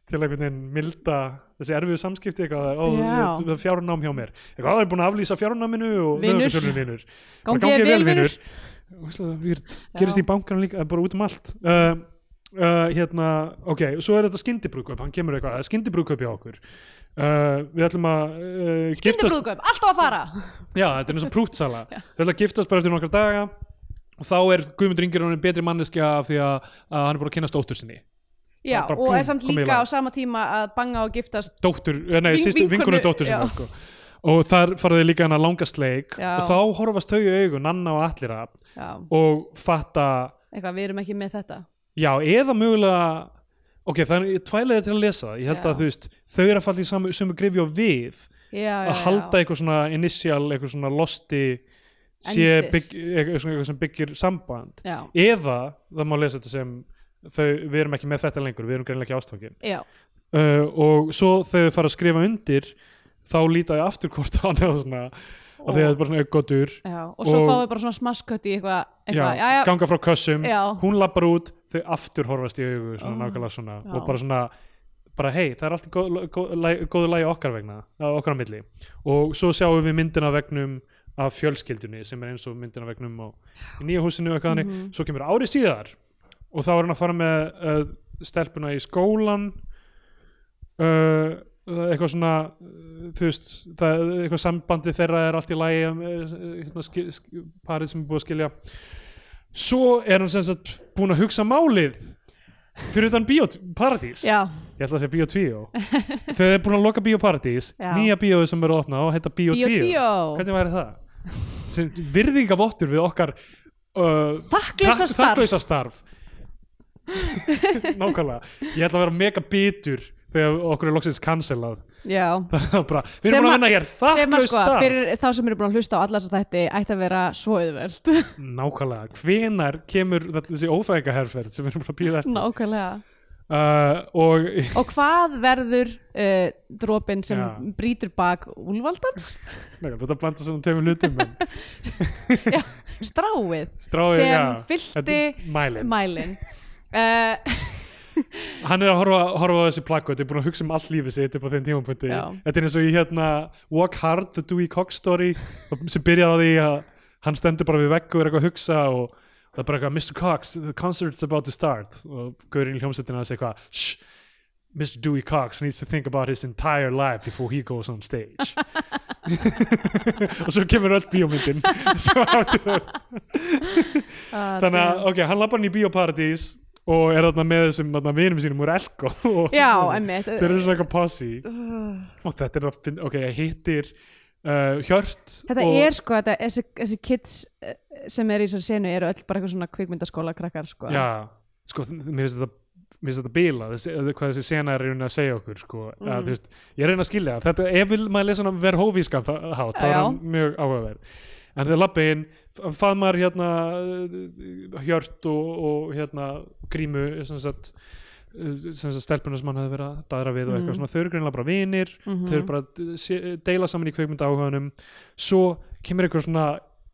til einhvern veginn milda þessi erfiðu samskipti eitthvað ó,
Já.
það er fjárnám hjá mér eitthvað, það er búin að aflýsa fjárnáminu og
Vinur.
nauðungarsölunni, vinur. Bara
gangi ég
gangi þér
vel vinnur
Og veistlega, weird. gerist í bankanum líka, bara út um allt uh, uh, hérna, ok og svo er þetta skyndibrúköp, hann kemur eitthvað það er skyndibrúköp hjá okkur uh, við ætlum að uh, giftast
Skyndibrúðgöf, alltaf að fara
já, þetta er eins og prútsala
Já.
við ætlum að giftast bara eftir nokkra daga og þá er Guðmundur Ingi hann betri manneskja af því að, að hann er bara að kynast dóttur sinni
Já,
Bara
og er
búmm,
samt
komið í
líka
lag.
á sama tíma að banga og giftast
dóttur, eh, nei,
Vin-
sýstu,
vinkonu-
vinkonu dóttur
já.
sinni sko. og þar faraði líka hann að langa sleik
Já.
og þá horfast þau í augu, Nanna og Allira
Já,
og fatta
eitthvað, við erum ekki með þetta
Já, eða mögulega ok, það er tvælega til að lesa það. ég held
Já.
að þú veist, þau eru að falla í samu, sömu grifju og við
Já, já,
að
já
halda eitthvað svona initial, eitthvað svona losti sé
Endist.
bygg, eitthvað, svona eitthvað sem byggir samband
Já,
eða, það má lesa þetta sem þau, við erum ekki með þetta lengur, við erum greinlega ekki ástfangin
já,
uh, og svo þegar þau fara að skrifa undir þá líta ég aftur hvort á annað svona, af því að þetta er bara svona aukkotur
já Og svo
Og-
fáum við bara svona smaskött í eitthvað eitthvað, Já, já,
ganga frá kössum,
Já.
hún lappar út þau aftur horfast í augu svona,
Ó,
nákvæmlega svona,
já.
og bara svona bara hei, það er allt í góð, góð, lagi- góðu lægi okkar vegna, eh, okkar á milli og svo sjáum við myndina af vegnum af fjölskyldunni sem er eins og myndina af vegnum á í nýja húsinu og eitthvað þannig
Mhm.
svo kemur árið síðar og þá er hann að fara með uh, stelpuna í skólan uh, eitthvað svona uh, þú veist, það, eitthvað sambandi þeirra er allt í lagi um, uh, hérna, skil, skil, parið sem er búið að skilja svo er hann sem sagt búin að hugsa málið fyrir utan bíóparadís
já,
ég ætla að segja bíótvíó þegar þeir eru búin að loka bíóparadís
Já.
nýja bíóið sem verður að opna og heita bíótvíó
Bíotvíó
hvernig væri það? sem virðingavottur við okkar uh, Takk-
Þakklausa starf
þakklausa starf nákvæmlega ég ætla að vera mega bitur þegar okkur er loksins cancelað
Já,
bara, við
Sem
erum búin að
að-
vinna hér
sem að
þakklaus
sko,
starf
fyrir þá sem eru búin að hlusta á alla þess að þetta ætti að vera svo auðveld
nákvæmlega, hvenar kemur þetta- þessi ófæðingaherferð sem við erum búin að býða eftir
Nákvæmlega
uh, og
og hvað verður uh, dropin sem
Já.
brýtur bak úlvaldans
Nei, þetta blanda svona tveimur hlutum en
stráið
stráið,
sem
já,
fyllti
þetta- mælin,
mælin uh,
hann er að horfa, horfa á þessi plakku, þetta er búin að hugsa um allt lífið sitt upp á þeim tímapunkti,
Já.
þetta er eins og í hérna Walk Hard, The Dewey Cox Story sem byrjar á því að hann stendur bara við vegg og er eitthvað að hugsa og það er bara eitthvað, Mr. Cox, the concert's about to start og gaurinn í hljómsveitina að segja eitthvað shh, Mr. Dewey Cox needs to think about his entire life before he goes on stage og svo kemur öll bíómyndin svo áttur öll
Ah,
þannig að, ok, hann lappar hann í bíóparadís og er þarna með þessum þarna vinum sínum úr Elko og
já, emmitt
þeir eru svona eitthvað possi og þetta er að finna, ok, hittir uh, Hjört
þetta
og,
er sko, þetta, þessi, þessi kids eh, sem er í þessari senu eru öll bara eitthvað svona kvikmyndaskóla krakkar sko.
já, sko, þ- mér finnst þetta mér finnst þetta bíla, þessi, hvað þessi sena er í rauninni að segja okkur, sko,
Mm.
að, þú veist ég reyna að skilja það, þetta, ef vil maður lesa svona verð hófískan hát, þá er
Já.
hann mjög áhugaverð en þegar lappi inn, f- faðmar hérna uh, Hjört og, og hérna Grímu, sem sagt uh, sem þess að stelpuna sem hann hefði verið að daðra við og
Mhm.
eitthvað svona, þau eru greinlega bara vinir þau eru bara að d- sé- deila saman í kveikmynda áhuganum svo kemur eitthvað svona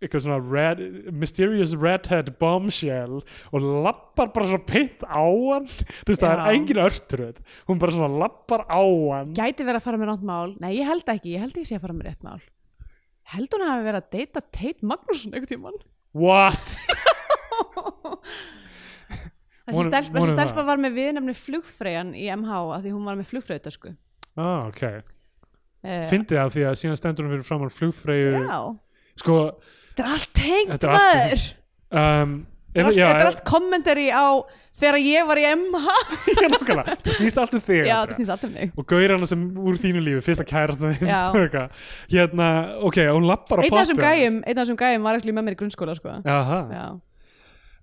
eitthvað svona red, mysterious redhead bombshell og lappar bara svona pitt á hann þú veist það
Já.
er engin örtröð hún bara svona lappar á hann
gæti verið að fara með rátt mál nei, ég held ekki, ég held ekki sé að fara með rétt mál held hún hafi verið að deyta Tate Magnússon einhvern tímann
what?
þessi
Vonum-
stelpa,
vonum
þessi stelpa
það.
var með viðnefni flugfreyjan í MH af því hún var með flugfreyjutösku
ah, ok,
uh,
fyndi það því að síðan stendur hún fyrir framann flugfreyju
já,
sko,
þetta er allt tengt
Þetta er allt
maður
um, ef-
Allt-
já,
þetta er allt kommentari á þegar ég var í MH
já, nákvæmlega. það snýst allt um þig
já,
Andrea.
þetta snýst alltaf mig
og gaurana sem úr þínu lífi fyrsta kærasta þín
Já.
eitthvað. hérna, ok, hún lappar á
einn af þessum
poppi
gæjum, einn af þessum gæjum var ekki með mér í grunnskóla sko.
Aha,
já,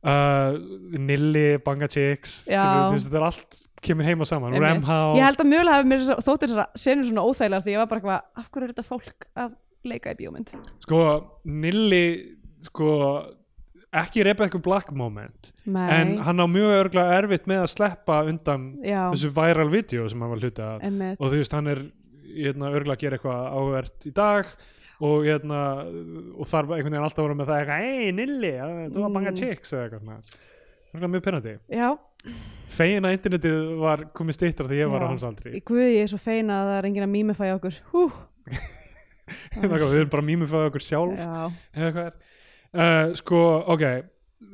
uh, Nilli, Banga Chicks
Já.
skilur, þú veist, þetta er allt kemur heima saman
einmitt.
Ramhá,
ég held að mjögulega hafi mér þessar- þótt þessar senur svona óþægilegar því ég var bara eitthvað af hverju er þetta fólk að leika í bíómynd
sko Nilli sko ekki reypa eitthvað black moment
Nei,
en hann á mjög örglega erfitt með að sleppa undan
já,
þessu viral video sem hann var hluti af
emmitt
og þú veist hann er hérna, örglega að gera eitthvað áhvert í dag og, hérna, og þarf einhvern veginn alltaf að vera með það eitthvað, ei Nilli, eh, þú var Banga
Mm.
Chicks eða eitthvað svona. örglega mjög penandi
já,
fegin að internetið var komið stýttra þegar ég var
Já.
á hans aldri
í guði ég er svo fein að það er enginn að mýmifæja okkur hú,
Nákvæmlega, við erum bara mýmið fyrir okkur sjálf
já,
eða hvað er uh, sko, ok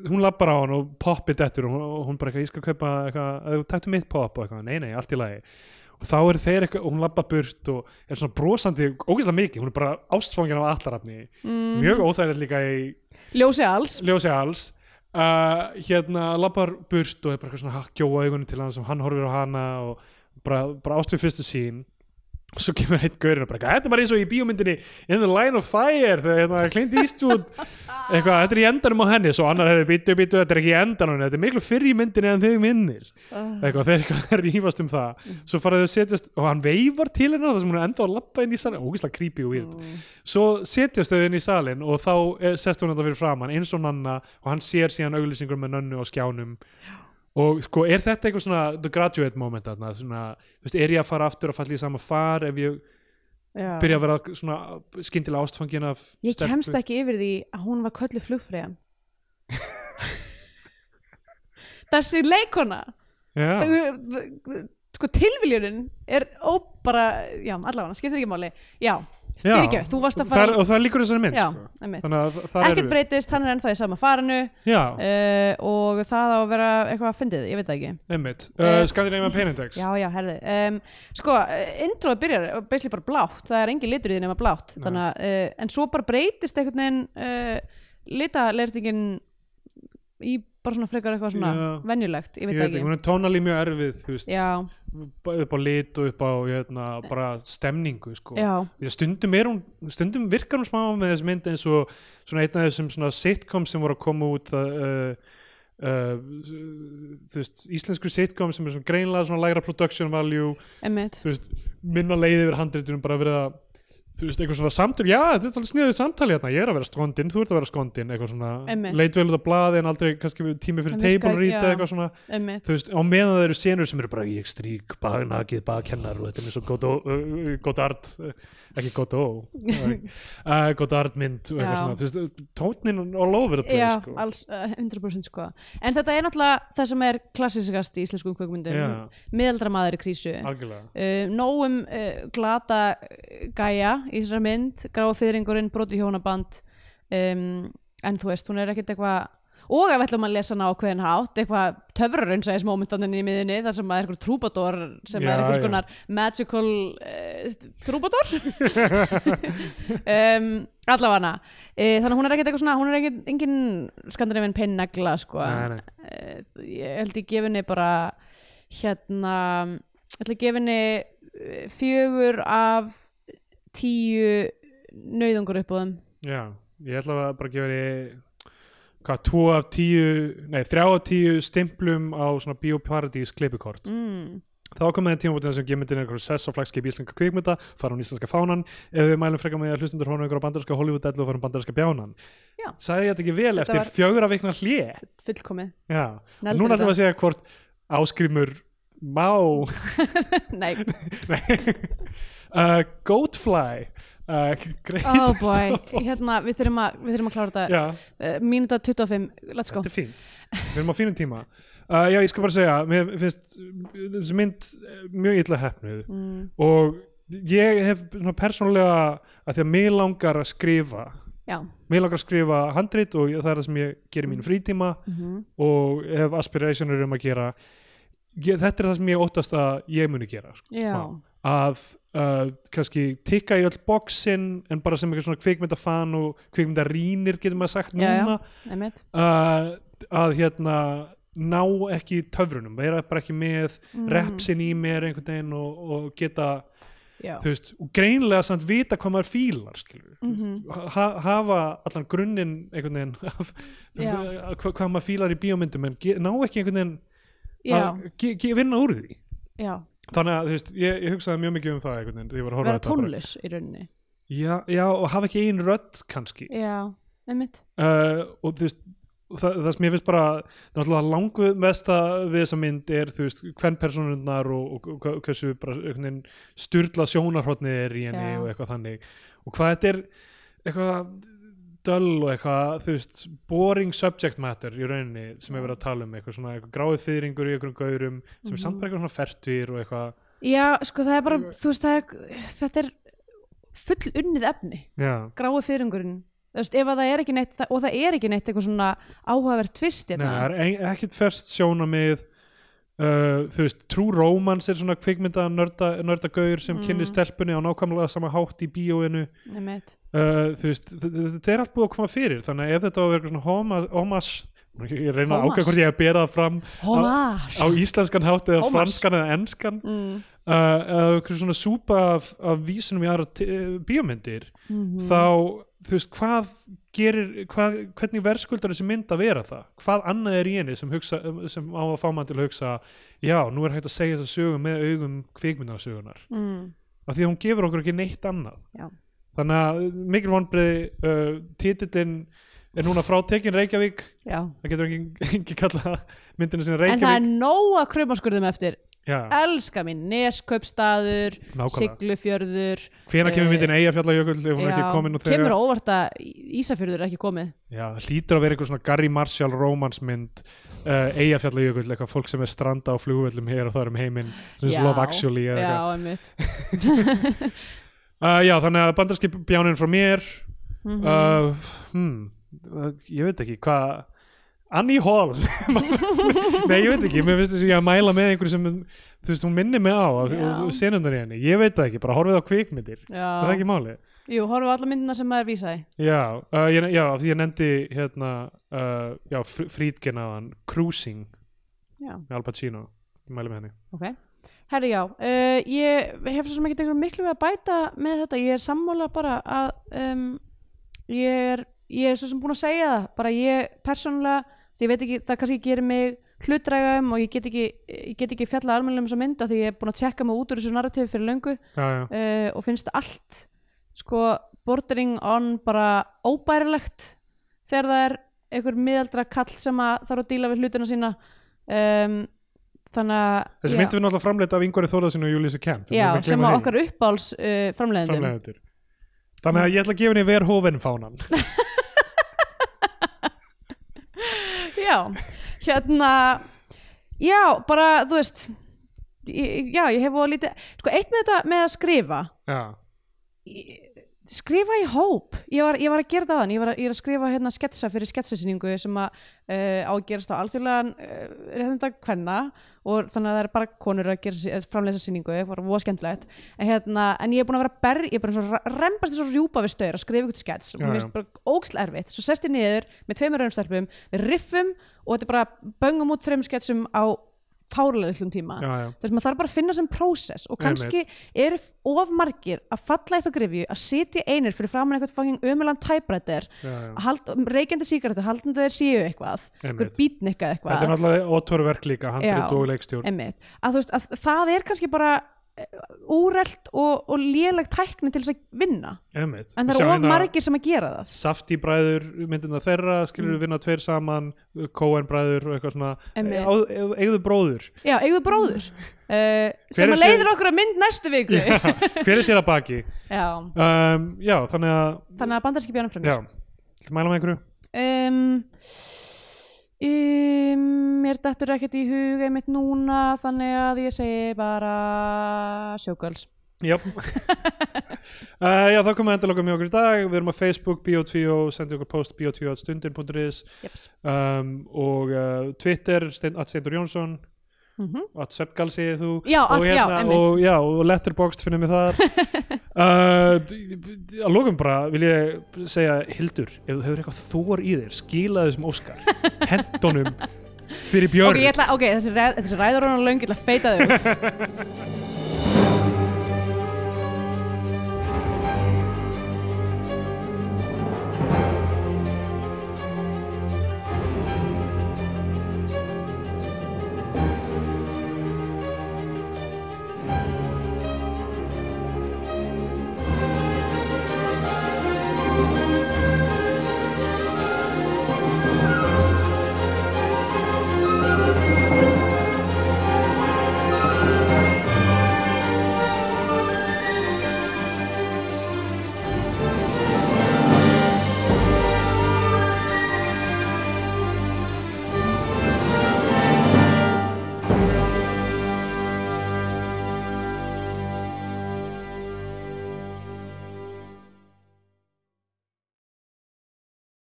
hún lappar á hann og poppið dettur og hún, og hún bara eitthvað, ég skal kaupa eitthvað eh, taktu mitt pop og eitthvað, nei nei, allt í lagi og þá er þeir eitthvað, og hún lappar burt og er svona brosandi, ógeðslega mikið hún er bara ástfangin af allarafni
mm,
mjög óþægilegt líka í
ljósi alls
ljósi alls uh, hérna lappar burt og er bara eitthvað svona gjóa augunum til hans og hann horfir á hana og bara, bara ást við fyrstu sín og svo kemur heitt gaurinn og bara eitthvað, þetta er bara eins og í bíómyndinni In the Line of Fire þegar hérna Clint Eastwood eitthvað, þetta er í endanum á henni svo annar hefur býtu, býtu, þetta er ekki í endanum þetta er miklu fyrr í myndinni en þig minnir
uh,
eitthvað, þeir eitthvað rífast um það svo faraðu að setjast, og hann veifar til hennar þar sem hún er ennþá að lappa inn í salin ógeðslega creepy og weird svo setjast þau inn í salin og þá eh, sest hún þetta fyrir framann eins og nanna og hann sér síðan auglýsingur með nönnu á skjánum og sko, er þetta eitthvað svona the graduate moment þarna, svona, þú veist, er ég að fara aftur og falla í sama far ef ég
já.
byrja að vera svona skyndilega ástfangin af
ég kemst ekki yfir því að hún var köllu flugfreyjan þessi leikona
já,
ja. sko tilviljunin er óbara, já allavega skiptir ekki máli, já,
já.
fyrirgefið þú varst að
það er,
fara,
og það líkur þessari mynd
já,
sko.
einmitt
þannig að það- það
ekkert
er
breytist, hann er ennþá í sama farinu
já,
uh, og það á að vera eitthvað að fyndið, ég veit það ekki
einmitt,
eh,
uh, Scandinavian Penindex
já, já, herði, um, sko eh, introð byrjar, eh, basically bara blátt það er engin litur í því nema blátt
Nei.
þannig, að, uh, en svo bara breytist einhvern veginn uh, litalertingin í bara svona frekar eitthvað svona
Já.
venjulegt, ég
ég
veit
veit
það
ekki,
ekki
hún er tónalí mjög erfið þú veist,
já,
b- upp á lit og upp á hérna, bara stemningu sko.
já,
Því að stundum, er hún, stundum virkar hún smá með þessi mynd eins og svona einn af þessum svona sitcom sem voru að koma út það, uh, uh, þú veist, íslensku sitcom sem er svona greinlega svona lægra production value
emmitt
þú veist, minna leið yfir handritunum bara verið að þú þú veist, eitthvað svona samtöl já, þetta er alveg sniðið samtali hérna, ég er að vera skondin þú ert að vera skondin, eitthvað svona
Einmitt.
leit vel út af blaði en aldrei kannski við- tími fyrir
Það virkar,
table read eða
já.
eitthvað svona
einmitt,
þú veist, á meðan það eru senur sem eru bara ég strík, baknakið, bakkennar og þetta er eins og Godot- uh, Godard uh, ekki Godot uh, Godard mynd og eitthvað
Já.
svona þú veist, tónin all over the
já,
place sko.
alls uh, 100% sko en þetta er náttúrulega það sem er klassiskast í íslenskum kvökmyndum
Já.
miðaldra maður í krísu
algjörlega
Uh, nógum uh, glata uh, gæja í þessari mynd gráa fyrringurinn, broti hjónaband um, en þú veist, hún er ekkert eitthvað og ef ætlum að lesa hana á hverjum hátt eitthvað töfrarunnsæðis momentaninn í miðinni þar sem að er eitthvað trúbador sem
Já,
er eitthvað
já.
skonar magical uh, trúbador um, allavega uh, þannig að hún er ekkert eitthvað svona hún er ekkert engin skandinavinn pinnagla sko
Nei, nei.
Eh, ég held ég gef henni bara hérna ég held ég gef henni eh, fjögur af tíu nöyðungur uppóðum
Já, ég ætla að bara gefa því hvað, tvo af tíu nei, þrjá af tíu stimplum á svona Bioparadís klippikort mm. Þá komið það tímabútið sem gemyndin er einhverjum sess á flagskip íslenska kvikmynda, fara hún íslenska fánan ef við mælum frekar með að hlustundur hóna ykkur á bandarinska Hollywood-dellu og fara um bandarinska bjánan
Já.
Sagði ég þetta ekki vel
Þetta
eftir
var-
var... fjögur af vikna hlje
fullkomið
Já,
Negldi
og núna ætlum
þetta.
við að segja hvort áskrimur má
nei,
uh, Goatfly uh,
oh
greitist
boy
á-
hérna, við þurfum að, við þurfum að klára þetta
Já,
uh, mínúta 25, let's go
Þetta er fínt, við erum á fínum tíma uh, Já, ég skal bara segja, mér finnst uh, þessi mynd uh, mjög illa hefnuð
mm,
og ég hef svona persónulega að því að mig langar að skrifa
já,
mig langar að skrifa handrit og ég- það er það sem ég gerir mínu frítíma
Mm. Mhm.
og hef aspirationur um að gera ég, þetta er það sem ég óttast að ég muni gera sko,
já
smá. að uh, kannski tikka í öll boxin en bara sem eitthvað svona kvikmyndafan og kvikmyndarínir getur maður sagt
Já, já.
núna
einmitt
uh, að hérna ná ekki töfrunum, vera bara ekki með mm. repsin í mér einhvern veginn og, og geta,
já,
þú veist og greinlega samt vita hvað maður fílar skilur, mm
Mhm.
ha hafa allan grunninn einhvern veginn af,
Já.
hva hvað maður fílar í bíómyndum en ge- ná ekki einhvern veginn
já,
að ge ge vinna úr því
já
þannig að þú veist, ég, ég hugsaði mjög mikið um það einhvern veginn, þegar ég var að horfa á
vera
þetta bara.
tónlaus í rauninni
já, já, og hafa ekki einn rödd kannski
já, einmitt
uh, og þú veist það, það sem ég finnst bara náttúrulega langu mesta við þessa mynd er þú veist hvern personurnar og, og, og hversu bara einhvern veginn styrla sjónarhóttnið er í henni
Já.
og eitthvað þannig og hvað þetta er eitthvað döll og eitthvað þú veist boring subject matter í rauninni sem er verið að tala um eitthvað svona eitthvað gráðið þýðringur í einhverjum gaurum sem er samt bara eitthvað svona fertvír og eitthvað
já, sko það er bara, þú veist, það er þetta er full unnið efni
já,
grái fyrringurinn Þú veist, ef að það er ekki neitt, það- og það er ekki neitt eitthvað svona áhugavert tvist
Nei, það
hérna.
er ein- ekkert fest sjónamið uh, þú veist, True Romance er svona kvikmynda nörda, nördagaur sem mm. kynni stelpunni á nákvæmlega sama hátt í bíóinu
Einmitt.
uh, þú veist, þ- þ- þetta er allt búið að koma fyrir þannig að ef þetta á að vera eitthvað svona homa- homas ég reyna að
Homas.
ákveða hvort ég hef berað fram
Homage
á íslenskan hátt eða
Homas.
franskan eða enskan uh,
mm.
eða eitthvað svona súpa af, af vísunum í aðra t- eh, bíómyndir
Mhm.
þá, þú veist, hvað gerir, hvað, hvernig verðskuldar þessi mynd að vera það? Hvað annað er í henni sem, hugsa, sem á að fá mann til að hugsa já, nú er hægt að segja þessa sögu með augum kvikmyndarsögunar,
mm.
af því að hún gefur okkur ekki neitt annað.
Já.
Þannig að mikil vonbreið uh, titillin er núna frátekin Reykjavík,
Já.
það getur ekki, ekki kalla myndinu sinna
en það er
Reykjavík.
nóg að krumaskurðum eftir
Já,
elska mín, neskaupstaður
nákvæmlega.
siglufjörður
Hvena kemur
eh,
myndin Eyjafjallajökull ef hún er ekki
Já.
komin og
kemur á óvart að Ísafjörður er ekki komið
Já, það hlýtur að vera einhver svona Gary Marshall romansmynd uh, Eyjafjallajökull, eitthvað fólk sem er stranda á flugvöllum hér og þar um heiminn sem er
Já.
Love Actually eða eitthvað.
Já, einmitt
Uh, já, þannig að bandarski bjánin frá mér
mm
uh, hmm, uh, ég veit ekki hvað Annie Hall Nei, ég veit ekki, mér finnst þess að ég að mæla með einhverju sem, þú veist, hún minni mig á og,
Já.
og senundar í henni, ég veit það ekki bara horfið á kvikmyndir, er það
Já,
ekki máli
jú, horfum á alla myndina sem maður vísaði
Já, uh, ég, já, af því ég nefndi hérna, uh, já, frítgen að hann Cruising
Já,
með Al Pacino ég mæli með henni
ok Herri, já, uh, ég hef svo sem ekki einhverjum miklu við að bæta með þetta ég er sammála bara að um, ég, er, ég er svo sem búin að segja það bara ég persónulega því ég veit ekki, það kannski gerir mig hlutdrægum og ég get ekki, ég get ekki fjallað um almennilegum svo mynda því ég er búin að tjekka mig út úr þessu narratífi fyrir löngu
já, já.
uh, og finnst eh, allt sko bordering on bara óbærilegt þegar það er einhver miðaldra kall sem að þarf að díla við hlutina sína um, þannig að
Þessi myndi við náttúrulega framleita af yngvari Þóðarsin og Júlísi Kent
já, sem að okkar uppáls uh, framleiðendum
framleiðendur Þannig að ég ætla að gefa henni verhófinn fánan
já, hérna já, bara þú veist ég, já, ég hef voða lítið sko eitt með þetta með að skrifa
Já,
Ég- skrifa í hóp ég var, ég var að gera það þann, ég, var að- ég er að skrifa hérna sketsa fyrir sketsasýningu sem að uh, á að gerast á alþjóðlegan uh, reynda kvenna og þannig að það er bara konur að gera sí- að framleysa sýningu, það var voða skemmtilegt en, hérna, en ég er búin að vera að berja, ég er bara eins og rembast þess að rjúpa við stöður að skrifa ykkur skets og
Já,
mér
já.
finnst bara ógsl erfitt svo sest ég niður með tveimur raunstærpum við riffum og þetta er bara böngum út þreim sketsum á fárlega litlum tíma
já, já
þess að maður þarf bara að finna sem prósess og kannski eru of margir að falla í þá grifju að sitja einir fyrir framann eitthvað fangin ömulan tæprættir
Já, já.
Ah, reykjandi sígarettu, haldandi þeir séu eitthvað
Einmitt.
einhver bítnikka
Þetta er
eitthvað
náttúrulega ótorverk líka, handrið og leikstjórn
einmitt. að þú veist að það er kannski bara eh, úrelt og, og léleg tækni til þess að vinna
Einmitt.
en
Við
það
sjáum
eru of
hérna
margir Mm. sem að gera það
Safti bræður, myndina þeirra skilur við vinna tveir saman, Coen bræður og eitthvað svona,
Einmitt.
Á- eigðu- eigðu bróður
já, eigðu bróður uh,
Hver
sem
er
að
sér-
leiðir okkur að mynd næstu viku já.
Hver er sér að baki? Um, já, þannig að
þannig að bandarski björnum frumir
Já, ætla að mæla með einhverju
um, um, mér dettur ekkert í hug einmitt núna þannig að ég segi bara sjókvöls
Já uh, Já, þá komum við endalokum hjá okkur í dag Við erum á Facebook, Bio2, sendi okkur post bio2.stundin.is
Jeps.
um, og uh, Twitter Stein- at Steindur Jónsson at Sveppgal segir þú
Mhm. Já,
og, hérna,
at- já, einmitt.
og, já, og Letterboxd finnum við þar uh, d- d- Að lokum bara vil ég segja Hildur, ef þú hefur eitthvað þór í þér skila þessum Óskar hendunum fyrir Björn
ok, ég ætla, ok, þessi, ræð, þessi ræður hann löng, ég ætla að feita þau út